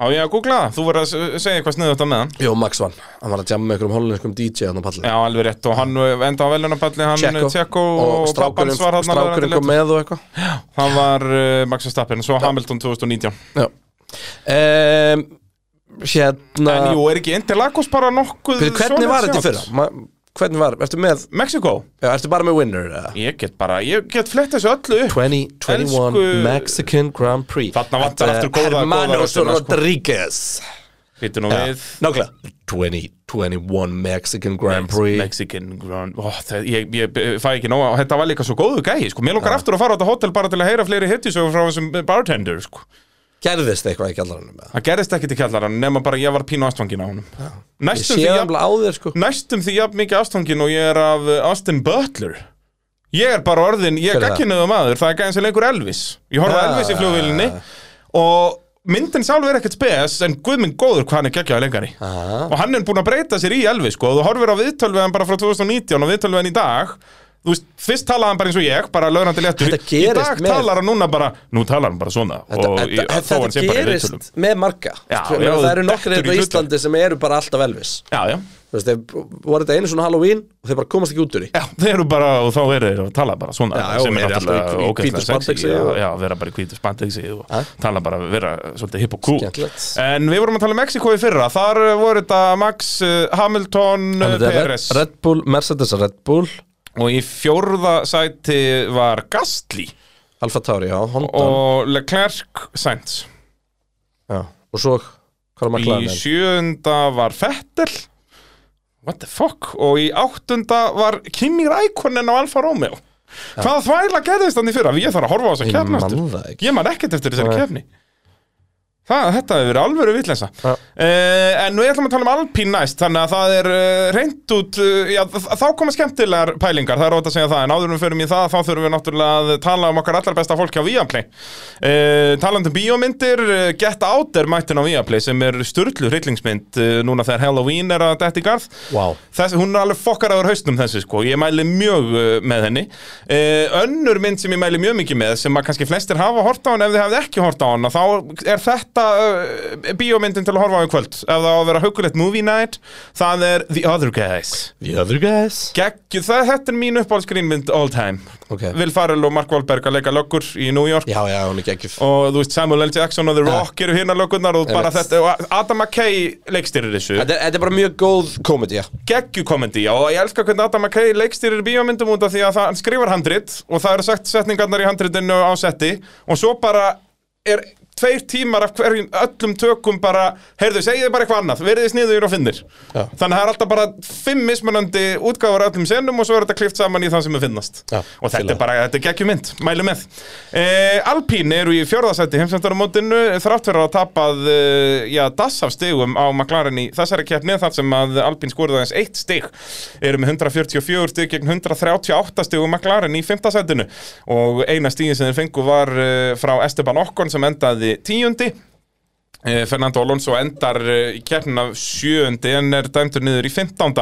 [SPEAKER 1] Á ég að googla það, þú verður að s- segja eitthvað sniðu þetta með hann
[SPEAKER 3] Jó, Max vann, hann var að jamma með einhverjum holinskum DJ hann á palli
[SPEAKER 1] Já, alveg rétt, og hann eh, enda á velunapalli hann eh, Tjekko og
[SPEAKER 3] strákurinn,
[SPEAKER 1] pappans var hann
[SPEAKER 3] strákurinn kom með og eitthvað
[SPEAKER 1] Hann var uh, Max Verstappen, svo Hamilton 2019
[SPEAKER 3] Já um, Hérna
[SPEAKER 1] En jú, er ekki Interlagos bara nokkuð
[SPEAKER 3] fyrir, Hvernig
[SPEAKER 1] svoleiðis
[SPEAKER 3] var þetta í
[SPEAKER 1] sjátt?
[SPEAKER 3] fyrra? Ma, hvernig var, ertu með
[SPEAKER 1] Mexíkó?
[SPEAKER 3] já, Ertu bara með winner? eða?
[SPEAKER 1] Ég get bara, ég get flett þessu öllu upp
[SPEAKER 3] 2021
[SPEAKER 1] Elsku-
[SPEAKER 3] Mexican Grand Prix
[SPEAKER 1] Þarna vantar
[SPEAKER 3] Þetta er
[SPEAKER 1] aftur góða- góða
[SPEAKER 3] Hermanos
[SPEAKER 1] röddina, sko.
[SPEAKER 3] Rodriguez
[SPEAKER 1] Býtu nú
[SPEAKER 3] Já,
[SPEAKER 1] við
[SPEAKER 3] Nákvæmlega 2021 Mexican Grand Prix
[SPEAKER 1] Mexican Grand Ó, það, ég, ég eh, fæ ekki nóg og þetta var líka svo góðu gæi sko. mér lókar aftur að fara á þetta hótel bara til að heyra fleiri hittisögur frá þessum bartender sko.
[SPEAKER 3] Gerðist eitthvað í kjallaranum með
[SPEAKER 1] það gerðist ekki til kjallarann nema bara ég var pínu ástfangin á honum
[SPEAKER 3] Ég
[SPEAKER 1] næstum
[SPEAKER 3] sé
[SPEAKER 1] því,
[SPEAKER 3] það
[SPEAKER 1] jafn,
[SPEAKER 3] á þér sko
[SPEAKER 1] næstum því jafn mikið ástfangin og ég er af uh, Austin Butler ég er bara orðin, ég
[SPEAKER 3] Hver
[SPEAKER 1] er
[SPEAKER 3] er það?
[SPEAKER 1] gagkinuðu maður það er gæðin sem leikur Elvis ég horfði
[SPEAKER 3] Ah.
[SPEAKER 1] ja. Elvis í flugvillinni og myndin sjálfur er ekkert spes en guðminn góður hvað hann er geggjaði lengari
[SPEAKER 3] Ah.
[SPEAKER 1] og hann er búin að breyta sér í Elvis sko, og þú horfir á viðtölveðan bara frá 2019 og viðtölveðan í dag þú veist, fyrst talaði hann bara eins og ég bara lögrandi léttur,
[SPEAKER 3] Þetta
[SPEAKER 1] í
[SPEAKER 3] gerist
[SPEAKER 1] dag
[SPEAKER 3] með-
[SPEAKER 1] talar hann núna bara, nú talar hann bara svona
[SPEAKER 3] Þetta,
[SPEAKER 1] og
[SPEAKER 3] þetta,
[SPEAKER 1] þó hann sé
[SPEAKER 3] þetta
[SPEAKER 1] bara í viðtölum
[SPEAKER 3] gerist með
[SPEAKER 1] Já,
[SPEAKER 3] marga Sko,
[SPEAKER 1] já,
[SPEAKER 3] Það
[SPEAKER 1] þú
[SPEAKER 3] eru
[SPEAKER 1] dettur
[SPEAKER 3] nokkri
[SPEAKER 1] í
[SPEAKER 3] hérna á
[SPEAKER 1] hlutverk.
[SPEAKER 3] Íslandi sem eru bara alltaf Elvis
[SPEAKER 1] já, já,
[SPEAKER 3] Þú veist, þeir voru þetta einu svona Halloween og þeir bara komast ekki út úr í
[SPEAKER 1] já, þeir eru bara og þá eru þeir að tala bara svona
[SPEAKER 3] Já, já,
[SPEAKER 1] sem
[SPEAKER 3] og
[SPEAKER 1] er
[SPEAKER 3] eru alltaf í-
[SPEAKER 1] náttúrulega
[SPEAKER 3] í
[SPEAKER 1] ógeðslega
[SPEAKER 3] hvítu
[SPEAKER 1] sexy
[SPEAKER 3] spandexi
[SPEAKER 1] já,
[SPEAKER 3] og-
[SPEAKER 1] já, vera bara í hvítu spandexi og
[SPEAKER 3] Ha?
[SPEAKER 1] tala bara, vera svolítið hipp og cool
[SPEAKER 3] Skemmtilegt.
[SPEAKER 1] en við vorum að tala um Mexiko í fyrra þar uh, voru þetta Max uh, Hamilton uh,
[SPEAKER 3] Þannig að Red,
[SPEAKER 1] Perez
[SPEAKER 3] Red Bull, Mercedes Red Bull
[SPEAKER 1] og í fjórða sæti var Gastli
[SPEAKER 3] Alfa Tauri, já, Honda og,
[SPEAKER 1] og Leclerc Sainz
[SPEAKER 3] já, og svo, hvað er maður
[SPEAKER 1] í
[SPEAKER 3] klæðin?
[SPEAKER 1] sjöunda var Fettel what the fuck og í áttunda var Kimi Rækonen á Alfa Romeo hvað þvæla gerðist hann í fyrra ég þarf að horfa á þess að
[SPEAKER 3] Ég
[SPEAKER 1] kefna
[SPEAKER 3] man
[SPEAKER 1] aftur.
[SPEAKER 3] það ekki.
[SPEAKER 1] ég man ekkert eftir þessari
[SPEAKER 3] Nei.
[SPEAKER 1] kefni Það, þetta hefur verið alvöru vitleysa
[SPEAKER 3] Ja.
[SPEAKER 1] uh, En nú ætlum við að tala um Alpín næst Þannig að það er uh, reynd út uh, já, þ- Þá koma skemmtilegar pælingar Það er ótt að segja það En áður en við förum í það Þá þurfum við náttúrulega að tala um okkar allar besta fólki á Viaplay uh, Talandi um bíómyndir uh, Get Out er mættin á Viaplay Sem er sturlu hryllingsmynd uh, Núna þegar Halloween er að detti í garð
[SPEAKER 3] Vá.
[SPEAKER 1] Þess, Hún er alveg fokkaraður haustum þessu sko Ég mæli mjög uh, með henni uh, Önnur mynd sem ég mæli mjög mikið með Sem að kannski flestir hafa hort á hann Ef þið hafði ekki hort á hann Þá er þetta besta uh, bíómyndin til að horfa á í kvöld ef það á að vera hugulegt movie night það er The Other Guys
[SPEAKER 3] The other guys
[SPEAKER 1] Gekkju, það, þetta er mín uppáhaldsgrínmynd all time
[SPEAKER 3] Ok.
[SPEAKER 1] Will Farrell og Mark Wahlberg að leika löggur í New York
[SPEAKER 3] Já, já, hún er geggjuf
[SPEAKER 1] og þú veist Samuel L. Jackson og The Rock eru hérna löggurnar og bara
[SPEAKER 3] veit.
[SPEAKER 1] þetta og Adam McKay leikstýrir þessu
[SPEAKER 3] Þetta er, þetta er bara mjög góð komedi, já
[SPEAKER 1] geggju komedi og ég elska hvernig Adam McKay leikstýrir bíómyndum út af því að það, hann skrifar handrit og það eru sagt setningarnar í handritinu á setti og svo bara er tveir tímar af hverjum öllum tökum bara, heyrðu, segið þið bara eitthvað annað veriði sniður og finnir
[SPEAKER 3] Já.
[SPEAKER 1] þannig að það er alltaf bara fimm mismunandi útgáfur af öllum senum og svo er þetta klift saman í það sem er finnast
[SPEAKER 3] Já,
[SPEAKER 1] og þetta
[SPEAKER 3] fíla.
[SPEAKER 1] er bara, þetta er geggjum mynd, mælu með eh, Alpín eru í fjórðasætti heimsvæntarumótinu þrátt fyrir að tapað eh, já, dass af stigum á McLaren í þessari keppni þar sem að Alpín skorði aðeins eitt stig eru með 144 stig gegn 138 stigum McLaren í fimmtasættinu og eina stigin sem þeir fengu var eh, frá Esteban Okkon sem endaði tíundi Eh, Fernando Alonso endar eh, í kjarnin af sjöundi en er dæmtur niður í 15.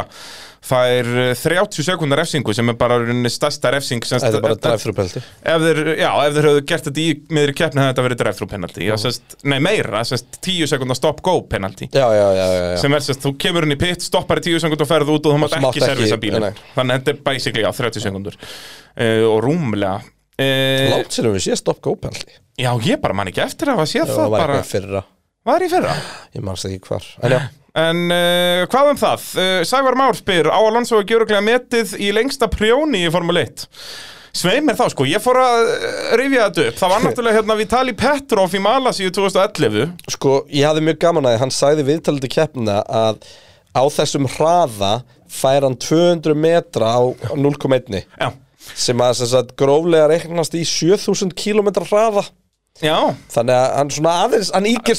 [SPEAKER 1] Það er eh, 30 sekundar refsingu sem er bara í rauninni stærsta refsing sem
[SPEAKER 3] Þetta er bara
[SPEAKER 1] ef-
[SPEAKER 3] drive-thru pelti
[SPEAKER 1] ef þeir, já, ef þeir höfðu gert þetta í miðri keppni hefði þetta verið drive-thru penalty Já, sest, nei meira, sest, 10 sekundar stop-go penalty
[SPEAKER 3] Já, já, já, já, já.
[SPEAKER 1] sem er sest, þú kemur inn í pit, stoppar í 10 sekundur og ferð út og þú mátt
[SPEAKER 3] svo
[SPEAKER 1] ekki
[SPEAKER 3] máttu ekki-
[SPEAKER 1] servisa bílum
[SPEAKER 3] nei, nei.
[SPEAKER 1] þannig að þetta er basically á 30 sekundur uh, og rúmlega uh,
[SPEAKER 3] Látt sér um við sé stopp-go pelti
[SPEAKER 1] já, ég bara man ekki eftir að hafa séð
[SPEAKER 3] Það
[SPEAKER 1] það
[SPEAKER 3] var
[SPEAKER 1] bara,
[SPEAKER 3] eitthvað í fyrra
[SPEAKER 1] var í fyrra
[SPEAKER 3] Ég manst ekki hvar En já,
[SPEAKER 1] En uh, hvað um það? Uh, Sævar Már spyr á Alonso að gjöruglega metið í lengsta prjóni í Formule 1 Svei mér þá sko, ég fór að eh, rifja þetta upp Það var náttúrulega hérna Vitali Petrov í Malasíu 2011
[SPEAKER 3] sko, ég hafði mjög gaman að því, hann sagði viðtalandi keppna að á þessum hraða fær hann 200 metra á 0,1
[SPEAKER 1] Já,
[SPEAKER 3] sem að sem sagt, gróflega reiknast í 7000 km hraða
[SPEAKER 1] já
[SPEAKER 3] þannig að hann svona aðeins, hann íkir
[SPEAKER 1] En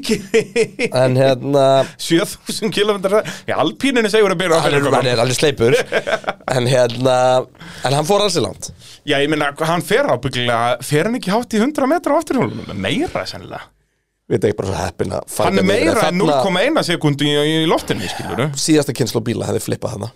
[SPEAKER 1] <laughs> ekki-
[SPEAKER 3] en hérna
[SPEAKER 1] 7000 km Já, alpíninu segur að byrja á
[SPEAKER 3] hann er,
[SPEAKER 1] fyrir
[SPEAKER 3] hann er alveg sleipur en hérna, en hann fór alls í land
[SPEAKER 1] Já, ég meina, hann fer ábyggilega Fer hann ekki hátt í 100 metra á afturhjólunum Meira sennilega
[SPEAKER 3] við erum ekki bara svo heppin að fara
[SPEAKER 1] Hann er
[SPEAKER 3] þetta niður, en
[SPEAKER 1] meira en
[SPEAKER 3] þarna
[SPEAKER 1] 0,1 sekundu í, í loftinu, skilur
[SPEAKER 3] síðasta kynnslu bíla hefði flippað hana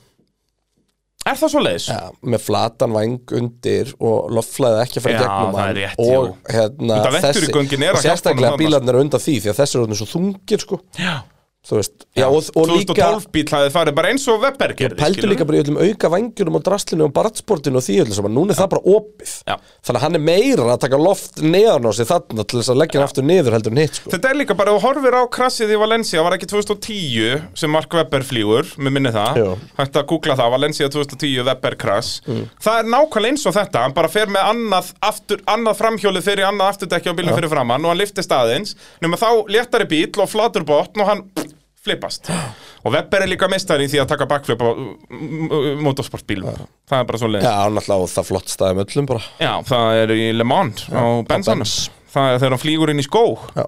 [SPEAKER 1] Er það svo leiðis?
[SPEAKER 3] ja, með flatan væng undir og loftflæði ekki að fara í
[SPEAKER 1] Já,
[SPEAKER 3] gegnum
[SPEAKER 1] það er
[SPEAKER 3] hann
[SPEAKER 1] rétt,
[SPEAKER 3] og
[SPEAKER 1] jú.
[SPEAKER 3] hérna
[SPEAKER 1] Þetta vetturgöngin eru að
[SPEAKER 3] og
[SPEAKER 1] hjálpa honum
[SPEAKER 3] sérstaklega
[SPEAKER 1] þarna.
[SPEAKER 3] bílarnir eru undan því því að þessi eru orðnir svo þungir sko
[SPEAKER 1] Já.
[SPEAKER 3] þú veist, já, og, og líka
[SPEAKER 1] 2012 bíl hafið farið bara eins og Webber gerði
[SPEAKER 3] pældu
[SPEAKER 1] skilurðu.
[SPEAKER 3] líka bara í öllum auka vangjunum og draslinu og bartsportinu og því öllu saman, núna er það bara opið
[SPEAKER 1] Já.
[SPEAKER 3] þannig að hann er meira að taka loft neðan á sig þarna til þess að leggja hann aftur niður heldur en hitt sko.
[SPEAKER 1] Þetta er líka bara, þú horfir á krassið í Valencia var ekki 2010 sem Mark Webber flýgur með minni það,
[SPEAKER 3] Jú.
[SPEAKER 1] hægt að googla það Valencia 2010 Webber krass
[SPEAKER 3] Mm.
[SPEAKER 1] það er nákvæmlega eins og þetta, hann bara fer með annað, aftur, annað framhjólið fyrir annað afturdekki á bílum fyrir framann og hann liftist aðeins nema þá léttari bíl og flatur botn og hann
[SPEAKER 3] <gasps>
[SPEAKER 1] flippast og Webber er líka meistari í því að taka backflip á motorsportbílum, það er bara svo leiðis
[SPEAKER 3] já, náttúrulega og það flott staðum öllum bara
[SPEAKER 1] Já, það er í Le Monde á bensanum
[SPEAKER 3] Benz.
[SPEAKER 1] Það er þegar hann flýgur inn í skó
[SPEAKER 3] Já.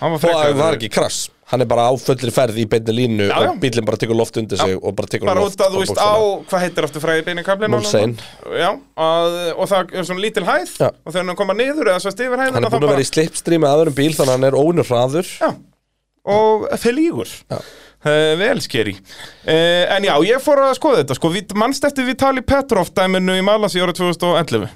[SPEAKER 1] Hann var
[SPEAKER 3] og
[SPEAKER 1] frekar
[SPEAKER 3] það var ekki krass, hann er bara á fullri ferð í beinni línu
[SPEAKER 1] Já, já.
[SPEAKER 3] og bílinn bara tekur loft undir sig og bara tekur
[SPEAKER 1] Bara
[SPEAKER 3] loft
[SPEAKER 1] út að þú veist á,
[SPEAKER 3] bókstaflega.
[SPEAKER 1] hvað heitir aftur fræði beinu kablin
[SPEAKER 3] Mulsanne.
[SPEAKER 1] Já, að, og það er svona lítil hæð
[SPEAKER 3] Já.
[SPEAKER 1] Og þegar hann koma niður eða svo stifir hæðina
[SPEAKER 3] Hann er
[SPEAKER 1] þá
[SPEAKER 3] búin að
[SPEAKER 1] bara-
[SPEAKER 3] vera í slipstream með aðurum bíl þannig að hann er óinu hraður
[SPEAKER 1] Já, og felígur
[SPEAKER 3] Já.
[SPEAKER 1] Uh, vel skeri uh, En já, ég fór að skoða þetta sko, Vit- Manst eftir Vitali Petrov dæminu í Malasi árið 2011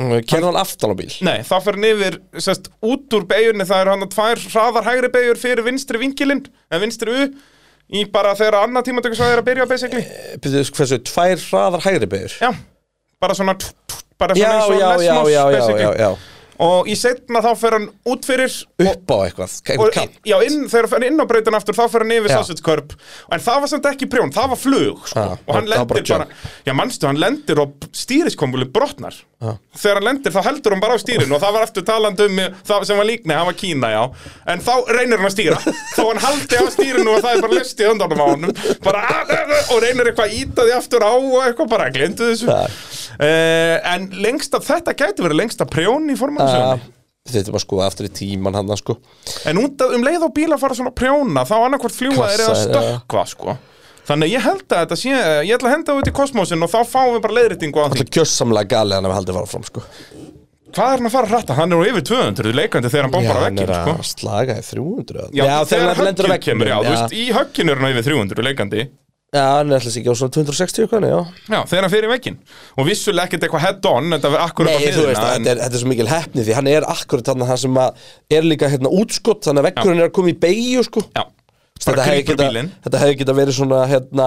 [SPEAKER 1] Mhm.
[SPEAKER 3] Kerði hann aftan á bíl
[SPEAKER 1] Nei, þá fer hann yfir sest, út úr beigjunni, það eru hann að tvær hraðar hægri beigjur fyrir vinstri vinkilinn en vinstri u í bara þegar annað tímatökusvæði er að byrja basically
[SPEAKER 3] Pítur, Eh, Hversu, tvær hraðar hægri beigur
[SPEAKER 1] Já, bara svona tf, tf, bara
[SPEAKER 3] Já,
[SPEAKER 1] svona eins
[SPEAKER 3] já,
[SPEAKER 1] og
[SPEAKER 3] já, já,
[SPEAKER 1] lesmos
[SPEAKER 3] já, já,
[SPEAKER 1] basically
[SPEAKER 3] já, já.
[SPEAKER 1] og í setna þá fer hann út fyrir
[SPEAKER 3] Upp á eitthvað,
[SPEAKER 1] og,
[SPEAKER 3] eitthvað kann
[SPEAKER 1] já, inn, þegar hann fer inn á breytan aftur þá fer hann yfir
[SPEAKER 3] Já.
[SPEAKER 1] sausagekörp en það var samt ekki prjón, það var flug sko.
[SPEAKER 3] Já,
[SPEAKER 1] og hann
[SPEAKER 3] það var bara
[SPEAKER 1] lendir bara, já manstu, hann lendir og stýriskombuli brotnar þegar hann lendir þá heldur hann bara á stýrin og það var aftur talandi um það sem var líkni, hann var Kína já en þá reynir hann að stýra
[SPEAKER 3] <laughs>
[SPEAKER 1] þó hann haldi á stýrinu og það er bara lesti undanum á honum bara að, að, að, og reynir eitthvað að íta því aftur á og eitthvað bara glindu þessu
[SPEAKER 3] Já.
[SPEAKER 1] uh, en lengsta, þetta gæti verið lengsta prjón í
[SPEAKER 3] Ah,
[SPEAKER 1] formannsögni
[SPEAKER 3] Þetta var sko aftur í tíman hann sko.
[SPEAKER 1] En út af um leið og bíla fara svona að prjóna þá annarkvort fljúa þeir eða
[SPEAKER 3] Kassar,
[SPEAKER 1] stökkva sko. Þannig að ég held að þetta sé ég ætla að henda það út í kosmosin og þá fáum við bara leiðrýtingu á því.
[SPEAKER 3] Það er kjössamlega galið hann ef haldið var fram sko.
[SPEAKER 1] Hvað er hann að fara að ratta? Hann er nú yfir 200 leikandi þegar hann bombar að
[SPEAKER 3] hann er
[SPEAKER 1] vekkin
[SPEAKER 3] að
[SPEAKER 1] sko.
[SPEAKER 3] slaga í 300 eða-
[SPEAKER 1] Já, þegar
[SPEAKER 3] hann lendir á
[SPEAKER 1] höggið
[SPEAKER 3] veggnum,
[SPEAKER 1] kemur, já, þú
[SPEAKER 3] já.
[SPEAKER 1] veist, í högginu er hann yfir 300 leikandi
[SPEAKER 3] Já, hann er alltaf ekki á svona 260 eitthvað, nei, já
[SPEAKER 1] Já, þegar hann fyrir veginn Og vissulega ekkert eitthvað head on Þetta var akkur upp á
[SPEAKER 3] Nei, þú veist,
[SPEAKER 1] hliðina, en-
[SPEAKER 3] þetta er, þetta er svo mikil heppni því hann er akkurat þarna hann sem að er líka hérna útskott þannig að veggurinn er að koma í beigju sko
[SPEAKER 1] Já,
[SPEAKER 3] þetta,
[SPEAKER 1] bara
[SPEAKER 3] hefði
[SPEAKER 1] grípur
[SPEAKER 3] geta,
[SPEAKER 1] bílinn
[SPEAKER 3] þetta hefði geta verið svona hérna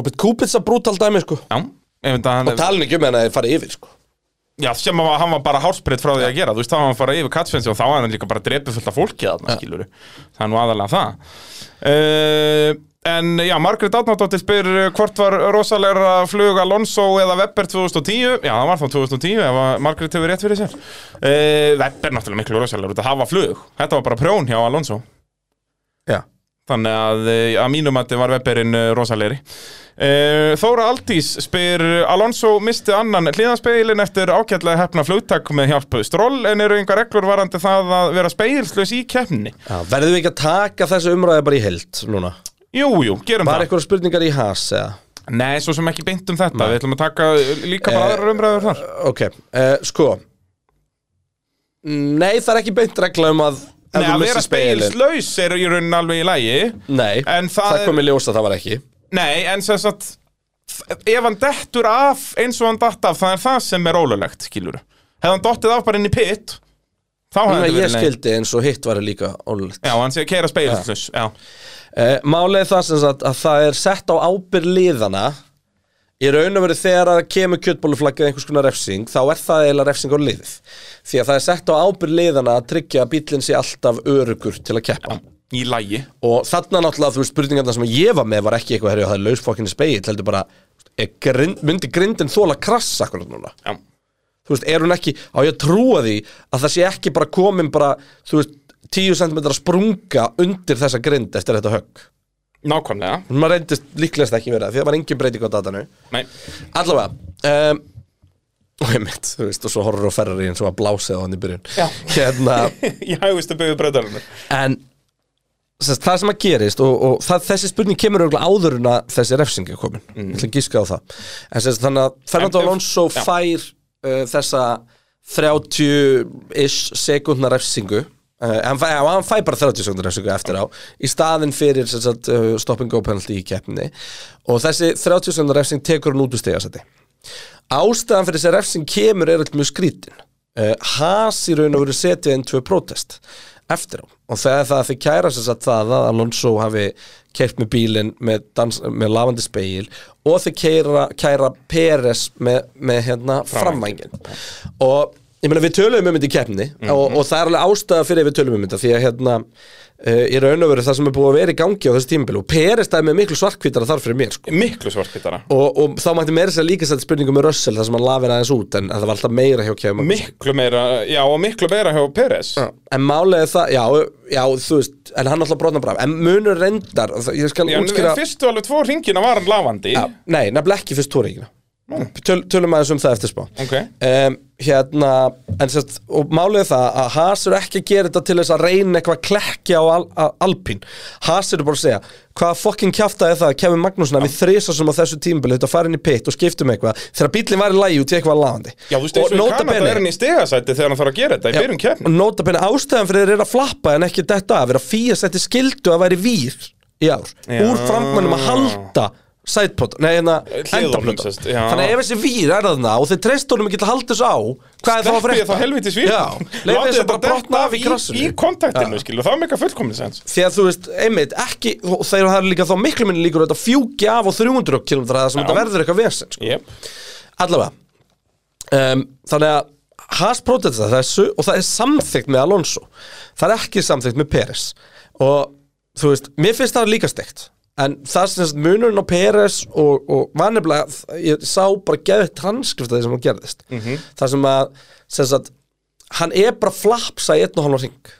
[SPEAKER 3] Robert Kubica brútal dæmi sko
[SPEAKER 1] Já, ef þetta hann
[SPEAKER 3] og talin ekki um hann að þeir fara yfir sko
[SPEAKER 1] Já, sem að hann var bara hálsbreytt frá því að gera Þú veist, þá var hann að fara yfir katsfensi og þá var hann líka bara drepið fullt af fólki þarna, ja. skilur Það er nú aðalega það uh, En já, Margrét Átnáttóttir spyr uh, hvort var rosalega flug Alonso eða Webber 2010 Já, það var þá 2010 ef að Margrét hefur rétt fyrir sér uh, Webber náttúrulega miklu rosalega út að hafa flug Þetta var bara prjón hjá Alonso
[SPEAKER 3] Já
[SPEAKER 1] Þannig að eh, að mínum að var webberinn eh, rosalegri. Eh, Þóra Aldís spyr Alonso misti annan hliðanspeilin eftir ágætlega hefna flugtak með hjálp stról en eru einhver reglur varandi það að vera speilslaus í keppni?
[SPEAKER 3] Verðum við ekki að taka þessu umræði bara í heilt núna?
[SPEAKER 1] Jú, jú, gerum
[SPEAKER 3] Var
[SPEAKER 1] það.
[SPEAKER 3] eitthvað spurningar í has eða?
[SPEAKER 1] Nei, svo sem ekki beint um þetta. Við ætlum að taka eh, líka bara aðrar umræður þar.
[SPEAKER 3] Ok, uh, sko Nei, það er ekki beint regla um að
[SPEAKER 1] Nei,
[SPEAKER 3] ef þú
[SPEAKER 1] að
[SPEAKER 3] missir
[SPEAKER 1] vera
[SPEAKER 3] spegilinn-
[SPEAKER 1] speilslaus er í raunin alveg í lagi.
[SPEAKER 3] Nei,
[SPEAKER 1] En það
[SPEAKER 3] það
[SPEAKER 1] er-
[SPEAKER 3] kom í ljós að það var ekki
[SPEAKER 1] Nei, en sem sagt, ef hann dettur af eins og hann datt af, það er það sem er ólulegt, skilur. Hefði hann dottið af bara inn í pitt, þá hefði
[SPEAKER 3] Þannig
[SPEAKER 1] þetta
[SPEAKER 3] að ég
[SPEAKER 1] verið leið.
[SPEAKER 3] skildi eins og hitt var líka ólögt
[SPEAKER 1] Já, hann sé að keira speilslaus Já,
[SPEAKER 3] uh, Málið er það sem sagt að það er sett á ábyrð liðana Í raun og veru þegar að kemur kjötbóluflaggað einhvers konar refsing Þá er það eiginlega refsing á liðið Því að það er sett á ábyrð liðana að tryggja að bíllinn sé alltaf örugur til að keppa
[SPEAKER 1] í lægi
[SPEAKER 3] Og þarna náttúrulega þú veist spurningarna sem ég var með var ekki eitthvað herri og það er lausfokkinni speil heldur bara, er grind, myndi grindin þóla krassa akkurat núna
[SPEAKER 1] Já,
[SPEAKER 3] þú veist, er hún ekki, á ég að trúa því að það sé ekki bara komin bara, þú veist, 10 cm sprunga undir þessa grind eftir þetta högg
[SPEAKER 1] nákvæmlega
[SPEAKER 3] hún maður reyndist líklegast ekki verið það, því það var engin breyting á datanu
[SPEAKER 1] Nei, <laughs>
[SPEAKER 3] allavega um, <laughs> og ég mitt, þú veist, og svo horfður á ferrari eins og að blásið á hann í byrjun Já. hérna,
[SPEAKER 1] ég hægist að byggja breytarinn
[SPEAKER 3] en sest, það sem að gerist og, og það, þessi spurning kemur auðvitað áður en að þessi refsing er komin mm. ætla að gíska á það en sest, þannig að Fernando
[SPEAKER 1] En-
[SPEAKER 3] Alonso
[SPEAKER 1] Já.
[SPEAKER 3] fær uh, þessa 30-ish sekundna refsingu uh, hann, fæ, og hann fær bara 30 sekundna refsingu eftir á í staðin fyrir sem sagt, uh, stopping go penalty í keppni og þessi 30 sekundna refsing tekur hann út úr stegasæti ástæðan fyrir þessi refsing kemur er allmjög skrítin uh, Haas í raun og veru setið inn tvö protest eftir á og það er það að þið kæra sér satt það að Alonso hafi keirt með bílinn með, dans, með lafandi speil og þið kæra, kæra Peres með, með hérna framvængin og ég meina við töluðum um þetta í keppni og, og það er alveg ástæða fyrir að við töluðum um þetta því að hérna uh, í raun og veru það sem er búið að vera í gangi á þessu tímabil og Peres dæmi er miklu svartkvítara þar fyrir mér sko
[SPEAKER 1] Miklu svartbytara
[SPEAKER 3] og, og þá mætti meira sér líka sætt spurningu með Russell þar sem hann lafir aðeins út en en það var alltaf meira hjá kefum
[SPEAKER 1] Miklu meira, já og miklu meira hjá Peres
[SPEAKER 3] en málið er það, já, já, þú veist en hann alltaf brotna braf, en munur reyndar og það- ég skal
[SPEAKER 1] Já, en
[SPEAKER 3] útskýra
[SPEAKER 1] fyrstu alveg tvo ringina var hann lavandi
[SPEAKER 3] já, nei, nefnilega ekki fyrst tóringina Töl, tölum aðeins um það eftir spá
[SPEAKER 1] Ok.
[SPEAKER 3] um, hérna, en sérst og málið er það að Haas eru ekki að gera þetta til þess að reyna eitthvað klekkja á al, al, Alpín, Haas eru bara að segja hvaða fokkin kjafta er það að Kevin Magnússon við þrisa sem á þessu tímabili þetta farið inn í pitt og skiptum eitthvað þegar bílinn var í lagi út í eitthvað lagandi
[SPEAKER 1] Já, þú veist, eins og í Kanada er hann í stegasæti þegar hann þarf að gera þetta í byrjun
[SPEAKER 3] og
[SPEAKER 1] keppni
[SPEAKER 3] nota benni ástæðan fyrir þeir eru að flappa en ekki detta af er að fíja setti skildu að væri vír í ár úr framkvæmdum að halda sætpot, nei hérna
[SPEAKER 1] Hliðunum,
[SPEAKER 3] endaplötu
[SPEAKER 1] sest, já.
[SPEAKER 3] þannig að ef þessi vír er þarna og þeir treyst honum ekki til að halda þessu á hvað er þá að
[SPEAKER 1] Sleppið
[SPEAKER 3] frekta?
[SPEAKER 1] þá helviti svíl
[SPEAKER 3] leiði þessu bara brotna af í
[SPEAKER 1] í,
[SPEAKER 3] krassinu
[SPEAKER 1] í kontaktinu, skilur, það er mega fullkomni sens
[SPEAKER 3] því að þú veist, einmitt, ekki og þeir eru það eru líka þá miklu minni líkur að þetta fjúki af á 300 km það sem þetta verður eitthvað vesen sko.
[SPEAKER 1] yep.
[SPEAKER 3] allavega um, þannig að Haas protesta þessu og það er samþykkt með Alonso það er ekki samþykkt með Peres og þú veist, mér finnst það líka steikt en það sem sagt munurinn á Peres og, og var nefnilega ég sá bara geðið transkrift af því sem hann gerðist mm það sem að sem sagt, hann er bara að flapsa í einn og halvan ring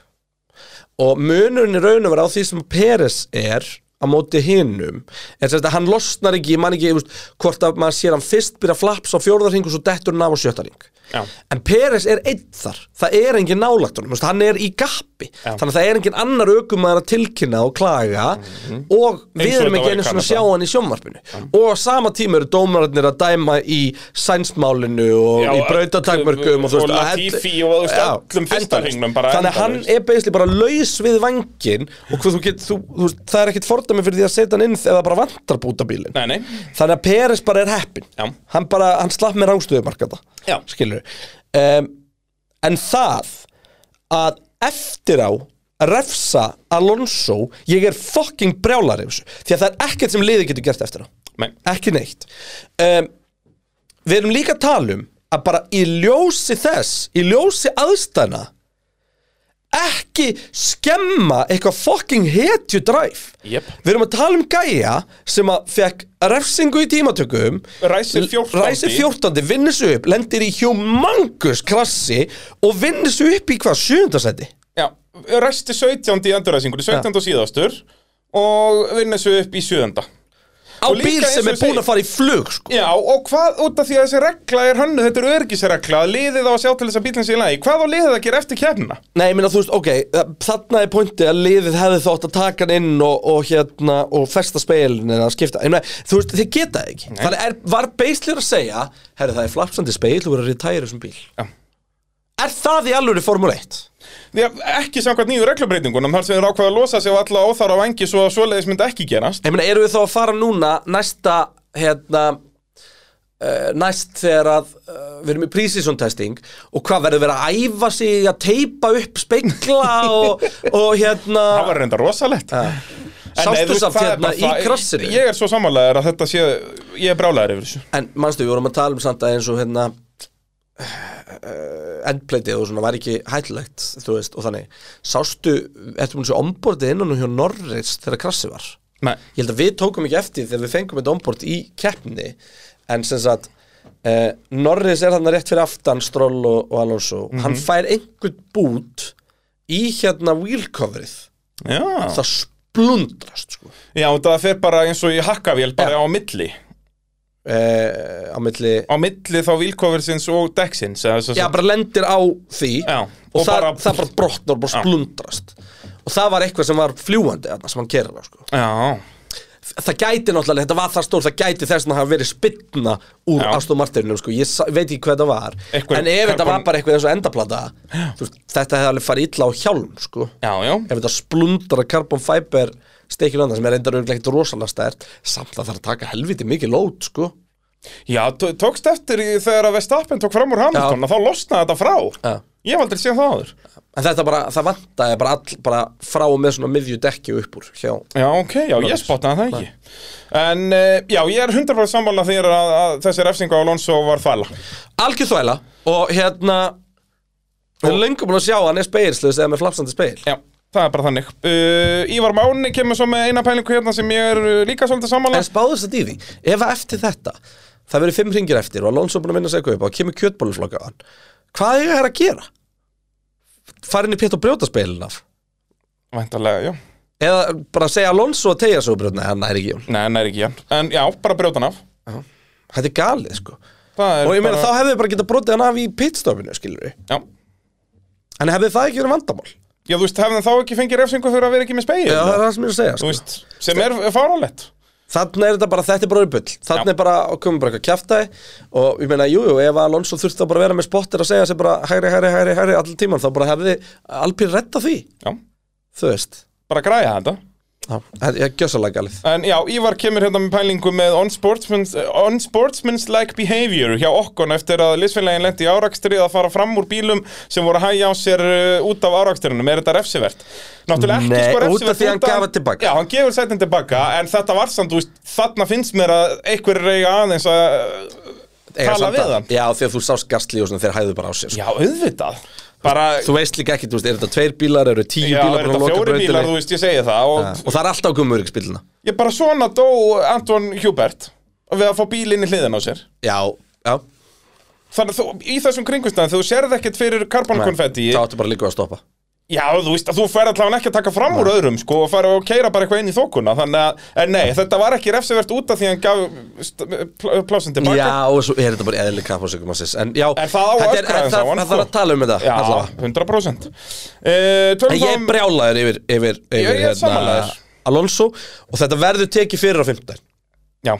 [SPEAKER 3] og munurinn í raunum er á því sem Peres er á móti hinnum en sem þetta hann losnar ekki, ég man ekki ég veist, hvort að maður sér hann fyrst byrja að flapsa á fjórðarring og svo dettur hann af á sjöttarring
[SPEAKER 1] Já.
[SPEAKER 3] en Peres er einn þar það er engin nálagt honum, þú veist, hann er í gappi þannig að það er engin annar aukumæður að tilkynna og klaga og
[SPEAKER 1] Mhm. Eins
[SPEAKER 3] við
[SPEAKER 1] og
[SPEAKER 3] erum
[SPEAKER 1] þetta
[SPEAKER 3] ekki
[SPEAKER 1] var í
[SPEAKER 3] einu svona að
[SPEAKER 1] Kanada.
[SPEAKER 3] sjá hann í sjónvarpinu og á sama tíma eru dómararnir að dæma í sænsmálinu og
[SPEAKER 1] Já,
[SPEAKER 3] í brautatakmörkum og, þú
[SPEAKER 1] og
[SPEAKER 3] veist, að þetta-
[SPEAKER 1] Latifi og, þú veist,
[SPEAKER 3] Já,
[SPEAKER 1] öllum fyrsta
[SPEAKER 3] endalaust.
[SPEAKER 1] hringnum bara
[SPEAKER 3] þannig að hann
[SPEAKER 1] endalaust.
[SPEAKER 3] er beisli bara laus við vangin og hvað þú get, þú, þú, veist, það er ekkit fordæmi fyrir því að setja hann inn eða bara vantar bútabílin
[SPEAKER 1] Nei, nei.
[SPEAKER 3] þannig að Peres bara er heppin
[SPEAKER 1] Já.
[SPEAKER 3] hann bara, hann slapp með rángstöðumarkata
[SPEAKER 1] Já.
[SPEAKER 3] skilur um, en það að eftir á að refsa Alonso ég er fucking brjálar yfir þessu því að það er ekkert sem liði getur gert eftir á
[SPEAKER 1] Nei.
[SPEAKER 3] ekki neitt um, við erum líka að tala um að bara í ljósi þess í ljósi aðstæðna ekki skemma eitthvað fucking hetju drive
[SPEAKER 1] Jep.
[SPEAKER 3] við erum að tala um gæja sem að fekk refsingu í tímatökum
[SPEAKER 1] Ræsir 14.
[SPEAKER 3] ræsir 14. vinnur svo upp, lendir í humangus krassi og vinnur svo upp í hvað, 7. seti
[SPEAKER 1] Já, resti 17. í endurræsingunni, 17. og síðastur og vinna svo upp í 7.
[SPEAKER 3] á
[SPEAKER 1] Og líka
[SPEAKER 3] bíl
[SPEAKER 1] eins
[SPEAKER 3] sem
[SPEAKER 1] og
[SPEAKER 3] er
[SPEAKER 1] ég
[SPEAKER 3] búin
[SPEAKER 1] segi-
[SPEAKER 3] að fara í flug sko.
[SPEAKER 1] Já, og hvað út af því að þessi regla er hönnu, þetta er örgisregla, að liðið á að sjá til þess að bílinn sé í lagi, hvað á liðið að gera eftir kefna?
[SPEAKER 3] Nei, ég minna, þú veist, ok, eh, þarna er pointi að liðið hefði þótt að taka hann inn og, og hérna, og festa speilin eða skipta, ég meina, þú veist, þið geta það ekki þannig er, var beislir að segja herri, það er flapsandi speil, þú verður að retæra þessum bíl
[SPEAKER 1] Já.
[SPEAKER 3] Er það í alvöru Formule 1?
[SPEAKER 1] Já, ekki samkvæmt nýju reglubreitingunum, þar sem þeir ákvaða að losa sig á alla óþara vangi svo að svoleiðis myndi ekki gerast.
[SPEAKER 3] Ég meina, eru við þá að fara núna næsta, hérna, uh, næst þegar að uh, við erum í pre-season testing og hvað verður verið að æfa sig að teipa upp speikla og, og hérna...
[SPEAKER 1] Það var reynda rosalegt. <laughs> En
[SPEAKER 3] Sástu
[SPEAKER 1] nei, þú veist,
[SPEAKER 3] samt
[SPEAKER 1] það er
[SPEAKER 3] hérna
[SPEAKER 1] bara
[SPEAKER 3] í
[SPEAKER 1] það-
[SPEAKER 3] krossinu?
[SPEAKER 1] Ég er svo samanlegaður að þetta sé, ég er brálaður yfir þessu.
[SPEAKER 3] En manstu, við vorum að tala um samt að eins og hérna eh, endpleitið og svona var ekki hættulegt þú veist, og þannig sástu, eftir múin svo ombordið innan og hjá Norris þegar krassi var
[SPEAKER 1] Nei.
[SPEAKER 3] ég held að við tókum ekki eftir þegar við fengum þetta ombord í keppni en sem sagt uh, Norris er þarna rétt fyrir aftan Stroll og, og Alonso hann fær einhvern bút í hérna wheelcoverið
[SPEAKER 1] Já.
[SPEAKER 3] það splundrast sko
[SPEAKER 1] Já, og það fer bara eins og í hakkavél, bara á milli.
[SPEAKER 3] uh, á milli
[SPEAKER 1] Á milli þá vilkofinsins og dekksins. eða sem sagt-
[SPEAKER 3] Já, bara lendir á því
[SPEAKER 1] Já,
[SPEAKER 3] og,
[SPEAKER 1] og
[SPEAKER 3] það,
[SPEAKER 1] bara-
[SPEAKER 3] það bara brotnar, bara splundrast og það var eitthvað sem var fljúandi þarna sem hann kerir á sko.
[SPEAKER 1] Já.
[SPEAKER 3] það gæti náttúrulega, þetta var það stór það gæti þess að hafa verið spilna úr
[SPEAKER 1] Já.
[SPEAKER 3] Aston Martinum, sko. ég sa- veit ekki hvað það var
[SPEAKER 1] Eitthvað-
[SPEAKER 3] en ef þetta var
[SPEAKER 1] carbon-
[SPEAKER 3] bara eitthvað eins og endaplata þú veist, þetta hefði alveg farið illa á hjálm sko.
[SPEAKER 1] Já, já.
[SPEAKER 3] ef þetta splundra carbon fiber steikir annað sem er endar ekkert rosalega stært samt að það þarf að taka helviti mikið lót sko.
[SPEAKER 1] Já, tó- tókst eftir í, þegar að Vestappen tók fram úr Hamilton
[SPEAKER 3] Já.
[SPEAKER 1] að þá losnaði þetta frá.
[SPEAKER 3] Já.
[SPEAKER 1] Ég hef aldrei séð það áður.
[SPEAKER 3] en þetta bara, það vantaði bara, all, bara frá og með svona miðju dekki upp úr hjá
[SPEAKER 1] Já, ok, já, ég spottaði það ekki. En, uh, já, ég er 100% sammála þegar að, að þessi refsingu á Alonso var þvæla.
[SPEAKER 3] algjör þvæla og hérna við erum löngu búin að sjá að hann er speilslis eða með flapsandi speil
[SPEAKER 1] Já, það er bara þannig. Uh, Ívar Máni kemur svo með eina pælingu hérna sem ég er uh, líka svolítið sammála.
[SPEAKER 3] en spáður þetta í því, ef að eftir þetta það verður fimm ringir eftir og Alonso er búin að vinna sig eitthvað upp og kemur kjötbóluflokka á hann hvað er það að gera? farin í pétt og brjóta speilin af
[SPEAKER 1] Væntalega, já.
[SPEAKER 3] eða bara segja Alonso að tegja svo brjóta, nei hann er ekki í honum.
[SPEAKER 1] Nei, nei, ekki, já. En, já, bara brjóta hann af.
[SPEAKER 3] þetta er galið sko
[SPEAKER 1] Það er
[SPEAKER 3] og ég meina
[SPEAKER 1] bara-
[SPEAKER 3] þá hefðu bara getað brotið hann af í pitstofinu skilur við,
[SPEAKER 1] Já.
[SPEAKER 3] en hefðu það ekki verið vandamál
[SPEAKER 1] já, þú veist, hefðan þá ekki fengið refsingu fyrir að vera ekki með spegil.
[SPEAKER 3] Já, það er það sem ég er að segja
[SPEAKER 1] Þú
[SPEAKER 3] sko.
[SPEAKER 1] veist, sem er fáránlegt.
[SPEAKER 3] Þannig er þetta bara, þetta er bara auðbull Þannig
[SPEAKER 1] Já.
[SPEAKER 3] er bara, og komum bara eitthvað kjaftaði Og ég meina, jú, jú, ef Alonso þurfti að bara vera með spottir að segja sér bara Hægri, hægri, hægri, hægri, allir tíman Þá bara hefði Alpín retta því,
[SPEAKER 1] Já,
[SPEAKER 3] þú veist
[SPEAKER 1] bara græja þetta.
[SPEAKER 3] Já, þetta er gjössalega galið
[SPEAKER 1] En já, Ívar kemur hérna með pælingu með unsportsmans- unsportsmanslike behavior hjá okkon eftir að liðsfélagin lendi í árakstri að fara fram úr bílum sem voru að hægja á sér uh, út af árakstrinum. Er þetta refsivert? Náttúrulega ekki
[SPEAKER 3] Nei,
[SPEAKER 1] sko
[SPEAKER 3] út af
[SPEAKER 1] refsivert.
[SPEAKER 3] því hann gaf það tilbaka.
[SPEAKER 1] Já, hann gefur sætin tilbaka, en þetta var samt, þú veist, þarna finnst mér að einhver reyga aðeins að uh,
[SPEAKER 3] Eiga
[SPEAKER 1] tala
[SPEAKER 3] samt að-
[SPEAKER 1] við hann.
[SPEAKER 3] Já, því að þú sást gastli og svona, þeir hæðu bara á sér sko.
[SPEAKER 1] Já, auðvitað. Bara,
[SPEAKER 3] Þú veist líka ekki, þú veist, er þetta tveir bílar, eru tíu
[SPEAKER 1] já,
[SPEAKER 3] bílar
[SPEAKER 1] er
[SPEAKER 3] búin
[SPEAKER 1] þetta
[SPEAKER 3] að loka
[SPEAKER 1] fjóri bílar,
[SPEAKER 3] brautinni?
[SPEAKER 1] þú veist, ég segi það. Og
[SPEAKER 3] Og það er alltaf að koma öryggisbílina
[SPEAKER 1] ég bara svona dó Anton Hubert við að fá bílinn í hliðin á sér.
[SPEAKER 3] Já, já
[SPEAKER 1] Þannig að þú, í þessum kringustæðan, þú sérð ekkert fyrir
[SPEAKER 3] Nei,
[SPEAKER 1] karbonkonfetti
[SPEAKER 3] Það áttu bara líka að stoppa
[SPEAKER 1] Já, þú veist að þú fer allavega ekki að taka fram úr öðrum sko og fara og keira bara eitthvað inn í þokuna þannig að, en nei, þetta var ekki refsivert út af því að hann gaf st- pl- plásin tilbaka
[SPEAKER 3] Já, og svo er þetta bara eðli kapasökum hans En já,
[SPEAKER 1] En það á að
[SPEAKER 3] þetta er,
[SPEAKER 1] öskra
[SPEAKER 3] það, það þarf að tala um þetta
[SPEAKER 1] Já,
[SPEAKER 3] allavega.
[SPEAKER 1] 100% uh,
[SPEAKER 3] En ég er brjálaður yfir, yfir,
[SPEAKER 1] ég
[SPEAKER 3] yfir hérna,
[SPEAKER 1] er sammálaður.
[SPEAKER 3] Alonso Og þetta verður tekið fyrir á 15
[SPEAKER 1] Já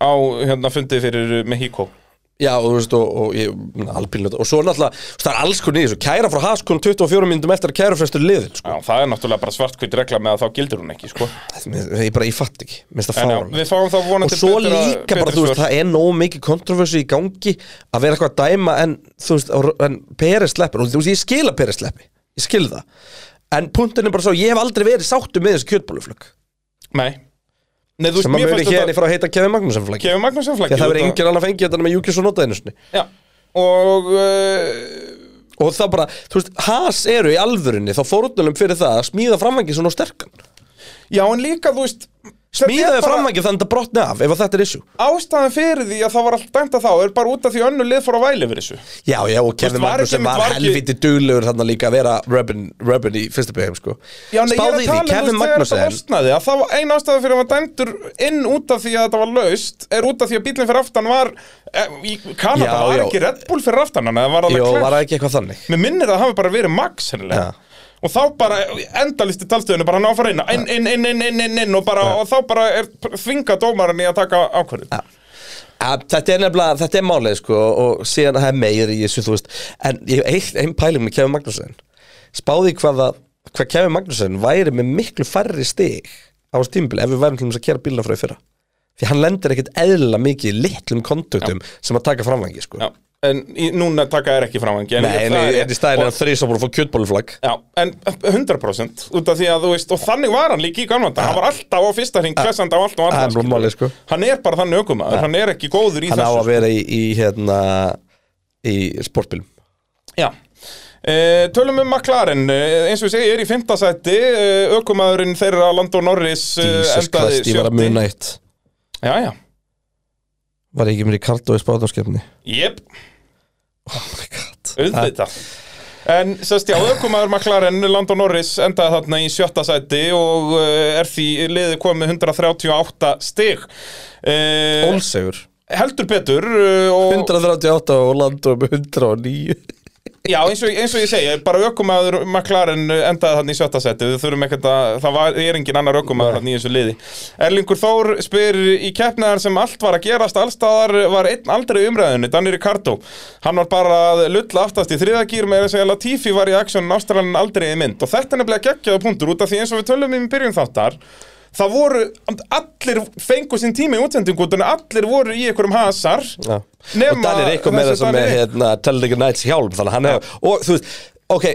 [SPEAKER 1] Á, hérna, fundið fyrir Mexico
[SPEAKER 3] Já, og þú veist, og, og ég, alpínu Og svo náttúrulega, þú veist, það er alls konið í þessu Kæra frá Haskon 24 minnum eftir að kæra frestur liðin sko.
[SPEAKER 1] Já, það er náttúrulega bara svartkvít regla með að þá gildur hún ekki, sko
[SPEAKER 3] Mér- Ég bara, ég fatt ekki, minnst það
[SPEAKER 1] En já,
[SPEAKER 3] fárlega
[SPEAKER 1] við fáum þá
[SPEAKER 3] Og
[SPEAKER 1] vonandi
[SPEAKER 3] svo
[SPEAKER 1] betra-
[SPEAKER 3] líka bara,
[SPEAKER 1] betri
[SPEAKER 3] þú veist,
[SPEAKER 1] svör.
[SPEAKER 3] það er nógu mikið kontroversi í gangi að vera eitthvað að dæma en, þú veist, á- en Peres sleppur og þú veist, ég skil að Peres sleppi, ég skil það en punktin er bara svo, ég hef aldrei verið sáttu með þessu kjötbóluflögg
[SPEAKER 1] Nei Nei, þú veist,
[SPEAKER 3] sem að
[SPEAKER 1] mér
[SPEAKER 3] muni
[SPEAKER 1] fannst
[SPEAKER 3] hérna
[SPEAKER 1] þetta
[SPEAKER 3] frá að heita Kevin Magnússon flaggi
[SPEAKER 1] Kefum Magnússon
[SPEAKER 3] því
[SPEAKER 1] flaggi
[SPEAKER 3] að það verið
[SPEAKER 1] út af-
[SPEAKER 3] engin annar fengið þetta með Júkis og notaði einu sinni
[SPEAKER 1] Já, og uh,
[SPEAKER 3] og það bara, þú veist, has eru í alvörinni þá fórunalum fyrir það að smíða framvængin svona sterkan
[SPEAKER 1] Já, en líka, þú veist þetta
[SPEAKER 3] smíðaði
[SPEAKER 1] er bara-
[SPEAKER 3] framvængin þannig að brotni af ef að þetta er issue
[SPEAKER 1] Ástæðan fyrir því að það var alltaf dæmt að þá er bara út af því að önnur lið fór að væli yfir þessu
[SPEAKER 3] Já, já, og
[SPEAKER 1] Þú veist,
[SPEAKER 3] Kevin
[SPEAKER 1] var
[SPEAKER 3] Magnússon
[SPEAKER 1] ekki-
[SPEAKER 3] var,
[SPEAKER 1] var ekki-
[SPEAKER 3] helviti duglegur þannig líka að vera Robin, Robin í fyrsta byggjum, sko
[SPEAKER 1] Já, nei, ég er að
[SPEAKER 3] Spáðu í því,
[SPEAKER 1] tala um þú veist, þegar
[SPEAKER 3] Kevin
[SPEAKER 1] þetta
[SPEAKER 3] Magnússon
[SPEAKER 1] losnaði að það var ein ástæða fyrir að var dæmdur inn út af því að þetta var laust er út af því að bílinn fyrir aftan var eh, í Kanada
[SPEAKER 3] Já,
[SPEAKER 1] var
[SPEAKER 3] já.
[SPEAKER 1] ekki Red Bull fyrir aftan hann eða var það
[SPEAKER 3] Jó,
[SPEAKER 1] klart
[SPEAKER 3] var það ekki eitthvað þannig
[SPEAKER 1] Mér minnir að það hafi bara verið Max hennilega
[SPEAKER 3] Já.
[SPEAKER 1] og þá bara endalisti talstöðunni bara ná að fara inn inn, inn, inn, inn, inn, inn, inn og, bara, og þá bara er þvinga dómarinn í að taka ákvörðin
[SPEAKER 3] Já. Að, þetta er nefnilega, þetta er málið sko og síðan að það er meir í þessu, þú veist en ég hef einn pæling með Kevin Magnússon spáði hvað, að, hvað Kevin Magnússon væri með miklu færri stig á þessu tímbil ef við værum til þess að kera bílna frá í fyrra því hann lendir ekkit eðla mikið í litlum kontutum sem að taka framvangi sko
[SPEAKER 1] Já. En í, núna taka er ekki framhangi
[SPEAKER 3] Nei, en,
[SPEAKER 1] það
[SPEAKER 3] en, en í stæðin er hann þrísa búin að fá kjötbóluflag
[SPEAKER 1] Já, en 100% út af því að þú veist, og þannig var hann líka í gamla þetta, hann var alltaf á fyrsta hring, klessandi á allt og
[SPEAKER 3] Ah, Það er
[SPEAKER 1] alltaf,
[SPEAKER 3] bara málið, sko.
[SPEAKER 1] hann er bara þannig ökumæður, hann er ekki góður í
[SPEAKER 3] hann á
[SPEAKER 1] þessu,
[SPEAKER 3] að vera í, í hérna í sportbílum
[SPEAKER 1] sko. já. E, tölum um McLaren, eh, eins og ég segi, er í fymtasætti, ökumæðurinn þeirra Landó Norris eh,
[SPEAKER 3] Jesus
[SPEAKER 1] endaði
[SPEAKER 3] Christ, ég var að
[SPEAKER 1] sjötti.
[SPEAKER 3] muna eitt
[SPEAKER 1] Já, já,
[SPEAKER 3] var ég ekki mér í kartu í spáðarskefni
[SPEAKER 1] jep,
[SPEAKER 3] oh my god
[SPEAKER 1] auðvitað. En sérst, já, ökumæður McLaren, Landó Norris endaði þarna í sjötta sæti og eh, er því liðið komið 138 stig. E,
[SPEAKER 3] Ólsegur
[SPEAKER 1] heldur betur uh, og,
[SPEAKER 3] 138 og landa um 109
[SPEAKER 1] já, eins, og, eins og ég segi, bara ökumæður McLaren endaði þannig í sjötta seti við þurfum ekkert að, það var, er engin annar ökumæður þannig í þessu liði Erlingur Þór spyr í keppnaðar sem allt var að gerast allstaðar var einn aldrei í umræðinu Danny Ricardo, hann var bara að lulla aftast í þriðagýr með þess að Latifi var í aksjónin ástralan aldrei í mynd og þetta er nefnilega geggjaða punktur út af því eins og við tölum um í byrjun þáttar Það voru, allir fengu sín tími í útsendingu út, en allir voru í einhverjum hasar
[SPEAKER 3] Já. og Danir Eikko með
[SPEAKER 1] þessi
[SPEAKER 3] þessum
[SPEAKER 1] Danny
[SPEAKER 3] með
[SPEAKER 1] Rick.
[SPEAKER 3] hérna, Tellingur Nights hjálm þannig að hann hefur, og þú veist, ok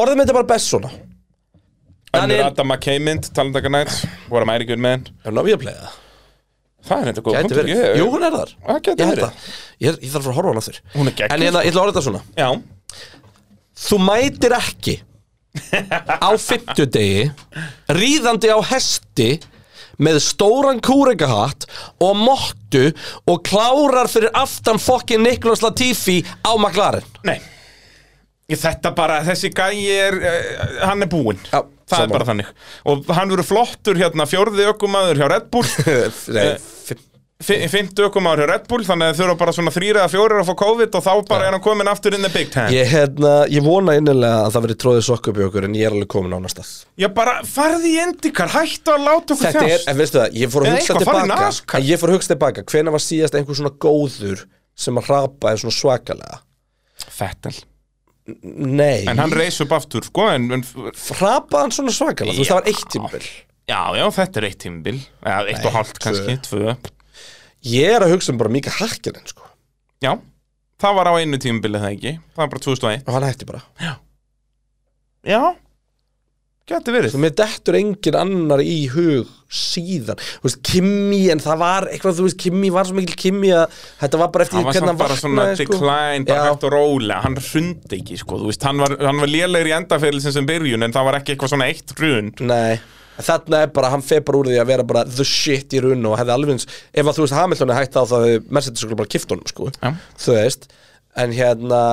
[SPEAKER 3] orðið mitt er bara best svona
[SPEAKER 1] Önnur
[SPEAKER 3] Daniel-
[SPEAKER 1] Adam McKay mynd, Talendaka Nights What am I a good man
[SPEAKER 3] er hún á viðplega
[SPEAKER 1] Það er þetta góð
[SPEAKER 3] gæti
[SPEAKER 1] punktur,
[SPEAKER 3] verið,
[SPEAKER 1] ég-
[SPEAKER 3] jú hún er þar
[SPEAKER 1] Það gæti
[SPEAKER 3] ég held
[SPEAKER 1] verið.
[SPEAKER 3] það. ég, ég þarf að fara að horfa á hann aftur
[SPEAKER 1] Hún er geggjuð, sko.
[SPEAKER 3] en hérna, ég ætla að orða þetta svona
[SPEAKER 1] Já,
[SPEAKER 3] þú mætir ekki á fimmtudegi ríðandi á hesti með stóran kúrekahatt og mottu og klárar fyrir aftan fokkin Niklas Latifi á McLaren
[SPEAKER 1] nei Ég þetta bara, þessi gæi er uh, Hann er búinn
[SPEAKER 3] Já,
[SPEAKER 1] Það
[SPEAKER 3] sammála.
[SPEAKER 1] er bara þannig Og hann verður flottur hérna fjórði ökumaður hjá Red
[SPEAKER 3] <laughs>
[SPEAKER 1] Bull
[SPEAKER 3] Nei, fimm-
[SPEAKER 1] fi- Fimmti ökumaður hjá Red Bull Þannig að þau eru bara svona þrýra eða fjórir að fá COVID Og þá bara er hann komin aftur inn the big time
[SPEAKER 3] ég, hérna, ég vona innilega að það verið tróðið sokka upp í okkur en ég er alveg komin á næsta
[SPEAKER 1] Já, bara farði í endikar, hættu að láta okkur
[SPEAKER 3] Þetta er,
[SPEAKER 1] þjást
[SPEAKER 3] en veistu það, ég fór að
[SPEAKER 1] Eða
[SPEAKER 3] hugsa
[SPEAKER 1] eitthvað, farðu í
[SPEAKER 3] tilbaka
[SPEAKER 1] NASCAR.
[SPEAKER 3] en Ég fór að hugsa tilbaka, hvenær var síðast einhver svona góður sem að hrapaði svona svakalega
[SPEAKER 1] Fettel
[SPEAKER 3] Nei,
[SPEAKER 1] En hann reis upp aftur, sko en, en,
[SPEAKER 3] hrapaði hann svona svakalega, þú veist
[SPEAKER 1] Já.
[SPEAKER 3] það var eitt tímabil
[SPEAKER 1] Já, já, þetta er eitt tímbil Eða eitt og hálft kannski, tvö
[SPEAKER 3] Ég er að hugsa um bara Mika Hakkinen sko
[SPEAKER 1] Já, það var á einu tímabilið það ekki Það var bara 2001
[SPEAKER 3] og hann hætti bara
[SPEAKER 1] Já, geti verið
[SPEAKER 3] Þú mér dettur engin annar í hug síðan, þú veist, Kimi en það var eitthvað, þú veist, Kimi var svo mikil Kimi að þetta var bara eftir
[SPEAKER 1] Það var
[SPEAKER 3] því hvernig
[SPEAKER 1] samt
[SPEAKER 3] hann
[SPEAKER 1] bara svona
[SPEAKER 3] vaknaði sko.
[SPEAKER 1] decline, bara
[SPEAKER 3] Já.
[SPEAKER 1] hægt og rólega Hann hrundi ekki, sko, þú veist Hann var, hann var lélegri í endaferilsin sem byrjun En það var ekki eitthvað svona eitt hrund
[SPEAKER 3] Nei, þarna er bara, hann feir bara úr því að vera bara the shit í runn og hefði alveg eins ef að þú veist Hamilton er hægt á það Mercedes skulle bara kifta honum sko,
[SPEAKER 1] Já.
[SPEAKER 3] þú veist en hérna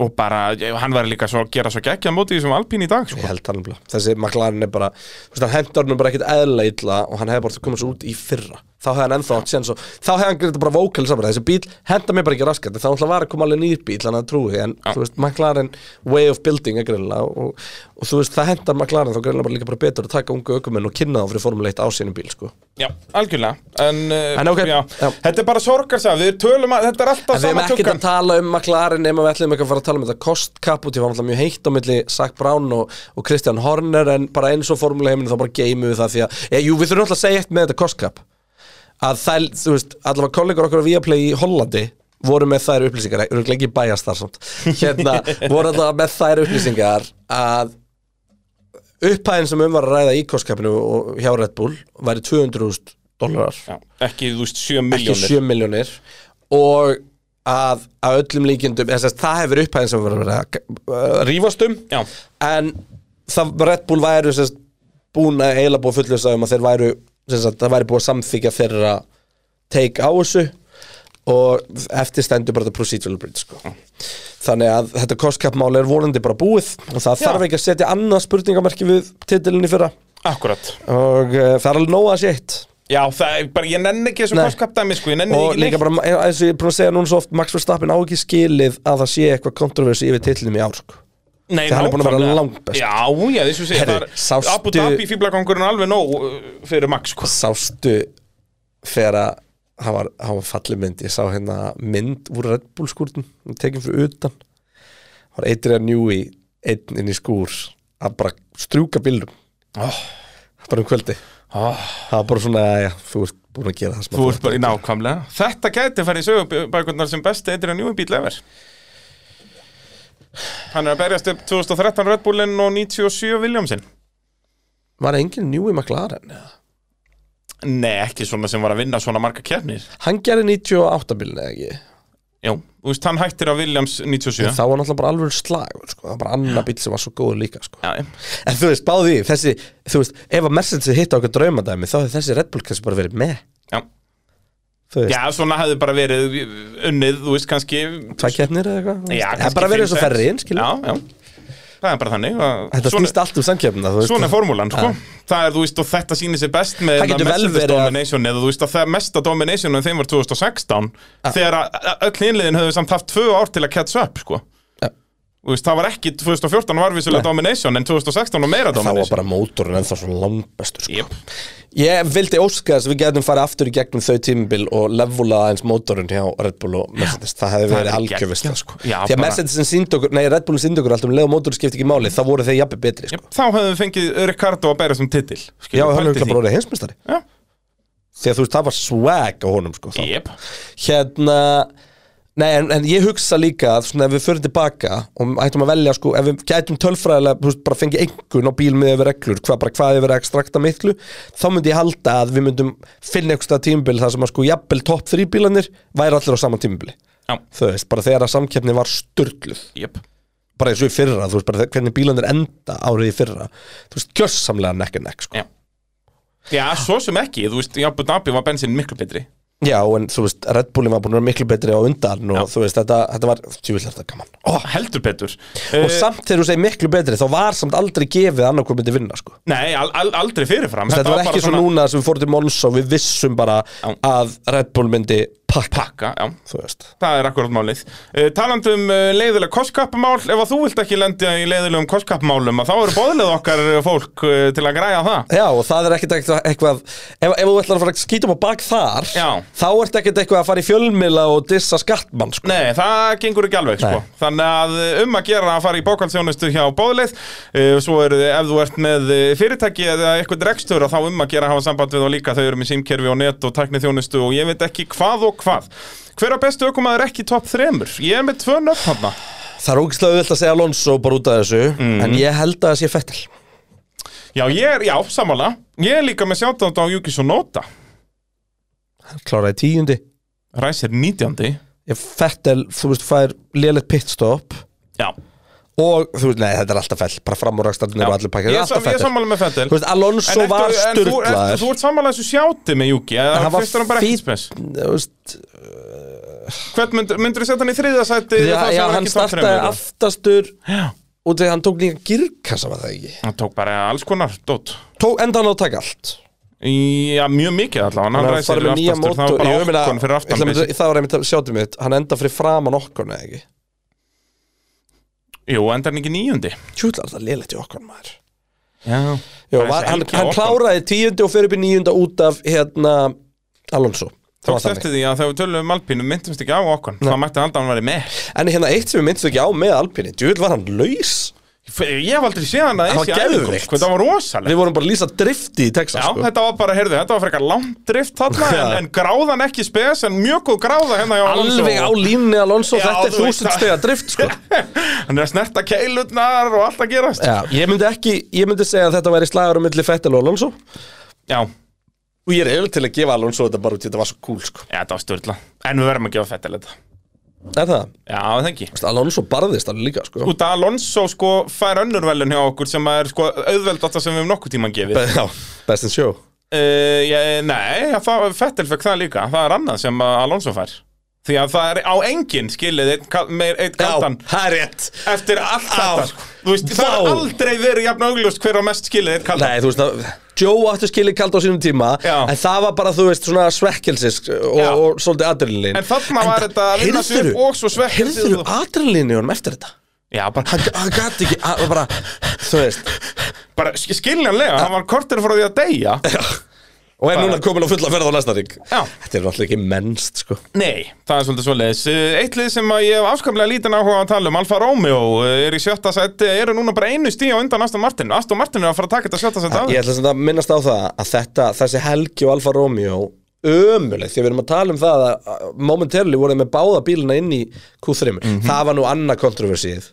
[SPEAKER 1] og bara, eh, hann var líka svo að gera svo geggjað móti í þessum Alpín í dag sko.
[SPEAKER 3] Ég held það nefnilega. Þessi McLaren er bara, þú veist, hann hendur hann bara ekkert eðlilega illa og hann hefði bara komið svo út í fyrra. Þá hefði hann ennþá átt séns og þá hefði hann greitt bara vókæl saman. Þessi bíl henda mér bara ekki raskat. Þá náttúrulega var að koma alveg nýr bíl, hann að trúi. En þú veist, McLaren way of building er greinlega og, og þú veist, það hendar McLaren þá greinlega bara líka bara betur að taka ungu aukumenn og kynna þá fyrir Formule 1 á sínum bíl, sko.
[SPEAKER 1] Já, algjörlega En, uh,
[SPEAKER 3] En ok,
[SPEAKER 1] já.
[SPEAKER 3] já.
[SPEAKER 1] Þetta er bara sorgarsaga, við tölum að þetta er alltaf
[SPEAKER 3] En við erum
[SPEAKER 1] sama
[SPEAKER 3] ekkert að
[SPEAKER 1] tjókan
[SPEAKER 3] tala um McLaren nema við ætlum ekki að fara að tala um þetta kostkap út í var náttúrulega mjög heitt á milli Zach Brown og, og Christian Horner en bara eins og formuleheiminu þá bara geymum við það því að, ég, jú við þurfum alltaf að segja eitt með þetta kostkap að það, þú veist, allavega kollegur okkur á Viaplay í Hollandi voru með þær upplýsingar, eru ekki bæjast þar samt hérna,
[SPEAKER 1] <laughs>
[SPEAKER 3] voru allavega með þær upplýsingar að upphæðin sem um var að ræða í kostkapinu og hjá Red Bull væri 200.000 dólarar
[SPEAKER 1] Já, Ekki, þú veist, 7
[SPEAKER 3] ekki
[SPEAKER 1] miljónir
[SPEAKER 3] 7 miljónir og að, að öllum líkindum þess að það hefur upphæðin sem verið að uh, rífast um
[SPEAKER 1] Já.
[SPEAKER 3] en það Red Bull væru sérst, búin að eiginlega búið fulljósa um að þeir væru sérst, það væri búið að samþykja þeirra take á þessu og eftir stendur bara the procedural bridge sko. þannig að þetta kostkapmál er vonandi bara búið og það
[SPEAKER 1] Já.
[SPEAKER 3] þarf ekki að setja annað spurningamarki við titilinni fyrra
[SPEAKER 1] Akkurat
[SPEAKER 3] og uh, það er alveg nóg að sétt
[SPEAKER 1] Já, það er bara, ég nenni ekki þessum
[SPEAKER 3] Nei.
[SPEAKER 1] koskapdæmi, sko, ég nenni
[SPEAKER 3] og
[SPEAKER 1] því ekki
[SPEAKER 3] líka
[SPEAKER 1] neitt
[SPEAKER 3] bara, eh, eins og ég er búin að segja núna svo oft Max Verstappen á ekki skilið að það sé eitthvað kontroversi yfir titlinum í ár sko.
[SPEAKER 1] Nei,
[SPEAKER 3] Því hann er búinn að vera
[SPEAKER 1] nákvæmlega.
[SPEAKER 3] langbest.
[SPEAKER 1] Já, já, þessu segja,
[SPEAKER 3] Herri,
[SPEAKER 1] það er
[SPEAKER 3] sástu-
[SPEAKER 1] Abu Dhabi fíblagangurinn er alveg nóg uh, fyrir Max, sko
[SPEAKER 3] sástu þegar að hann var, hann var fallið mynd, ég sá hérna mynd úr Red Bull skúrnum, hún tekin fyrir utan hann var Adrian Newey einn inn í skúr að bara strjúka bílum
[SPEAKER 1] oh.
[SPEAKER 3] bara um kvöldi,
[SPEAKER 1] Oh.
[SPEAKER 3] það var bara svona já, þú ert búin að gera það sem
[SPEAKER 1] Þú
[SPEAKER 3] að
[SPEAKER 1] ert bara í nákvæmlega Þetta gæti farið í sögubækurnar sem besti eitir að njúi bíl efer Hann er að berjast upp 2013 Red Bullinn og 97 Williamsinn
[SPEAKER 3] var engin Newey McLaren eða?
[SPEAKER 1] Nei, ekki svona sem var að vinna svona marga keppnir
[SPEAKER 3] hann gerði 98 bílun eða ekki
[SPEAKER 1] Jú, þú veist, hann hættir á Williams 97
[SPEAKER 3] þá var náttúrulega bara alveg slag sko. það var bara annar bíl sem var svo góður líka sko.
[SPEAKER 1] Já,
[SPEAKER 3] En þú veist, báði því, þessi, þú veist, ef að Mercedes hitt á okkur draumadæmi, þá hefði þessi Red Bull kannski bara verið með,
[SPEAKER 1] já
[SPEAKER 3] þú veist,
[SPEAKER 1] Já, svona hafði bara verið unnið, þú veist, kannski
[SPEAKER 3] tvær keppnir eða eitthvað, þú veist.
[SPEAKER 1] Já,
[SPEAKER 3] það
[SPEAKER 1] kannski
[SPEAKER 3] er bara verið
[SPEAKER 1] fimm,
[SPEAKER 3] svo
[SPEAKER 1] sex.
[SPEAKER 3] ferri inn, skilja.
[SPEAKER 1] Já, já Það er bara þannig að-
[SPEAKER 3] Þetta
[SPEAKER 1] svona-
[SPEAKER 3] snýst allt um samkeppnina, þú veist.
[SPEAKER 1] Svona er formúlan, sko Það er, þú veist, og þetta sýnir sér best með
[SPEAKER 3] Það getur
[SPEAKER 1] hérna
[SPEAKER 3] vel
[SPEAKER 1] Mercedes
[SPEAKER 3] verið að-
[SPEAKER 1] domination eða þú veist að það mesta domination en þeim var 2016 þegar að öll innliðin höfðu samt haft tvö ár til að catch up, sko
[SPEAKER 3] Já.
[SPEAKER 1] Þú veist, það var ekki 2014 var vissulega domination en 2016 var meira
[SPEAKER 3] Þá var
[SPEAKER 1] domination
[SPEAKER 3] bara mótorinn ennþá svona langbestur, sko.
[SPEAKER 1] Jep.
[SPEAKER 3] Ég vildi óska þess að við getum farið aftur í gegnum þau tímabil og levula eins mótorinn hjá Red Bull og Mercedes. það hefði
[SPEAKER 1] það
[SPEAKER 3] verið
[SPEAKER 1] hefði
[SPEAKER 3] algjöfist,
[SPEAKER 1] geggjað,
[SPEAKER 3] sko.
[SPEAKER 1] sko.
[SPEAKER 3] Því
[SPEAKER 1] Já,
[SPEAKER 3] að
[SPEAKER 1] bara-
[SPEAKER 3] Mercedesin síndi okkur, nei, Red Bullin síndi okkur alltaf um leið og mótorinn skipti ekki máli, þá voru þeir jafnir betri, sko.
[SPEAKER 1] Jep, Þá höfðu við fengið Ricardo að bæra sem titil
[SPEAKER 3] Já, hann er bara orðið heimsmyndstari.
[SPEAKER 1] Já.
[SPEAKER 3] Því að þú veist, það var swag á honum, sko, þá.
[SPEAKER 1] Jep,
[SPEAKER 3] hérna Nei, en, en ég hugsa líka að svona, ef við förum tilbaka og ættum að velja sko, ef við gætum tölfræðilega, þú veist, bara fengið einhvern á bíl með yfir reglur, hvað bara hvað yfir að extrakta miklu, þá myndi ég halda að við myndum finna einhverstað tímabil þar sem að sko jafnvel topp þrý bílanir væri allir á sama tímabili.
[SPEAKER 1] Já.
[SPEAKER 3] Þú veist, bara þegar að samkeppni var sturgluð,
[SPEAKER 1] jep
[SPEAKER 3] bara eins og í fyrra, þú veist, bara þe- hvernig bílanir enda árið í fyrra, þú veist, kjössamlega nekk en nekk, sko.
[SPEAKER 1] Já. Já, svo sem ekki, þú veist, í Abu Dhabi var bensin miklu betri
[SPEAKER 3] Já, en þú veist, Red Bullin var búin að vera miklu betri á undan og þú veist, þetta, þetta var, tjúvill er þetta gaman.
[SPEAKER 1] oh. Heldur betur Eh,
[SPEAKER 3] og samt þegar þú segir miklu betri þá var samt aldrei gefið að annarkoð myndi vinna sko.
[SPEAKER 1] Nei, al al aldrei fyrirfram
[SPEAKER 3] þetta var
[SPEAKER 1] bara
[SPEAKER 3] ekki svo
[SPEAKER 1] svona
[SPEAKER 3] núna sem við fórum til Mons og við vissum bara
[SPEAKER 1] Já.
[SPEAKER 3] að Red Bull myndi pakka
[SPEAKER 1] Pakka, já
[SPEAKER 3] þú veist
[SPEAKER 1] Það er akkurat málið. Uh, talandu um uh, leiðileg kostkappmál, ef að þú vilt ekki lenda í leiðilegum kostkappmálum, að þá eru boðlið okkar eh, fólk uh, til að græja það.
[SPEAKER 3] Já, og það er ekkert eitthvað, eitthvað ef, ef þú ætlar að fara að skýta upp á bak þar
[SPEAKER 1] Já.
[SPEAKER 3] þá ert ekkert eitthvað að fara í fjölmila og dissa skattmann sko.
[SPEAKER 1] Nei, það gengur ekki alveg, sko.
[SPEAKER 3] Nei.
[SPEAKER 1] Þannig að eh, um að gera að fara í bókaldsjónustu hjá boðlið, uh, svo eru þið- ef þú ert með eh, fyrirtæki eða eitthvað rekstur, að þá um að gera að hafa samband við þá líka, þau eru með símkerfi og net og tæknithjónustu og ég veit ekki hvað og hvað. Hver að bestu ökumaður ekki í topp þremur? Ég er með tvö nöfn hann.
[SPEAKER 3] Það er ógislega auðvitað að segja Alonso bara út af þessu
[SPEAKER 1] Mm.
[SPEAKER 3] en ég held að það sé fettil
[SPEAKER 1] Já, ég er, já, samanlega. Ég er líka með sjátt á Júkis og Nóta.
[SPEAKER 3] Hann kláraði tíundi
[SPEAKER 1] Ræsir nítjandi.
[SPEAKER 3] Ég fettil, þú veist, fær léleitt pitstop
[SPEAKER 1] Já,
[SPEAKER 3] og þú veist, nei, þetta er alltaf fell bara fram úr rækstandinu og allir pakkið
[SPEAKER 1] Ég
[SPEAKER 3] þetta
[SPEAKER 1] er, sam, ég er
[SPEAKER 3] er alltaf fettil
[SPEAKER 1] sammála með Fettel
[SPEAKER 3] Þú veist, Alonso var
[SPEAKER 1] Þú
[SPEAKER 3] sturglaður
[SPEAKER 1] ert sammála þessu sjáti með Juki
[SPEAKER 3] En
[SPEAKER 1] eða
[SPEAKER 3] hann var
[SPEAKER 1] fyrst er hann bara
[SPEAKER 3] fínn,
[SPEAKER 1] ekkert spes
[SPEAKER 3] þú veist,
[SPEAKER 1] Hvern myndur, myndur setja hann í þriða sæti
[SPEAKER 3] Já,
[SPEAKER 1] það sem
[SPEAKER 3] já,
[SPEAKER 1] var
[SPEAKER 3] hann
[SPEAKER 1] ekki í topp
[SPEAKER 3] startaði
[SPEAKER 1] þremur?
[SPEAKER 3] aftastur
[SPEAKER 1] Já,
[SPEAKER 3] og þegar hann tók líka girkassa var það ekki
[SPEAKER 1] hann tók bara alls konar, dót
[SPEAKER 3] Tók enda hann á að taka allt
[SPEAKER 1] Já, mjög mikið allavega, hann
[SPEAKER 3] Hann
[SPEAKER 1] ræði sér
[SPEAKER 3] farið með nýja
[SPEAKER 1] aftastur Það var
[SPEAKER 3] mótor- Ég meina,
[SPEAKER 1] bara okkon fyrir
[SPEAKER 3] ég
[SPEAKER 1] aftan
[SPEAKER 3] ætla að- Það var einmitt að sjáttu mitt Hann enda fyrir framan okkur, eða ekki
[SPEAKER 1] Jú, enda hann ekki nýjundi
[SPEAKER 3] Tjúlar það lélegt í okkur, maður
[SPEAKER 1] Já, Það
[SPEAKER 3] Jó,
[SPEAKER 1] er
[SPEAKER 3] var,
[SPEAKER 1] þessi
[SPEAKER 3] hann,
[SPEAKER 1] helgi á
[SPEAKER 3] hann
[SPEAKER 1] Ocon.
[SPEAKER 3] kláraði tíundi og fyrir upp í níunda út af hérna Alonso Það var
[SPEAKER 1] tókst
[SPEAKER 3] þannig
[SPEAKER 1] eftir því að þegar við tölum um Alpínu myndumst ekki á okkon Það mætti halda að hann væri með
[SPEAKER 3] En hérna eitt sem við myndist ekki á með Alpini Tjúlar var hann laus
[SPEAKER 1] F- Ég hef aldrei séð hann að
[SPEAKER 3] Það var
[SPEAKER 1] þessi æfingum,
[SPEAKER 3] geðveikt.
[SPEAKER 1] sko, Það var rosalegt
[SPEAKER 3] Við vorum bara að lýsa drifti í Texas
[SPEAKER 1] Já,
[SPEAKER 3] sko.
[SPEAKER 1] þetta var bara, heyrðu, þetta var frekar langt drift þarna en,
[SPEAKER 3] <laughs> Já.
[SPEAKER 1] en gráðan ekki spes, en mjög góð gráða hérna hjá Alonso.
[SPEAKER 3] Alveg á línni Alonso,
[SPEAKER 1] Já,
[SPEAKER 3] þetta er
[SPEAKER 1] þú veist
[SPEAKER 3] þúsund
[SPEAKER 1] það.
[SPEAKER 3] stega drift sko.
[SPEAKER 1] <laughs> Hann er að snerta keilurnar og allt að gerast
[SPEAKER 3] <laughs> Já, ég myndi ekki, ég myndi segja að þetta væri slagur um milli Fettel og Alonso
[SPEAKER 1] Já,
[SPEAKER 3] Og ég er eiginlega til að gefa Alonso þetta bara út, í þetta var svo cool sko.
[SPEAKER 1] Já, þetta var styrla En við verðum að gefa Fettel þetta
[SPEAKER 3] Er það?
[SPEAKER 1] Já, það ekki
[SPEAKER 3] Vist, Alonso barðist alveg líka sko.
[SPEAKER 1] Út að Alonso sko fær önnur velun hjá okkur sem er sko auðveldasta sem við hefum nokkuð tíman gefið uh,
[SPEAKER 3] <laughs> Já, best in show
[SPEAKER 1] ég, Nei, já, það, Fettel fekk það líka Það er annað sem að Alonso fær Því að það er á enginn skilið einn, kal- meir- einn kaldan
[SPEAKER 3] það er rétt
[SPEAKER 1] Eftir allt þetta sko. Þú veist, það
[SPEAKER 3] Vá.
[SPEAKER 1] er aldrei verið jafn augljóst hver á mest skilið einn kaldan
[SPEAKER 3] Nei, þú veist, að- Joe átti skilið kald á sínum tíma
[SPEAKER 1] Já.
[SPEAKER 3] En það var bara, þú veist, svona svekkelsis og,
[SPEAKER 1] Já.
[SPEAKER 3] og svolítið adrenalin
[SPEAKER 1] En þarna var þetta að vinna sig upp og svo svekkjast
[SPEAKER 3] svekkelsið
[SPEAKER 1] yfir
[SPEAKER 3] Heyrðurðu
[SPEAKER 1] það.
[SPEAKER 3] adrenalinu honum eftir þetta?
[SPEAKER 1] Já, bara,
[SPEAKER 3] Hann, hann gæti ekki, hann var bara, þú veist
[SPEAKER 1] bara sk- skiljanlega, hann var kortir frá því að deyja
[SPEAKER 3] Og er núna komin á fulla ferð á næsta ring
[SPEAKER 1] Já.
[SPEAKER 3] Þetta er náttúrulega ekki mennst, sko
[SPEAKER 1] Nei, það er svolítið svoleiðis Eh, Eitt lið sem að ég hef afskamlega lítið áhuga að tala um Alfa Romeo eh, er í sjötta sett eru núna bara einu stíð á undan Aston Martin Aston Martin er að fara að taka þetta sjötta sett af
[SPEAKER 3] Ég ætla sem það að minnast á það að þetta, þessi Helgi og Alfa Romeo ömulegt, því að við erum að tala um það að að momentarily voru þeir með báða bílina inn í Q3
[SPEAKER 1] Mhm.
[SPEAKER 3] það var nú annað kontroversið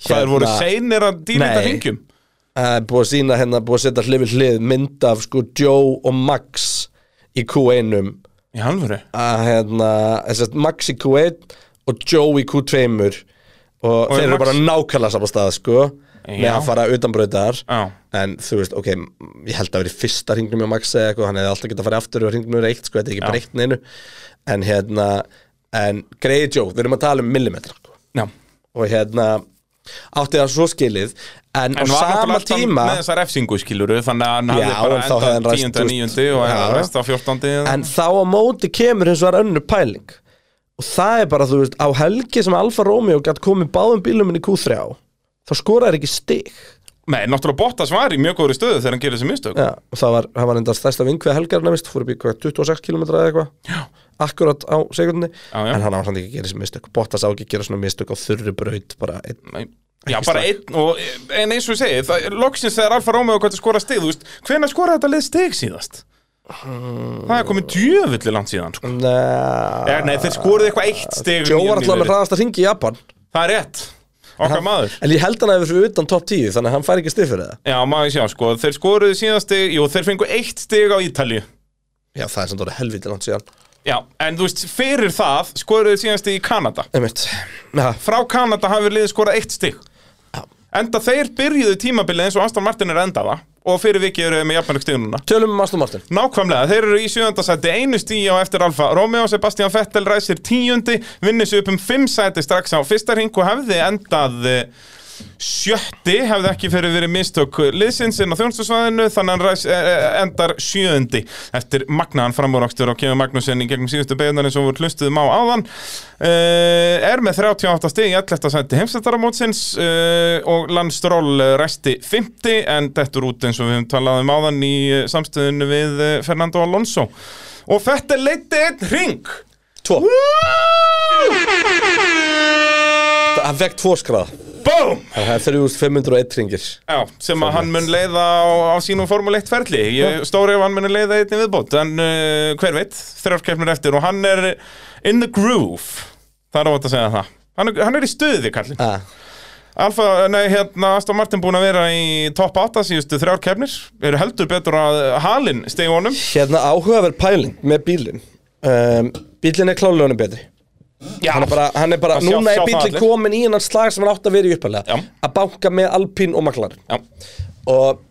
[SPEAKER 1] Hvað er voru seinir að dýra þetta
[SPEAKER 3] hérna- Nei.
[SPEAKER 1] hringjum?
[SPEAKER 3] Það er búið að sína hérna, búið að setja hlið við hlið mynd af sko Joe og Max í Q1-um
[SPEAKER 1] Í halvöru
[SPEAKER 3] að hérna, þess að Max í Q1 og Joe í Q2-mur og, þeir
[SPEAKER 1] er
[SPEAKER 3] eru
[SPEAKER 1] Max-
[SPEAKER 3] bara nákvæmlega saman stað sko með
[SPEAKER 1] Já.
[SPEAKER 3] að fara utanbrautar
[SPEAKER 1] Já.
[SPEAKER 3] en þú veist, ok, ég held að verið fyrsta hringnum hjá Max eða eitthvað, hann hefði alltaf getað að fara aftur og hringnum er eitt, sko, þetta er ekki
[SPEAKER 1] Já.
[SPEAKER 3] breytt neinu en hérna, en greiði Joe, við erum að tala um millimetra sko.
[SPEAKER 1] Já
[SPEAKER 3] og hérna átti það svo skilið en,
[SPEAKER 1] En
[SPEAKER 3] á
[SPEAKER 1] var
[SPEAKER 3] sama
[SPEAKER 1] náttúrulega tíma...
[SPEAKER 3] tíma
[SPEAKER 1] með þessar refsingu skiluru Þannig að hann
[SPEAKER 3] Já,
[SPEAKER 1] hafði
[SPEAKER 3] en
[SPEAKER 1] bara
[SPEAKER 3] þá hefði hann
[SPEAKER 1] enda 10.
[SPEAKER 3] ræst úr-
[SPEAKER 1] 9. og
[SPEAKER 3] Já.
[SPEAKER 1] hann resta 14.
[SPEAKER 3] En þá á móti kemur hins vegar önnur pæling Og það er bara, þú veist, á helgi sem Alfa Romeo gætt komið báðum bílum inn í Q3 á Þá skoraði ekki stig
[SPEAKER 1] Nei, náttúrulega Bottas var í mjög góðri stöðu þegar hann gerir þessi mistök
[SPEAKER 3] Já, og það var, það var enda stærsta vingveð helgar nefnist Fór upp í hvað, 26 km eða eitthvað Já Akkurat á sekundinni
[SPEAKER 1] Já, já.
[SPEAKER 3] En hann á samt ekki að gera þessi mistök Bottas á ekki að gera svona mistök á þurru braut Bara einn
[SPEAKER 1] Nei. Já, bara
[SPEAKER 3] slag.
[SPEAKER 1] einn og En eins og ég segi, það, loksins þegar Alfa Romeo gott að skora stig, þú veist, hvenær skoraði þetta lið stig síðast? Það er komið djöfulli langt síðan sko.
[SPEAKER 3] Nei
[SPEAKER 1] Nei, nei, þeir skoruðu eitthvað eitt stig
[SPEAKER 3] Jó var
[SPEAKER 1] nýjan
[SPEAKER 3] alltaf með
[SPEAKER 1] nýverið.
[SPEAKER 3] hraðasta hringi í Japan
[SPEAKER 1] Það er rétt, okkar maður
[SPEAKER 3] En ég held hann að við fyrir utan top 10 Þannig að hann fær ekki stig fyrir það
[SPEAKER 1] Já, maður sjá, sko, þeir skoruðu síðan stig Jú, þeir fengu eitt stig á Ítalíu
[SPEAKER 3] Já, það er sem þetta helviti langt síðan
[SPEAKER 1] Já, en þú veist, fyrir það skoruðu síðan stig í Kanada
[SPEAKER 3] Einmitt Já,
[SPEAKER 1] Frá Kanada hafi liðið skorað eitt stig Enda þeir byrjuðu tímabilið eins og Aston Martin er að enda það Og fyrir vikið eru þeir með jafnmörg stig núna
[SPEAKER 3] Tölum um Aston Martin
[SPEAKER 1] Nákvæmlega, þeir eru í sjöndasæti einu stíu á eftir Alfa Romeo, Sebastian Vettel ræsir tíundi, vinnur sig upp um fimm sæti strax á fyrsta ring og hefði endað eh, sjötti, hefði ekki fyrir verið mistök liðsins inn á þjónstusvæðinu, þannig hann ræs, eh, endar sjöundi eftir magnaðan framúrakstur og kemur Magnússon í gegnum síðustu beigðanir sem voru hlustuðum á áðan uh, er með 38 stig í 11. sæti heimsættaramótsins uh, og landstról resti 50 en dettur út eins og við höfum talað um áðan í eh, samstöðunni við eh, Fernando Alonso og þetta leiti einn ring
[SPEAKER 3] Tvo Hann fekk tvo skráð
[SPEAKER 1] BOOM!
[SPEAKER 3] Það er 3501 ringir
[SPEAKER 1] Já, sem að hann mun leiða á, á sínum Formule 1 ferli Ég stóri ef hann mun leiða einni viðbót En uh, hver veit, þrjárkeppnir eftir Og hann er in the groove Það er óvægt að segja það Hann er, hann er í stuði, kallinn
[SPEAKER 3] ah.
[SPEAKER 1] Alfa, nei, hérna, Aston Martin búin að vera í topp 8 síðustu þrjárkeppnir Eru heldur betur að halinn stegi honum
[SPEAKER 3] Hérna áhugaverð pæling með bílinn um, Bílinn er klálega honum betri
[SPEAKER 1] Já,
[SPEAKER 3] Hann er bara, hann er bara
[SPEAKER 1] Það sjá-
[SPEAKER 3] núna
[SPEAKER 1] sjá
[SPEAKER 3] er
[SPEAKER 1] það
[SPEAKER 3] bílinn
[SPEAKER 1] allir.
[SPEAKER 3] komin í hennan slag sem hann átt að vera í uppalega
[SPEAKER 1] Já.
[SPEAKER 3] Að banka með Alpín og McLaren
[SPEAKER 1] Já,
[SPEAKER 3] og,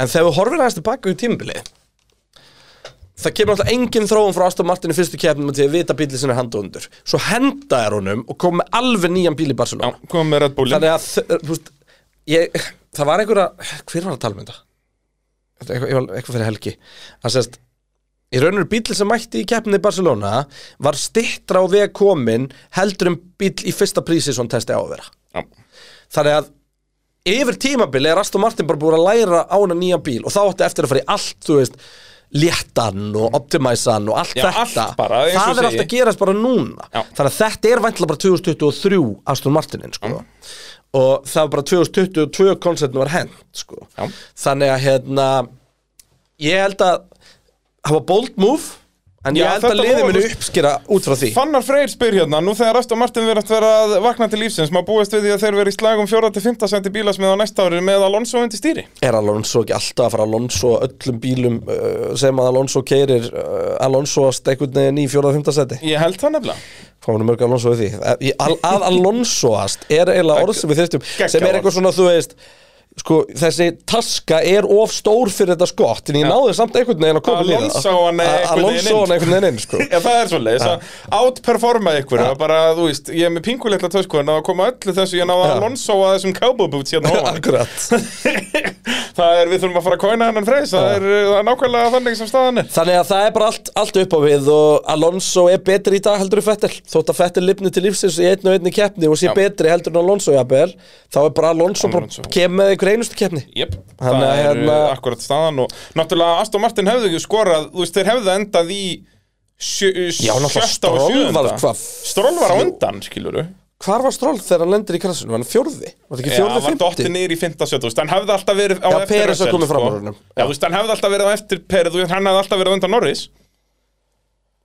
[SPEAKER 3] En þegar við horfum aðeins tilbaka í tímabilið það kemur alltaf engin þróun frá Aston Martin í fyrstu keppnum til að vita bílið sinni handa undur svo henda er honum og kom með alveg nýjan bíl í Barcelona
[SPEAKER 1] komum með Red Bullin
[SPEAKER 3] þannig að þ- þú veist, ég, það var einhverja hver var að tala um þetta? Þetta er Eitthvað, ég var- eitthvað fyrir helgi það sést í raunur bíl sem mætti í keppni í Barcelona var stittra á veg komin heldur um bíl í fyrsta prísi sem hann testi á að vera
[SPEAKER 1] Já.
[SPEAKER 3] þannig að yfir tímabili er Aston Martin bara búin að læra á hana nýja bíl og þá átti eftir að fara í allt, þú veist léttan og optimæsan og allt
[SPEAKER 1] Já,
[SPEAKER 3] þetta
[SPEAKER 1] allt bara, eins og
[SPEAKER 3] það er
[SPEAKER 1] segi.
[SPEAKER 3] allt að gerast bara núna
[SPEAKER 1] Já.
[SPEAKER 3] þannig að þetta er væntilega bara 2023 Aston Martinin sko
[SPEAKER 1] Mm.
[SPEAKER 3] og það var bara 2022 konceptin var hend sko
[SPEAKER 1] Já.
[SPEAKER 3] þannig að hérna ég held að hafa bold move en
[SPEAKER 1] Já,
[SPEAKER 3] ég held að
[SPEAKER 1] þetta
[SPEAKER 3] liði
[SPEAKER 1] var-
[SPEAKER 3] muni uppskera út frá því
[SPEAKER 1] Fannar Freyr spyr hérna, nú þegar Aston Martin verðast vera að vakna til lífsins, má búast við því að þeir verið í um slagum 4-5 centi bílasmið á næsta ári með Alonso undir stýri.
[SPEAKER 3] er Alonso ekki alltaf að fara Alonso á öllum bílum uh, sem að Alonso keirir uh, Alonso að stekkut neginn í fjóraða fymta seti
[SPEAKER 1] Ég held það nefnilega.
[SPEAKER 3] fáinu mörg Alonso við því að, í- al, að Alonsoast er eiginlega orð sem við þyrstum sem er eitthvað svona þú veist sko þessi taska er of stór fyrir þetta skott en ég náði samt einhvern veginn að koma niður
[SPEAKER 1] Alonso hann
[SPEAKER 3] Að-
[SPEAKER 1] einhvern veginn
[SPEAKER 3] Alonso
[SPEAKER 1] inn.
[SPEAKER 3] hann einhvern veginn inn
[SPEAKER 1] <laughs>
[SPEAKER 3] sko.
[SPEAKER 1] Já, það er svolítið, þess að outperforma ykkur, ja. bara, þú veist, ég er með pinguleitla tösku en að koma öllu þessu, ég náða
[SPEAKER 3] Já.
[SPEAKER 1] Alonso að þessum cowboy boots hérna ofan.
[SPEAKER 3] <laughs> akkurat
[SPEAKER 1] <laughs> það er, við þurfum að fara að kóina hennan freys, það er, eh, það er nákvæmlega þannig sem staðan er.
[SPEAKER 3] Þannig að það er bara allt, allt upp á við og Alonso er betri í dag heldur en Fettel þótt að Fettel lifni til lífsins í einn og einni keppni og sé
[SPEAKER 1] Já.
[SPEAKER 3] betri heldur en Alonso jafnvel, þá er bara Alonso
[SPEAKER 1] Alonso.
[SPEAKER 3] bara kem með einhver einustu keppni
[SPEAKER 1] Jep,
[SPEAKER 3] Hann
[SPEAKER 1] það
[SPEAKER 3] er
[SPEAKER 1] er hérna...
[SPEAKER 3] hérna-
[SPEAKER 1] akkurat staðan og náttúrulega Aston Martin hefðu ekki skorað, þú veist, þeir hefðu endað í sjö,
[SPEAKER 3] Já, náttúrulega
[SPEAKER 1] sjötta og
[SPEAKER 3] Stroll
[SPEAKER 1] sjöunda.
[SPEAKER 3] var hvað?
[SPEAKER 1] Stroll var á undan, skilur du?
[SPEAKER 3] Hvar var Stroll þegar hann lendir í krassinu? Var hann fjórði? Var það ekki
[SPEAKER 1] Já,
[SPEAKER 3] fjórði,
[SPEAKER 1] hann var dottir
[SPEAKER 3] fymti?
[SPEAKER 1] niður í 15 sjötta, þú veist, hann hefði alltaf verið á
[SPEAKER 3] Já,
[SPEAKER 1] eftir
[SPEAKER 3] Perez var
[SPEAKER 1] Russell,
[SPEAKER 3] komið fram
[SPEAKER 1] sko.
[SPEAKER 3] úr honum.
[SPEAKER 1] Já, þú veist, hann hefði alltaf verið á eftir Perez, þú veist, hann hefði alltaf verið á undan Norris.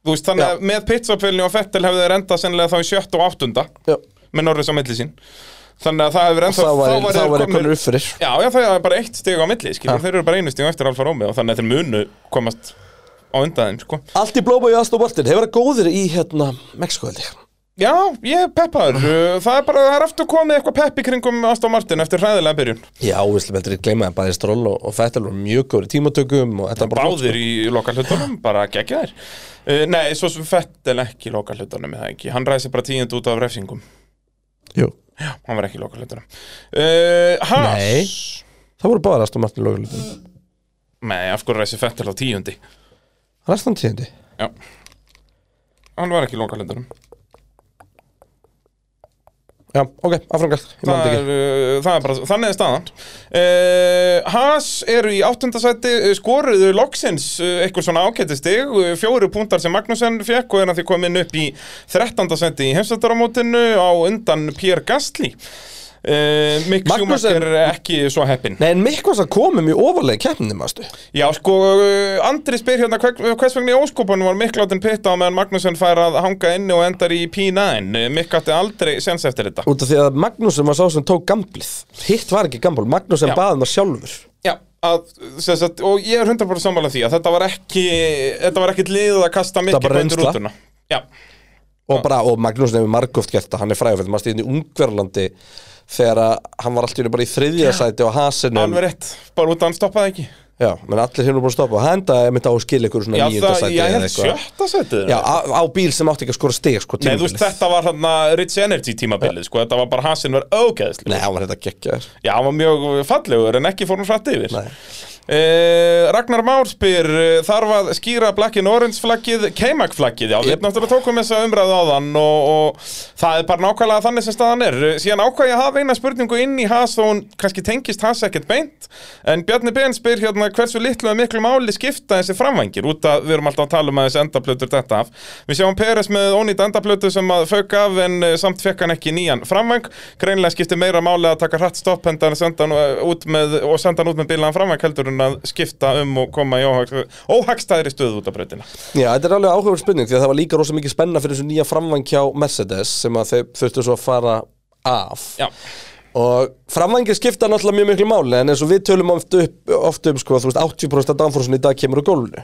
[SPEAKER 1] Þú veist, þannig
[SPEAKER 3] Já.
[SPEAKER 1] að með pitsapölni og Fettel hefðu þeir endað sennilega þá í sjötta og áttunda
[SPEAKER 3] Já,
[SPEAKER 1] með Norris á milli sín. Þannig að það hefur ennþá...
[SPEAKER 3] þá var, þá
[SPEAKER 1] þeir
[SPEAKER 3] var
[SPEAKER 1] komnir-
[SPEAKER 3] einhvern upp fyrir
[SPEAKER 1] Já, já, það er bara eitt stig á milli, skilur, þeir eru bara einu stig á eftir Alfa Romeo, þannig að þeir munu komast á undan þeim, sko.
[SPEAKER 3] Allt í blóma í Aston Martin, hefur það góðir í hérna Mexiko held ég
[SPEAKER 1] Já, ég er peppaður,
[SPEAKER 3] <laughs>
[SPEAKER 1] uh, það er bara, það er aftur komið eitthvað pepp í kringum Aston Martin eftir hræðilega byrjun.
[SPEAKER 3] Já, við slum heldur ekki gleyma að bæði Stroll og, og Fettel voru mjög góður í tímatökum og þetta var bara sko.
[SPEAKER 1] Báðir í lokalhlutunum, bara geggja þær. Uh, nei, svo sem Fettel ekki í lokalhlutunum, eða ekki, hann ræði sér bara tíund út af refsingum.
[SPEAKER 3] Jú,
[SPEAKER 1] Já, hann var ekki í lokalhlutunum. Uh, Haas.
[SPEAKER 3] Nei. það voru báðir Aston Martin lögulegum
[SPEAKER 1] Nei, af hverju ræði sér Fettel á tíundi?
[SPEAKER 3] Restan tíðandi
[SPEAKER 1] Já. Hann var ekki í lokalhlutunum.
[SPEAKER 3] Já, ok, afrangal, ég
[SPEAKER 1] það er,
[SPEAKER 3] maður ekki
[SPEAKER 1] uh, það er bara, þannig er staðan uh, Haas eru í áttundasæti uh, skoruðu loksins uh, eitthvað svona ákættistig, uh, fjóru púntar sem Magnussen fekk og er að því komin upp í þrettandasæti í heimsættaramótinu á undan Pér Gastli Uh, Mikk
[SPEAKER 3] Magnussen-
[SPEAKER 1] Sjúmakar ekki svo heppin
[SPEAKER 3] Nei, en mikk var það komum í ofalega keppninu, maðurstu
[SPEAKER 1] Já sko, uh, Andri spyr hérna hver, hvers vegna í óskopunum var Mikk látin pitta á meðan Magnussen fær að hanga inni og endar í P9 Uh, Mikk átti aldrei sens eftir þetta
[SPEAKER 3] Út af því að Magnúsum var sá sem tók gamblið Hitt var ekki gamblið, Magnúsum
[SPEAKER 1] Já.
[SPEAKER 3] baði maður sjálfur
[SPEAKER 1] Já, að, sem sagt, og ég er 100% sammála því að þetta var ekki þetta var ekkit liðið að kasta mikið
[SPEAKER 3] bara reynsla.
[SPEAKER 1] rútuna Já,
[SPEAKER 3] Og, bara, og Magnúsum hefur margóft gert það, hann er frægur fyrir Maður stíðin í Ungverlandi Þegar að hann var alltaf bara í þriðja sæti á hasinum
[SPEAKER 1] alveg rétt, bara út að hann stoppaði ekki
[SPEAKER 3] Já, menn allir hefur búin að stoppa Og hann endaði mitt á að skila
[SPEAKER 1] Já,
[SPEAKER 3] ykkur svona nýjunda
[SPEAKER 1] það,
[SPEAKER 3] sæti
[SPEAKER 1] ég
[SPEAKER 3] eða
[SPEAKER 1] held
[SPEAKER 3] eitthvað.
[SPEAKER 1] sjötta setið
[SPEAKER 3] Já, á, á bíl sem átti ekki að skora stig sko,
[SPEAKER 1] Nei, þú veist,
[SPEAKER 3] tímabilið.
[SPEAKER 1] þetta var hann Rich Energy tímabilið, sko, þetta var bara hasinn var ógeðsli
[SPEAKER 3] Nei, hann var þetta geggjaður
[SPEAKER 1] Já, hann var mjög fallegur en ekki fór hann frætt yfir
[SPEAKER 3] Nei.
[SPEAKER 1] Eh, Ragnar Már spyr eh, þarf að skýra Blackin Orange flaggið K-Mac flaggið, já, við
[SPEAKER 3] Yep.
[SPEAKER 1] náttúrulega tókum þessa umræðu á þann og, og það er bara nákvæmlega þannig sem staðan er Eh, síðan ákvað ég að hafa eina spurningu inn í Haas og hún kannski tengist Haas ekkert beint en Bjarni Ben spyr hérna hversu litlu og miklu máli skipta þessi framvængir út að við erum alltaf að tala um að þessi endaplötur þetta af við sjáum Peres með ónýtt endaplötu sem að fauk af en eh, samt fekk hann ekki nýjan framvæng greinlega skiptir meira máli að taka hratt stopp henda hann senda hann eh, út með, og senda hann út með bilaðan framvæng heldur en að skipta um og koma í óhagstæðri stöðu út af breytina
[SPEAKER 3] Já, þetta er alveg áhugaverð spurning því að það var líka rosa mikið spenna fyrir þessu nýja framvang hjá Mercedes sem að þau þurftu svo að fara af
[SPEAKER 1] Já.
[SPEAKER 3] Og framvængir skipta náttúrulega mjög miklu máli en eins og við tölum oft, upp, oft um sko, þú veist, 80% af danfórsun í dag kemur á gólfinu.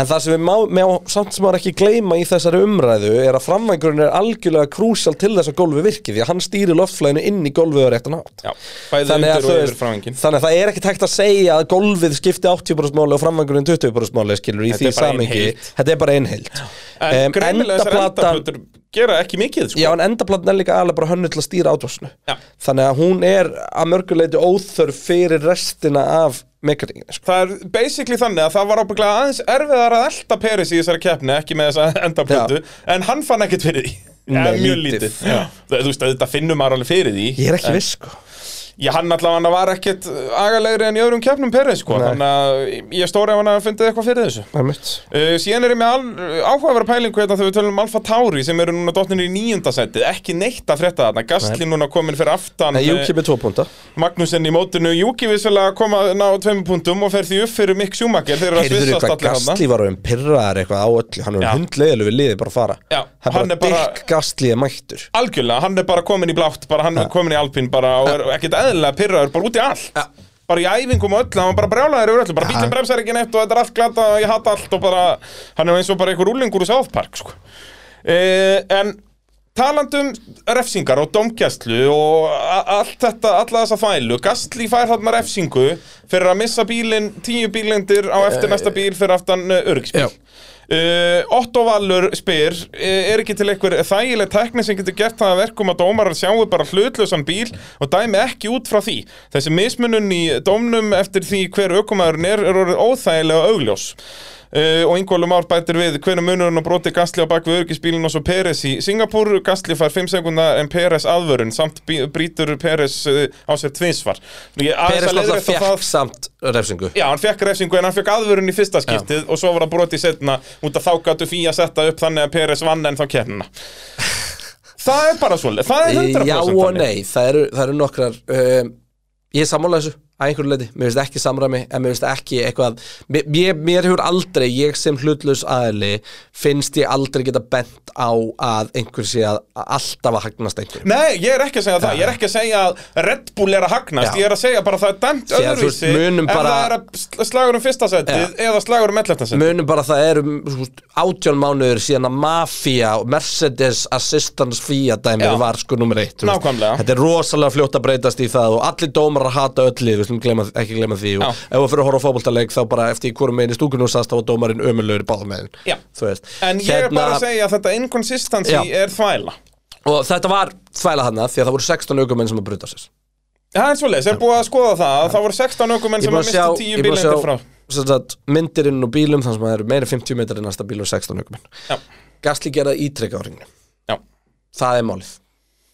[SPEAKER 3] En það sem við má, má samt sem maður ekki gleyma í þessari umræðu er að framvængurinn er algjörlega krúsjál til þess að gólfi virki því að hann stýrir loftflæðinu inn í gólfið á réttan hátt.
[SPEAKER 1] Já, bæði
[SPEAKER 3] Þannig að,
[SPEAKER 1] undir
[SPEAKER 3] þú
[SPEAKER 1] og
[SPEAKER 3] veist,
[SPEAKER 1] yfir framvanginn.
[SPEAKER 3] þannig að það er ekkert hægt að segja að gólfið skipti 80% máli og framvængurinn 20% máli skilur í
[SPEAKER 1] Þetta
[SPEAKER 3] því
[SPEAKER 1] er bara ein
[SPEAKER 3] samingi.
[SPEAKER 1] heild.
[SPEAKER 3] Þetta er bara einhild.
[SPEAKER 1] En greinilega þessar endaplötur gera ekki mikið, sko.
[SPEAKER 3] Já, en endaplatan er líka alveg bara hönnu til að stýra átvásinu
[SPEAKER 1] Já.
[SPEAKER 3] Þannig að hún er að mörguleiti óþörf fyrir restina af mekaníkinni sko.
[SPEAKER 1] Það er basically þannig að það var ábygglega aðeins erfiðar að elta Peris í þessari keppni, ekki með þessa <laughs> endaplötu, en hann fann ekkert fyrir því.
[SPEAKER 3] Nei,
[SPEAKER 1] Eða mjög
[SPEAKER 3] lítið.
[SPEAKER 1] lítið. Já. Það- Þú veist, þetta finnum maður alveg fyrir því.
[SPEAKER 3] Ég er ekki viss sko
[SPEAKER 1] Já, hann allavega var ekkert agalegri en í öðrum keppnum Peris, sko.
[SPEAKER 3] Nei.
[SPEAKER 1] Þannig að ég stóri ef hann hafi fundið eitthvað fyrir þessu.
[SPEAKER 3] Það er mitt
[SPEAKER 1] Uh, síðan er ég með al, áhugaverða pælingu hérna þegar við tölum um Alfa Tauri sem eru núna dottnir í níunda sendið, ekki neitt að frétta þarna Gastli núna komin fyrir aftan
[SPEAKER 3] Nei, Júki með tvo púnta
[SPEAKER 1] eh, Magnussen í mótinu, Júki vissulega kom að ná tveimur punktum og fer því upp fyrir Mick Schumacher þeir eru að
[SPEAKER 3] Heyrður
[SPEAKER 1] svissast
[SPEAKER 3] eitthvað,
[SPEAKER 1] allir hann
[SPEAKER 3] Gastli var um pyrraðar eitthvað á öllu Hann
[SPEAKER 1] Já.
[SPEAKER 3] er um hundleilu við liðið bara að fara
[SPEAKER 1] Já,
[SPEAKER 3] Það
[SPEAKER 1] hann
[SPEAKER 3] er
[SPEAKER 1] er
[SPEAKER 3] bara
[SPEAKER 1] bara-
[SPEAKER 3] dykk Gastli er mættur
[SPEAKER 1] algjörlega, hann er bara komin í blátt bara hann er komin í Alpín bara og er ekkert eðlilega pyrraður bara út í allt
[SPEAKER 3] Já.
[SPEAKER 1] bara í æfingum og öllu, hann var bara brjálaður yfir öllu bara bílinn bremsar ekki neitt og þetta er allt glata og ég hata allt og bara, hann er eins og bara einhver úlingur úr South Park sko. uh, en talandum refsingar og domgjæslu og a- allt þetta, alla þessa fælu Gastli fær þarna refsingu fyrir að missa bílinn, tíu bílindir á eftir næsta bíl fyrir aftan örgisbíl
[SPEAKER 3] Já.
[SPEAKER 1] Uh, Otto Valur spyr uh, er ekki til einhver þægileg tekni sem getur gert það að verkum að dómarar sjáu bara hlutlausan bíl og dæmi ekki út frá því þessi mismunun í dómnum eftir því hver aukumæðurinn er er orðið óþægilega augljós Uh, og Ingólu Már bætir við hvernig munurinn og broti Gastli á bak við örgisbílinn og svo Peres í Singapur Gastli fær 5 sekundar en Peres aðvörun samt bí- brýtur Peres uh, á sér tvinsvar
[SPEAKER 3] Peres náttúrulega fekk samt refsingu
[SPEAKER 1] Já, hann fekk refsingu en hann fekk aðvörun í fyrsta skiptið og svo var það brotið setna út að þá gætu fí að setja upp þannig að Peres vann en þá
[SPEAKER 3] <laughs>
[SPEAKER 1] kernina Það er bara svolítið, það er 100%
[SPEAKER 3] Já og
[SPEAKER 1] þannig.
[SPEAKER 3] nei, það eru, það eru nokkrar um, Ég er sammála þessu að einhverju leiti, mér finnst ekki samræmi en mér finnst ekki eitthvað mér, mér, mér hefur aldrei, ég sem hlutlaus aðli finnst ég aldrei geta bent á að einhver sé að að alltaf að hagnast einhverjum
[SPEAKER 1] Nei, ég er ekki að segja það, ég er ekki að segja að Red Bull er að hagnast,
[SPEAKER 3] Já.
[SPEAKER 1] ég er að segja bara að það er dæmt
[SPEAKER 3] Því að þú veist,
[SPEAKER 1] öðruvísi
[SPEAKER 3] munum
[SPEAKER 1] ef
[SPEAKER 3] bara-
[SPEAKER 1] það er að sl- slagur um fyrsta setið eða slagur um 11. setið
[SPEAKER 3] Munum bara að það eru sko, átján mánuður síðan að Mafia og Mercedes Assistance FIA dæmið
[SPEAKER 1] Já.
[SPEAKER 3] var sko nummer eitt þú veist.
[SPEAKER 1] Nákvæmlega.
[SPEAKER 3] Þetta er rosalega fljótt að breytast í það og allir dómar að hata öll lið, við skulum gleyma, ekki gleyma því og
[SPEAKER 1] Já.
[SPEAKER 3] ef að fyrir að horfa á fótboltaleik þá bara eftir í hverju meginn í stúkunum sast þá var dómarinn ömulögur báðum meginn
[SPEAKER 1] Já.
[SPEAKER 3] Þú veist. Hérna,
[SPEAKER 1] En ég er bara að segja að þetta inconsistency
[SPEAKER 3] Já.
[SPEAKER 1] er þvæla
[SPEAKER 3] Og þetta var þvæla hana því að það voru 16 aukumenn sem að bruta sér
[SPEAKER 1] Það er svolítið, er búið að skoða það að það voru 16 aukumenn
[SPEAKER 3] Ég
[SPEAKER 1] sem að
[SPEAKER 3] búið að
[SPEAKER 1] mista
[SPEAKER 3] sjá,
[SPEAKER 1] 10
[SPEAKER 3] ég búið að
[SPEAKER 1] bílendir frá
[SPEAKER 3] sjá sem sagt, myndirinn og bílum þannig sem það eru meira en 50 metrar í næsta bíl og 16 aukumenn
[SPEAKER 1] Já,
[SPEAKER 3] Gasli gera ítrekka á ringinu
[SPEAKER 1] já,
[SPEAKER 3] það er málið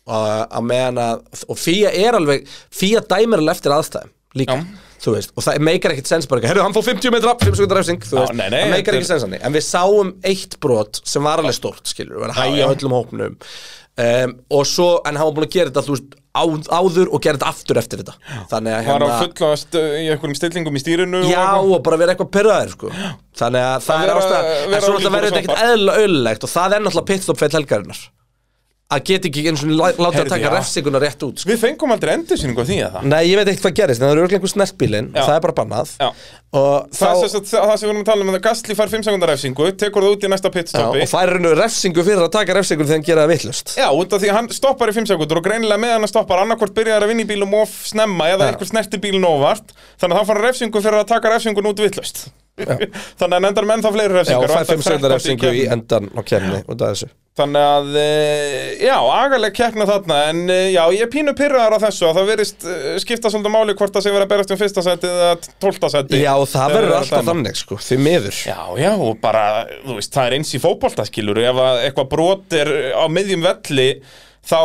[SPEAKER 3] og að meðan að og fíja er alveg, fíja dæmir alveg eftir aðstæðum líka,
[SPEAKER 1] Já.
[SPEAKER 3] þú veist og það meikar ekkert sens bara, herru, hann fór 50 metra 5 sekundar refsing, þú
[SPEAKER 1] Já,
[SPEAKER 3] veist,
[SPEAKER 1] nei, nei,
[SPEAKER 3] það
[SPEAKER 1] þetta
[SPEAKER 3] meikar
[SPEAKER 1] er-
[SPEAKER 3] ekkert sens hann en við sáum eitt brot sem var alveg stórt, skilur, við að
[SPEAKER 1] Já,
[SPEAKER 3] hæja
[SPEAKER 1] já.
[SPEAKER 3] öllum hópnum um, og svo, en hann var búin að gera þetta, þú veist, á, áður og gera þetta aftur eftir þetta, þannig að
[SPEAKER 1] var á fullast eh, í einhverjum stillingum í stýrinu og
[SPEAKER 3] Hérna- Já
[SPEAKER 1] eitthvað.
[SPEAKER 3] og bara vera eitthvað pyrraðir sko Þannig að það
[SPEAKER 1] vera-
[SPEAKER 3] er ástæðan En
[SPEAKER 1] vera
[SPEAKER 3] svo náttúrulega
[SPEAKER 1] ólíkur
[SPEAKER 3] verður
[SPEAKER 1] og
[SPEAKER 3] þetta ekkert eðlilega öllulegt Og það er náttúrulega pitstop feill helgarinnar Að geta ekki eins og láta
[SPEAKER 1] Heyrðu,
[SPEAKER 3] að taka
[SPEAKER 1] já.
[SPEAKER 3] refsinguna rétt út sko.
[SPEAKER 1] Við fengum aldrei endursýningu á því að það
[SPEAKER 3] Nei, ég veit ekkert hvað gerist En það eru örugglega einhver snertbílin
[SPEAKER 1] Já.
[SPEAKER 3] Það er bara bannað
[SPEAKER 1] Já.
[SPEAKER 3] Og þá
[SPEAKER 1] Það, er sem sagt það sem við erum að tala um að Gastli fær 5 sekundar refsingu, tekur það út í næsta
[SPEAKER 3] Já,
[SPEAKER 1] pitstopi
[SPEAKER 3] og færir hennu refsingu fyrir að taka refsingu þegar hann gera það vittlust
[SPEAKER 1] Já, út af því að hann stoppar í 5 sekundur og greinilega meðan hann stoppar annarkvort byrjar að vinna í bílum of snemma eða
[SPEAKER 3] Já.
[SPEAKER 1] einhver snerti bílun óvart þannig að hann fara refsingu fyrir að taka refsingun út vittlust <laughs> þannig að hann endar menn þá fleiri
[SPEAKER 3] Já,
[SPEAKER 1] refsingar
[SPEAKER 3] og fær
[SPEAKER 1] endar
[SPEAKER 3] 5 sekundar
[SPEAKER 1] 13
[SPEAKER 3] refsingu í
[SPEAKER 1] keppni.
[SPEAKER 3] endan á kemni út af þessu
[SPEAKER 1] Þannig að, eh, já, agaleg keppna þarna en eh, já, ég er pínu pyrraðar á þessu að það verist skipta svolítið máli hvort það sé verið að berast um fyrsta seti eða tólta seti
[SPEAKER 3] Já, og það verður alltaf þannig sko, því miður
[SPEAKER 1] Já, já, og bara, þú veist, það er eins í fótboltaskilur ef að eitthvað brot er á miðjum velli þá,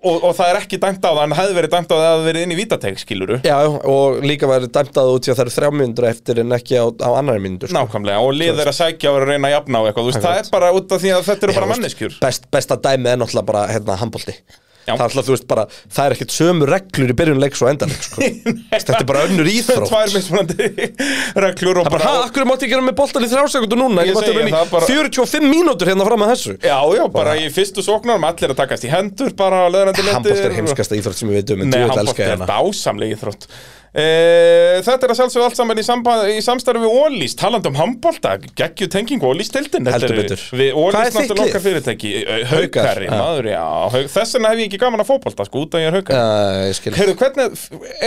[SPEAKER 1] og, og það er ekki dæmt á það en hefði verið dæmt á það að það verið inn í vítateg skiluru
[SPEAKER 3] Já, og líka verður dæmt að það út í að það eru þrjá myndur eftir en ekki á, á annari myndur sko.
[SPEAKER 1] Nákvæmlega, og lið er að sækja og eru að reyna að jafna á eitthvað, þú veist, það er bara út af því að þetta eru bara
[SPEAKER 3] Já,
[SPEAKER 1] manneskjur
[SPEAKER 3] best, Besta dæmið er náttúrulega bara hérna, handbólti
[SPEAKER 1] Já.
[SPEAKER 3] það er alltaf, þú veist, bara það er ekkert sömu reglur í byrjun leiks og endan
[SPEAKER 1] <laughs>
[SPEAKER 3] leiks sko. þetta er bara önnur íþrótt
[SPEAKER 1] Tvær mismunandi <laughs> reglur og
[SPEAKER 3] bara, ha, akkur mátti ég gera með boltan í þrjá sekundu núna
[SPEAKER 1] Ég
[SPEAKER 3] ég mátti
[SPEAKER 1] segi
[SPEAKER 3] vera í
[SPEAKER 1] það bara-
[SPEAKER 3] 45 mínútur hérna fram að þessu
[SPEAKER 1] Já, já, bara í fyrstu sóknar allir að takast í hendur, bara löðrandi
[SPEAKER 3] handbólt er heimskasta íþrótt sem ég veit um en
[SPEAKER 1] Nei,
[SPEAKER 3] djúvill
[SPEAKER 1] handbólt
[SPEAKER 3] elska ég
[SPEAKER 1] er
[SPEAKER 3] hana
[SPEAKER 1] dásamlega íþrótt e, Þetta er að sjálfsögðu allt saman í, samba, í samstarfi við Ólís talandi um handbólta, geggju tengingu Ólís-tildin
[SPEAKER 3] Heldur betur.
[SPEAKER 1] Við
[SPEAKER 3] Hvað er
[SPEAKER 1] Ólís
[SPEAKER 3] þitt
[SPEAKER 1] náttúrulega
[SPEAKER 3] lið?
[SPEAKER 1] okkar fyrirtæki eh,
[SPEAKER 3] Haukar,
[SPEAKER 1] Haukari,
[SPEAKER 3] já.
[SPEAKER 1] maður, já hauk- Þess vegna hef ég ekki gaman að fótbolta, sko, út að ég er haukari
[SPEAKER 3] Uh, ég skil.
[SPEAKER 1] Heyrðu, hvernig,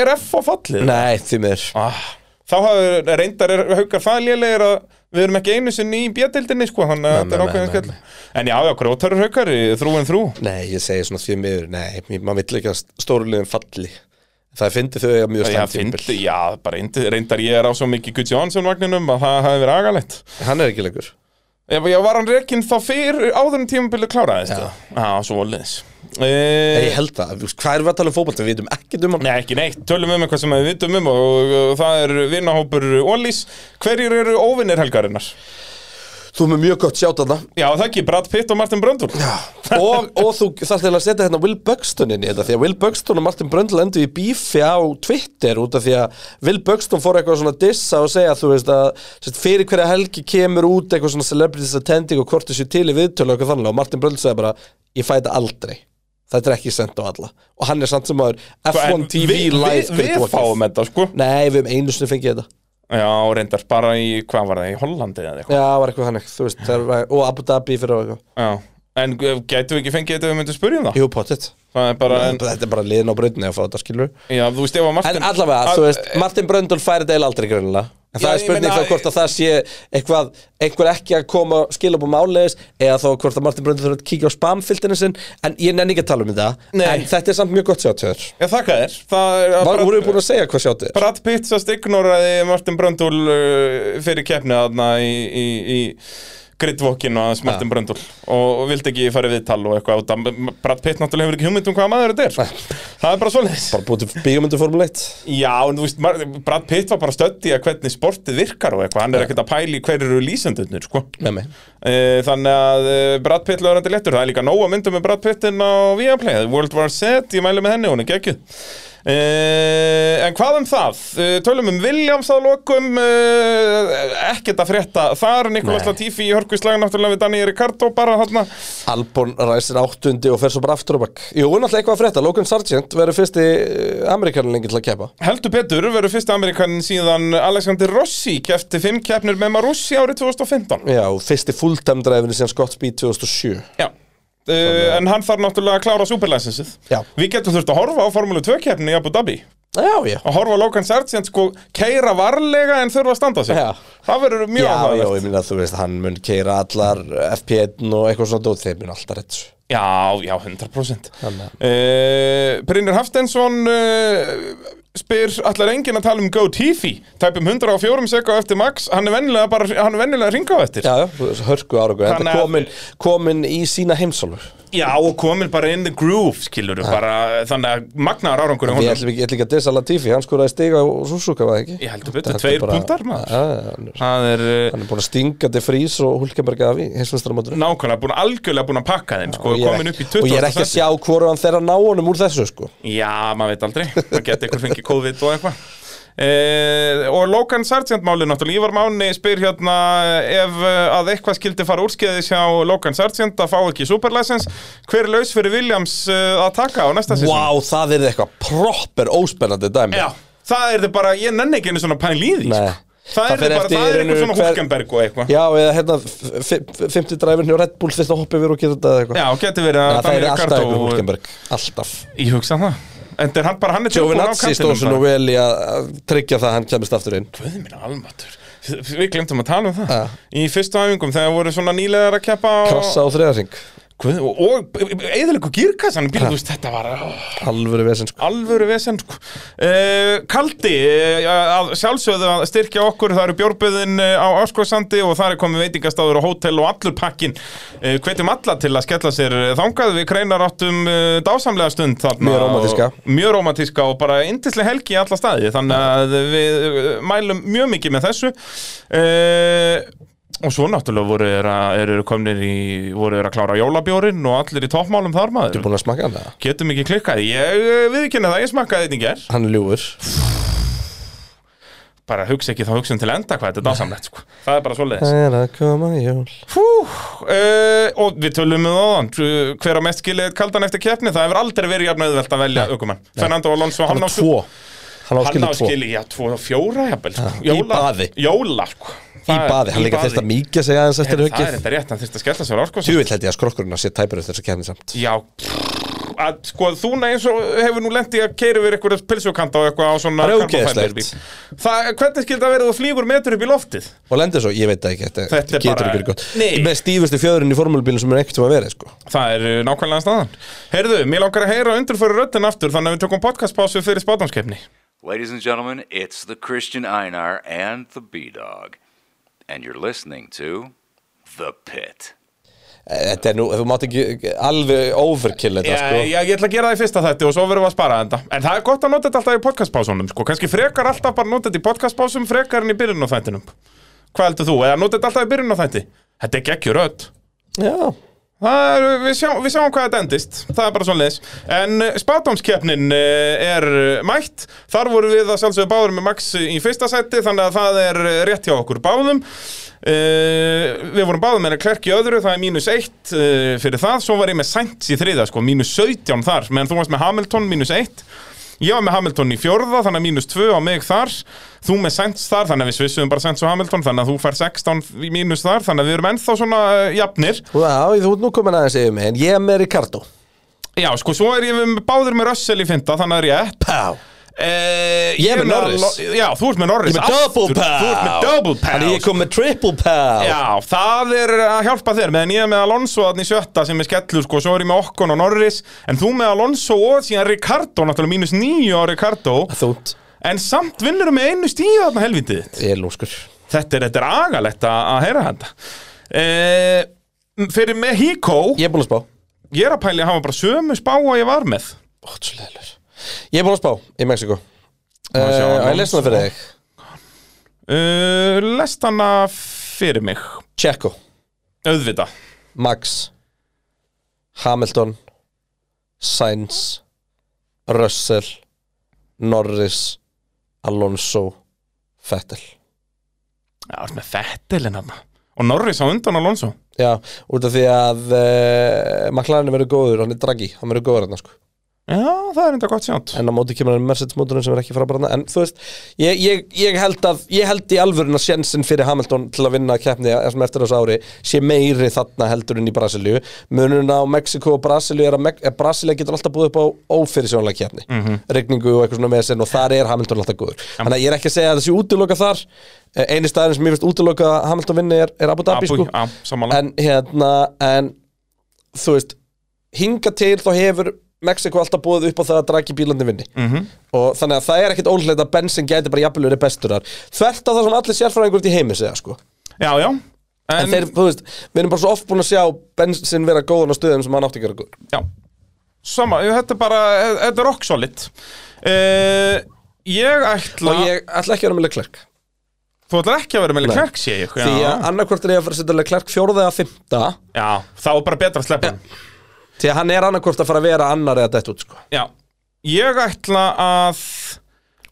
[SPEAKER 1] er F á fallið?
[SPEAKER 3] Nei, því miður
[SPEAKER 1] ah, Þá hafur reyndar er, haukar það lélegir að við erum ekki einu sinni í bjöldildinni sko, þannig að
[SPEAKER 3] Nei,
[SPEAKER 1] þetta er
[SPEAKER 3] nei, nei,
[SPEAKER 1] ákveðin
[SPEAKER 3] nei,
[SPEAKER 1] skell En já, já, grótarur haukar, þrú en þrú
[SPEAKER 3] Nei, ég segi svona því miður Nei, mér- maður vill ekki að stórulegum falli Það fyndi þau að mjög
[SPEAKER 1] Já,
[SPEAKER 3] stæmt
[SPEAKER 1] fyndi, já, bara reyndi- reyndar ég er á svo mikið Guðs Jónsson vagninum að það hafi verið agalegt
[SPEAKER 3] Hann er ekki lengur
[SPEAKER 1] Ef ég var hann rekinn þá fyrir áður en tímabilið kláraðist Já, já svo leðis
[SPEAKER 3] Nei,
[SPEAKER 1] e
[SPEAKER 3] ég held það, Þú veist, hvað erum við að tala um fótbolta? Við veitum ekkert um hann
[SPEAKER 1] Nei, ekki neitt, tölum um eitthvað sem við vitum um og, og, og það er vinnahópur Ólís Hverjir eru óvinnir helgarinnar?
[SPEAKER 3] Þú er með mjög gott sjátt að
[SPEAKER 1] Já, það ekki, Brad Pitt og Martin Bröndul Já,
[SPEAKER 3] og, og þú þarf til að setja hérna Will Buxton inn í þetta Því að Will Buxton og Martin Bröndl endur í bífi á Twitter Út af því að Will Buxton fór eitthvað svona dissa og segja Þú veist að sérst, fyrir hverja helgi kemur út eitthvað svona celebrities attending Og hvort þessu til í viðtölu og eitthvað þannig Og Martin Bröndl segja bara, ég fæ þetta aldrei Þetta er ekki sendt á alla Og hann er samt sem aður F1 TV
[SPEAKER 1] við,
[SPEAKER 3] live
[SPEAKER 1] við, við
[SPEAKER 3] Great Walk.
[SPEAKER 1] fáum þetta, sko
[SPEAKER 3] Nei, við hefum einu sinni fengið þetta
[SPEAKER 1] Já, reyndar, bara í, hvað var það, í Hollandi eða eitthvað
[SPEAKER 3] Já, var eitthvað þannig, þú veist, það var, og Abu Dhabi fyrir og eitthvað
[SPEAKER 1] Já, en gætu við ekki fengið þetta ef við myndum spyrjum það?
[SPEAKER 3] Jú, pottitt
[SPEAKER 1] Það er bara, en,
[SPEAKER 3] Þetta er bara liðin á brautinni að fá þetta, skilur
[SPEAKER 1] já, þú veist, ef að Martin
[SPEAKER 3] En allavega,
[SPEAKER 1] að-
[SPEAKER 3] þú veist, Martin Bröndul færi þetta eiginlega aldrei grunnilega En það
[SPEAKER 1] Já,
[SPEAKER 3] er
[SPEAKER 1] ég
[SPEAKER 3] spurning
[SPEAKER 1] meina-
[SPEAKER 3] þá hvort að það sé eitthvað, einhver ekki að koma skilabum áleiðis eða þá hvort að Martin Bröndul þurfa að kíkja á spamfiltinu sinn En ég nenni ekki að tala um þetta
[SPEAKER 1] Nei.
[SPEAKER 3] En þetta er samt mjög gott sjáttjóður
[SPEAKER 1] Já, þakka þér Það er að
[SPEAKER 3] Var,
[SPEAKER 1] Brad-
[SPEAKER 3] voru við búin að segja hvað sjáttið er?
[SPEAKER 1] Brad Pitt sast ignoraði Martin Bröndul uh, fyrir keppni þarna í, í, í gridvokkin og aðeins Martin Bröndul og vildi ekki fara í viðtal og eitthvað út af- Brad Pitt náttúrulega hefur ekki hugmynd um hvaða maður þetta er sko. Það er bara svoleiðis
[SPEAKER 3] Bara búið til
[SPEAKER 1] um
[SPEAKER 3] bíómyndu Formule 1
[SPEAKER 1] Já, en þú veist, Mar- Brad Pitt var bara stödd í að hvernig sportið virkar og eitthvað hann er ekkert að pæli hver eru lýsendurnir sko.
[SPEAKER 3] Nei, nei
[SPEAKER 1] Eh, Þannig að eh, Brad Pitt lögur endur lettur Það er líka nóga myndum með Brad Pittin á Viaplay The World War Z, ég mælu með henni, hún er geggjuð Uh, en hvað um það? Uh, tölum um Williams að lokum uh, ekkert að frétta þar Nikolas
[SPEAKER 3] Nei.
[SPEAKER 1] Latifi í hörkvíslaga náttúrulega við Daniel Ricardo bara þarna
[SPEAKER 3] Albon ræsir áttundi og fer svo bara aftur og bakk Jú, náttúrulega eitthvað að frétta, Logan Sargent verður fyrsti amerikanin lengi til að kepa
[SPEAKER 1] heldur betur verður fyrst Amerikanin síðan Alexander Rossi kefti fimm keppnir með Marussi árið 2015
[SPEAKER 3] Já, og fyrsti fulltime driveinu síðan Scott Speed 2007
[SPEAKER 1] Já Uh, en hann þarf náttúrulega að klára superlicensið
[SPEAKER 3] Já.
[SPEAKER 1] Við getum þurft að horfa á Formule 2 keppni í Abu Dhabi
[SPEAKER 3] Já, já
[SPEAKER 1] að horfa á Logan Sargent sko keira varlega en þurfa að standa sig
[SPEAKER 3] Já.
[SPEAKER 1] það verður mjög
[SPEAKER 3] Já, já,
[SPEAKER 1] áhugavert
[SPEAKER 3] ég minna að þú veist, hann mun keira allar FP1 og eitthvað svona dót, þeir mun alltaf rétt svo.
[SPEAKER 1] já, já, 100%
[SPEAKER 3] Þannig að-
[SPEAKER 1] uh, Brynir Hafstensson uh, spyr allar enginn að tala um Go Tifi tæpum 104 sekka eftir Max hann er vennilega bara, hann er vennilega að ringa á eftir
[SPEAKER 3] Já, já, þú veist, hörku áragu, en
[SPEAKER 1] Þannig
[SPEAKER 3] það
[SPEAKER 1] að-
[SPEAKER 3] komin, komin í sína heimsálfur
[SPEAKER 1] já, og komin bara in the groove skilur bara, þannig að magnaðar árangur
[SPEAKER 3] Ég ætlum ekki, ætlum ekki að dissa Latifi, hann skoraði stiga og Suzuka, var það ekki?
[SPEAKER 1] Ég heldur betur,
[SPEAKER 3] Þetta er
[SPEAKER 1] tveir
[SPEAKER 3] bara-
[SPEAKER 1] punktar, maður.
[SPEAKER 3] Já, já, hann er-
[SPEAKER 1] það er uh,
[SPEAKER 3] Hann er búin að stinga De Vries og Hulkenberg af í heimsmyndstaramaturinn
[SPEAKER 1] nákvæmlega búin algjörlega búin að pakka þeim sko,
[SPEAKER 3] og ég er
[SPEAKER 1] komin upp í
[SPEAKER 3] ekki, og
[SPEAKER 1] 20.
[SPEAKER 3] ég er ekki að
[SPEAKER 1] sæti.
[SPEAKER 3] sjá hvoru hann þeirra ná honum úr þessu sko.
[SPEAKER 1] Já, maður veit aldrei, maður geti ykkur fengið COVID og eitthvað eh, Og Logan Sargent málið náttúrulega, Ívar Máni spyr hérna ef eh, að eitthvað skildi fara úrskeiðis hjá Logan Sargent að fá ekki superlicense Hver er laus fyrir Williams eh, að taka á næsta
[SPEAKER 3] Vá,
[SPEAKER 1] sísón?
[SPEAKER 3] það er eitthvað proper óspennandi dæmi
[SPEAKER 1] Já, það er þið bara, ég nenni ekki einu svona pæn líði
[SPEAKER 3] Nei.
[SPEAKER 1] sko. Það
[SPEAKER 3] Það
[SPEAKER 1] er þið
[SPEAKER 3] fer
[SPEAKER 1] bara,
[SPEAKER 3] eftir
[SPEAKER 1] það er
[SPEAKER 3] rauninu
[SPEAKER 1] eitthvað svona
[SPEAKER 3] hver-
[SPEAKER 1] Hulkenberg og eitthvað Já,
[SPEAKER 3] Já, eða hérna fymti dræfinn hjá Red Bull þyrst að hoppa yfir og gera þetta eða eitthvað
[SPEAKER 1] geti verið að
[SPEAKER 3] Já, það er
[SPEAKER 1] Daniel
[SPEAKER 3] alltaf
[SPEAKER 1] Ricciardo-
[SPEAKER 3] einhver Hulkenberg Alltaf
[SPEAKER 1] Ég hugsa það En er hann bara, hann er
[SPEAKER 3] Giovinazzi stóð svo nú
[SPEAKER 1] bara.
[SPEAKER 3] vel í að að tryggja það að hann kemist aftur inn
[SPEAKER 1] Guð minn almatur Við glemtum að tala um það
[SPEAKER 3] Ja.
[SPEAKER 1] Í fyrstu æfingum þegar voru svona nýlegar að keppa á-
[SPEAKER 3] Krossa á þriðarsing
[SPEAKER 1] Guð, og, og eðalegu gírkassan bíl, þú veist, þetta var ó,
[SPEAKER 3] Alvöru vesinn sko
[SPEAKER 1] alvöru vesen sko. uh, Kaldi uh, að sjálfsögðu að styrkja okkur það eru bjórböðin eh, á Áskóðsandi og það er komið veitingastáður og hótel og allur pakkin uh, hvetjum alla til að skella sér eh, þangað, við kreinar áttum uh, dásamlega stund þarna
[SPEAKER 3] Mjög rómantíska.
[SPEAKER 1] og, mjög romantíska og bara yndislega helgi í alla staði þannig að við eh, mælum mjög mikið með þessu uh, Og svo náttúrulega voru þeir að, eru þeir komnir í, voru þeir að klára jólabjórin og allir í toppmálum þar maður.
[SPEAKER 3] Búin að smaka hann það?
[SPEAKER 1] Getum ekki klikkað, ég viðkynna það, ég smakkaði þetta í ger.
[SPEAKER 3] Hann er ljúfur
[SPEAKER 1] Bara hugsa ekki þá hugsun til enda hvað þetta er dásamlegt, sko. Það er bara svoleiðis.
[SPEAKER 3] Það er að koma jól
[SPEAKER 1] Hú, uh, og við tölum með áðan, uh, hver á mest skilið kaldan eftir keppni, það hefur aldrei verið jafn auðvelt að velja aukumann. Fernando Alonso,
[SPEAKER 3] Hann
[SPEAKER 1] hann á
[SPEAKER 3] á tvo
[SPEAKER 1] Hann
[SPEAKER 3] Hann á
[SPEAKER 1] á
[SPEAKER 3] skilið tvo
[SPEAKER 1] skilið, já, tvo og fjóra, jafnvel, sko.
[SPEAKER 3] í baði.
[SPEAKER 1] Jóla, sko.
[SPEAKER 3] Í baði, hann líka þyrst að mýkja sig aðeins eftir
[SPEAKER 1] Það er
[SPEAKER 3] hugið
[SPEAKER 1] þetta rétt, hann þurfti að skella sér á, sko.
[SPEAKER 3] Þú vil held ég að skrokkurinn að sé tæpur eftir þessu kefni samt
[SPEAKER 1] Já pff, að, sko, þú neins og hefur nú lent í að keira yfir eitthvað pilsjókanta og eitthvað á svona
[SPEAKER 3] Það er
[SPEAKER 1] carbon fiber
[SPEAKER 3] ógeðslegt.
[SPEAKER 1] bíl. Það, hvernig skildi að vera þú flýgur metur upp í loftið?
[SPEAKER 3] Og lendir svo, ég veit það ekki, þetta,
[SPEAKER 1] Þetta er
[SPEAKER 3] getur
[SPEAKER 1] bara-
[SPEAKER 3] ekki verið gott
[SPEAKER 1] Nei.
[SPEAKER 3] Með stífustu fjöðurinn í formúlubílinn sem er ekkert sem að vera sko.
[SPEAKER 1] Það er uh, nákvæmlega staðan Heyrðu, mér langar að heyra undirföru röddinn aftur þannig að við tökum podcastpásu fyrir spátumskeppni
[SPEAKER 4] Ladies and gentlemen, it's the Christian Einar and the B Dog, and you're listening to The Pit.
[SPEAKER 3] Þetta er nú, þú mátt ekki alveg overkill þetta
[SPEAKER 1] Já,
[SPEAKER 3] sko.
[SPEAKER 1] já, ég ætla að gera það í fyrsta þætti og svo verðum við að spara þetta En það er gott að nota þetta alltaf í podcastpásunum sko. Kanski frekar alltaf bara nota þetta í podcastpásum frekar en í byrjun á þættinum Hvað heldur þú? Eða nota þetta alltaf í byrjun á þætti Þetta er geggjur rödd
[SPEAKER 3] já.
[SPEAKER 1] Það er, við, sjá, við sjáum hvað þetta endist Það er bara svona leis En spátumskeppnin er eh, mætt Þar voru við að sjálfsögðu báður með Max í fyrsta seti Þannig að það er eh, rétt hjá okkur báðum uh, Við vorum báðum með klerk í öðru Það er mínus eitt uh, fyrir það Svo var ég með Sainz í þriða sko, mínus 17 þar Meðan þú varst með Hamilton, mínus eitt Ég var með Hamilton í fjórða, þannig að mínus 2 á mig þar Þú með Sainz þar, þannig að við svissuðum bara Sainz og Hamilton Þannig að þú fær 16 í mínus þar, þannig að við erum ennþá svona eh, jafnir
[SPEAKER 3] já, þú ert nú komin aðeins yfir mig En ég er með Ricardo
[SPEAKER 1] Já, sko, svo er ég með báður með Russell í fynda, þannig að ég epp.
[SPEAKER 3] Pá
[SPEAKER 1] E,
[SPEAKER 3] Eh, Ég er með Norris.
[SPEAKER 1] Já, þú ert með Norris.
[SPEAKER 3] Ég er með double
[SPEAKER 1] aftur.
[SPEAKER 3] pal.
[SPEAKER 1] Þú ert með double pal.
[SPEAKER 3] Þannig ég kom með triple pal
[SPEAKER 1] Já, það er að hjálpa þér, meðan ég er með Alonso þannig sjötta sem er skellur, sko, svo er ég með Okkon og Norris, en þú með Alonso og síðan Ricardo, náttúrulega mínus nýju á Ricardo,
[SPEAKER 3] Þúnt,
[SPEAKER 1] en samt vinnur með einu stíu þarna helvitið.
[SPEAKER 3] ég er lúskur
[SPEAKER 1] Þetta er, þetta er agalegt að að heyra þetta. E, fyrir með Hiko,
[SPEAKER 3] Ég er búin að spá
[SPEAKER 1] ég er að pæli að hafa bara sömu spá að ég var með.
[SPEAKER 3] Ótsleilur Ég er búin að spá í Mexiko
[SPEAKER 1] Má sjá
[SPEAKER 3] uh, Ég
[SPEAKER 1] annons.
[SPEAKER 3] lesna fyrir þig
[SPEAKER 1] Uh, lest hana fyrir mig
[SPEAKER 3] Checo,
[SPEAKER 1] Auðvita
[SPEAKER 3] Max Hamilton Sainz Russell Norris Alonso Vettel
[SPEAKER 1] Já, það er með fettilinn hann Og Norris á undan Alonso
[SPEAKER 3] Já, út af því að uh, McLaren verður góður, hann er draggi hann verður góður hann sko
[SPEAKER 1] Já, það er enda gott sjátt
[SPEAKER 3] en á móti kemur hann Mercedes mótorinn sem er ekki frábærna en þú veist, ég, ég, ég held að ég held í alvörun að sjensin fyrir Hamilton til að vinna keppni sem eftir þessu ári sé meiri þarna heldur en í Brasilíu munurinn á Mexiko og Brasilíu er að, Mek- að Brasilíu getur alltaf búið upp á ófyrirsjónlega keppni regningu og eitthvað svona með og þar er Hamilton alltaf góður þannig að ég er ekki að segja að þessi útiloka þar Eh, eini staðurinn sem ég finnst útiloka að Hamilton vinni er, er Abu Dhabi sko
[SPEAKER 1] Já, samanlega
[SPEAKER 3] en hérna en þú veist hinga til þá hefur Mexiko alltaf búið upp á það að dragi bílandi vinni -hmm. og þannig að það er ekkit ólega að Benson gæti bara jafnvel verið bestur þar þvert á það sem allir sérfræðingur út í heimi segja sko
[SPEAKER 1] Já, já
[SPEAKER 3] en, þeir, þú veist, við erum bara svo oft búin að sjá Benson vera góðan á stöðum sem hann átti að gera góð
[SPEAKER 1] Já Sama, þetta er bara, þetta er rock solid uh, Ég ætla
[SPEAKER 3] og ég ætla ekki að vera með Leclerc
[SPEAKER 1] Þú ætlar ekki að vera með
[SPEAKER 3] Nei.
[SPEAKER 1] Leclerc, sé ég
[SPEAKER 3] því
[SPEAKER 1] Já,
[SPEAKER 3] að annarkvort er ég að fara að setja Leclerc fjórða eða fymta
[SPEAKER 1] já þá er bara betra að sleppa hann
[SPEAKER 3] því að hann er annarkvort að fara að vera annar eða dett út sko
[SPEAKER 1] Já, ég ætla að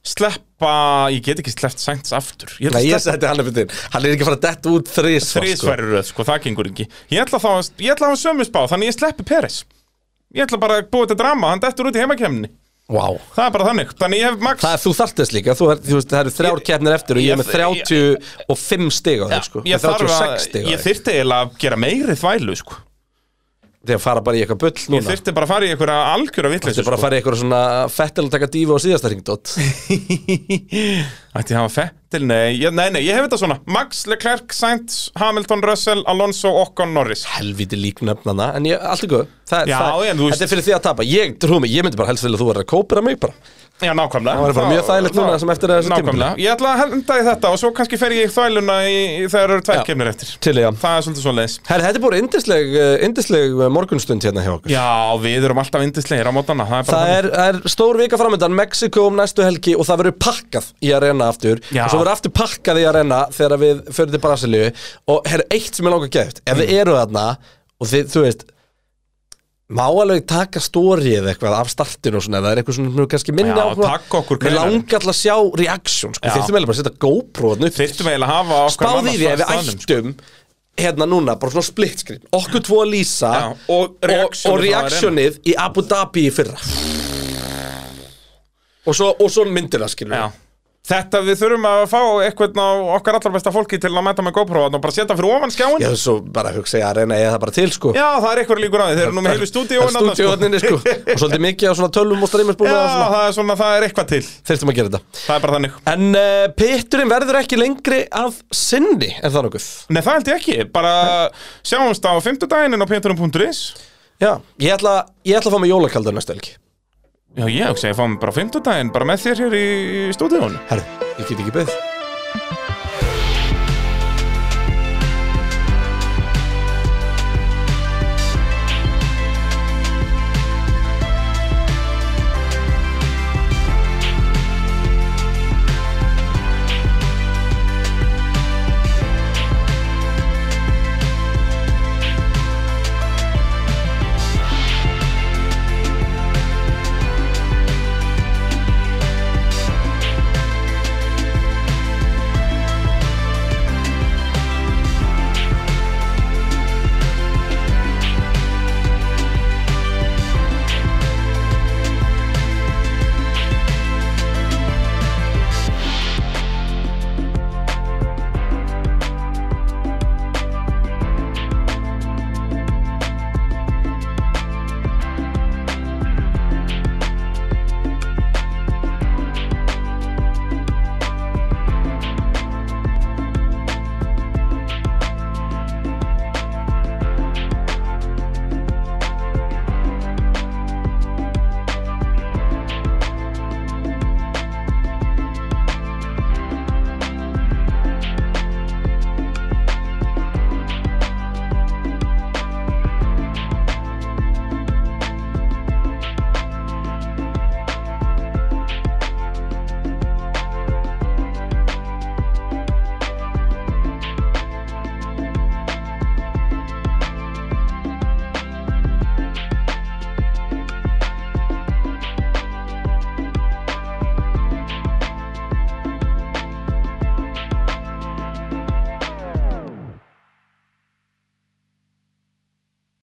[SPEAKER 1] sleppa Ég get ekki sleppt sænt aftur Ég ætla
[SPEAKER 3] Nei,
[SPEAKER 1] að
[SPEAKER 3] ég
[SPEAKER 1] sleppa
[SPEAKER 3] seti hann upp í þinn Hann er ekki að fara að dett út þrísvar sko.
[SPEAKER 1] þrísværi röð, sko, það gengur ekki Ég ætla þá að, ég ætla að hafa sömu spá, þannig ég sleppi Peres Ég ætla bara að búa þetta drama, hann dettur út í heimakemni
[SPEAKER 3] Wow.
[SPEAKER 1] Það er bara þannig, þannig ég hef Max
[SPEAKER 3] Það er þú þarft þess líka, þú, er, þú veist, það eru þrjár keppnir eftir og ég er með 35 stig á
[SPEAKER 1] Já,
[SPEAKER 3] þig sko,
[SPEAKER 1] Ég,
[SPEAKER 3] með
[SPEAKER 1] þarf að,
[SPEAKER 3] 36 stig á
[SPEAKER 1] ég
[SPEAKER 3] þig
[SPEAKER 1] þyrfti eiginlega að gera meiri þvælu, sko
[SPEAKER 3] Þegar fara bara í eitthvað bull
[SPEAKER 1] Ég
[SPEAKER 3] núna
[SPEAKER 1] þyrfti bara að fara í einhverja algjöra
[SPEAKER 3] Þetta
[SPEAKER 1] vitleysu sko.
[SPEAKER 3] er bara að fara í eitthvað svona fettil að taka dífu á síðasta ringdót
[SPEAKER 1] <laughs> Ætti ég hafa fettil, nei, ég, nei, nei, ég hef þetta svona Max, Leclerc, Sainz, Hamilton, Russell, Alonso, Ocon, Norris
[SPEAKER 3] Helviti lík nöfnana, en ég, allt er góð það,
[SPEAKER 1] Já,
[SPEAKER 3] það,
[SPEAKER 1] en þú veist-
[SPEAKER 3] Þetta er fyrir því að tapa, ég, trú mig, ég myndi bara helst vilja að þú verður að kópera mig bara
[SPEAKER 1] Já, nákvæmlega
[SPEAKER 3] Það væri bara mjög þægilegt núna sem eftir þessu tímabili.
[SPEAKER 1] Nákvæmlega, ég ætla að henda í þetta og svo kannski fer ég í þvæluna í, í þegar eru tvær
[SPEAKER 3] Já.
[SPEAKER 1] kemur eftir
[SPEAKER 3] Til í, já.
[SPEAKER 1] Það er svolítið svo leiðis
[SPEAKER 3] Herri, þetta er búin yndisleg, eh, yndisleg eh, morgunstund hérna hjá okkur
[SPEAKER 1] Já, við erum alltaf indislegir á mótana Það er bara
[SPEAKER 3] Það er, er stór vika framöndan, Mexiko um næstu helgi og það verður pakkað í arena aftur
[SPEAKER 1] Já.
[SPEAKER 3] og svo verður aftur pakkað í arena þegar við förum til Brasilíu og herri, eitt sem er langar geft, ef þið eru þarna og þið, þú veist má alveg taka stórið eitthvað af startinu og svona, ef það er eitthvað svona nú kannski minni
[SPEAKER 1] Já,
[SPEAKER 3] áhuga.
[SPEAKER 1] taka okkur
[SPEAKER 3] Mig
[SPEAKER 1] greinar.
[SPEAKER 3] langar alltaf að sjá reaksjón, sko,
[SPEAKER 1] Já.
[SPEAKER 3] þyrftum eiginlega bara að setja GoPro þarna upp
[SPEAKER 1] Þyrftum eiginlega að hafa okkar
[SPEAKER 3] spáði
[SPEAKER 1] mann á
[SPEAKER 3] því að við
[SPEAKER 1] staðnum, sko.
[SPEAKER 3] ættum hérna núna, bara svona split screen okkur tvo að lýsa
[SPEAKER 1] Já, og reaksjónið
[SPEAKER 3] og, og
[SPEAKER 1] frá
[SPEAKER 3] reaksjónið í Abu Dhabi í fyrra og svo, og svo myndir það skilur
[SPEAKER 1] Já. Þetta við þurfum að fá eitthvað á okkar allar besta fólki til að mæta með GoPro þarna og bara setja fyrir ofan skjáin
[SPEAKER 3] ég hef svo bara hugsa ég að reyna að eða það bara til sko
[SPEAKER 1] Já, það er eitthvað líkur á því, þeir eru nú með heilu stúdíóin þarna, sko.
[SPEAKER 3] stúdíóinni sko. og svolítið mikið á svona tölvum og streymins búin
[SPEAKER 1] <laughs> Já,
[SPEAKER 3] að
[SPEAKER 1] það er svona, það er eitthvað til
[SPEAKER 3] þeirftum að gera þetta
[SPEAKER 1] Það er bara þannig
[SPEAKER 3] en uh, pitturinn verður ekki lengri af sinni, er það nokkuð
[SPEAKER 1] Nei, það held ég ekki, bara sjáumst á fimmtudaginn á péturum.is
[SPEAKER 3] já, ég ætla, ég ætla að fá mig jólakaldur næstu helgi
[SPEAKER 1] Já, ég hugsa, ég fá mig bara á fimmtudaginn, bara með þér hér í stúdíónu
[SPEAKER 3] herru, ég get ekki beðið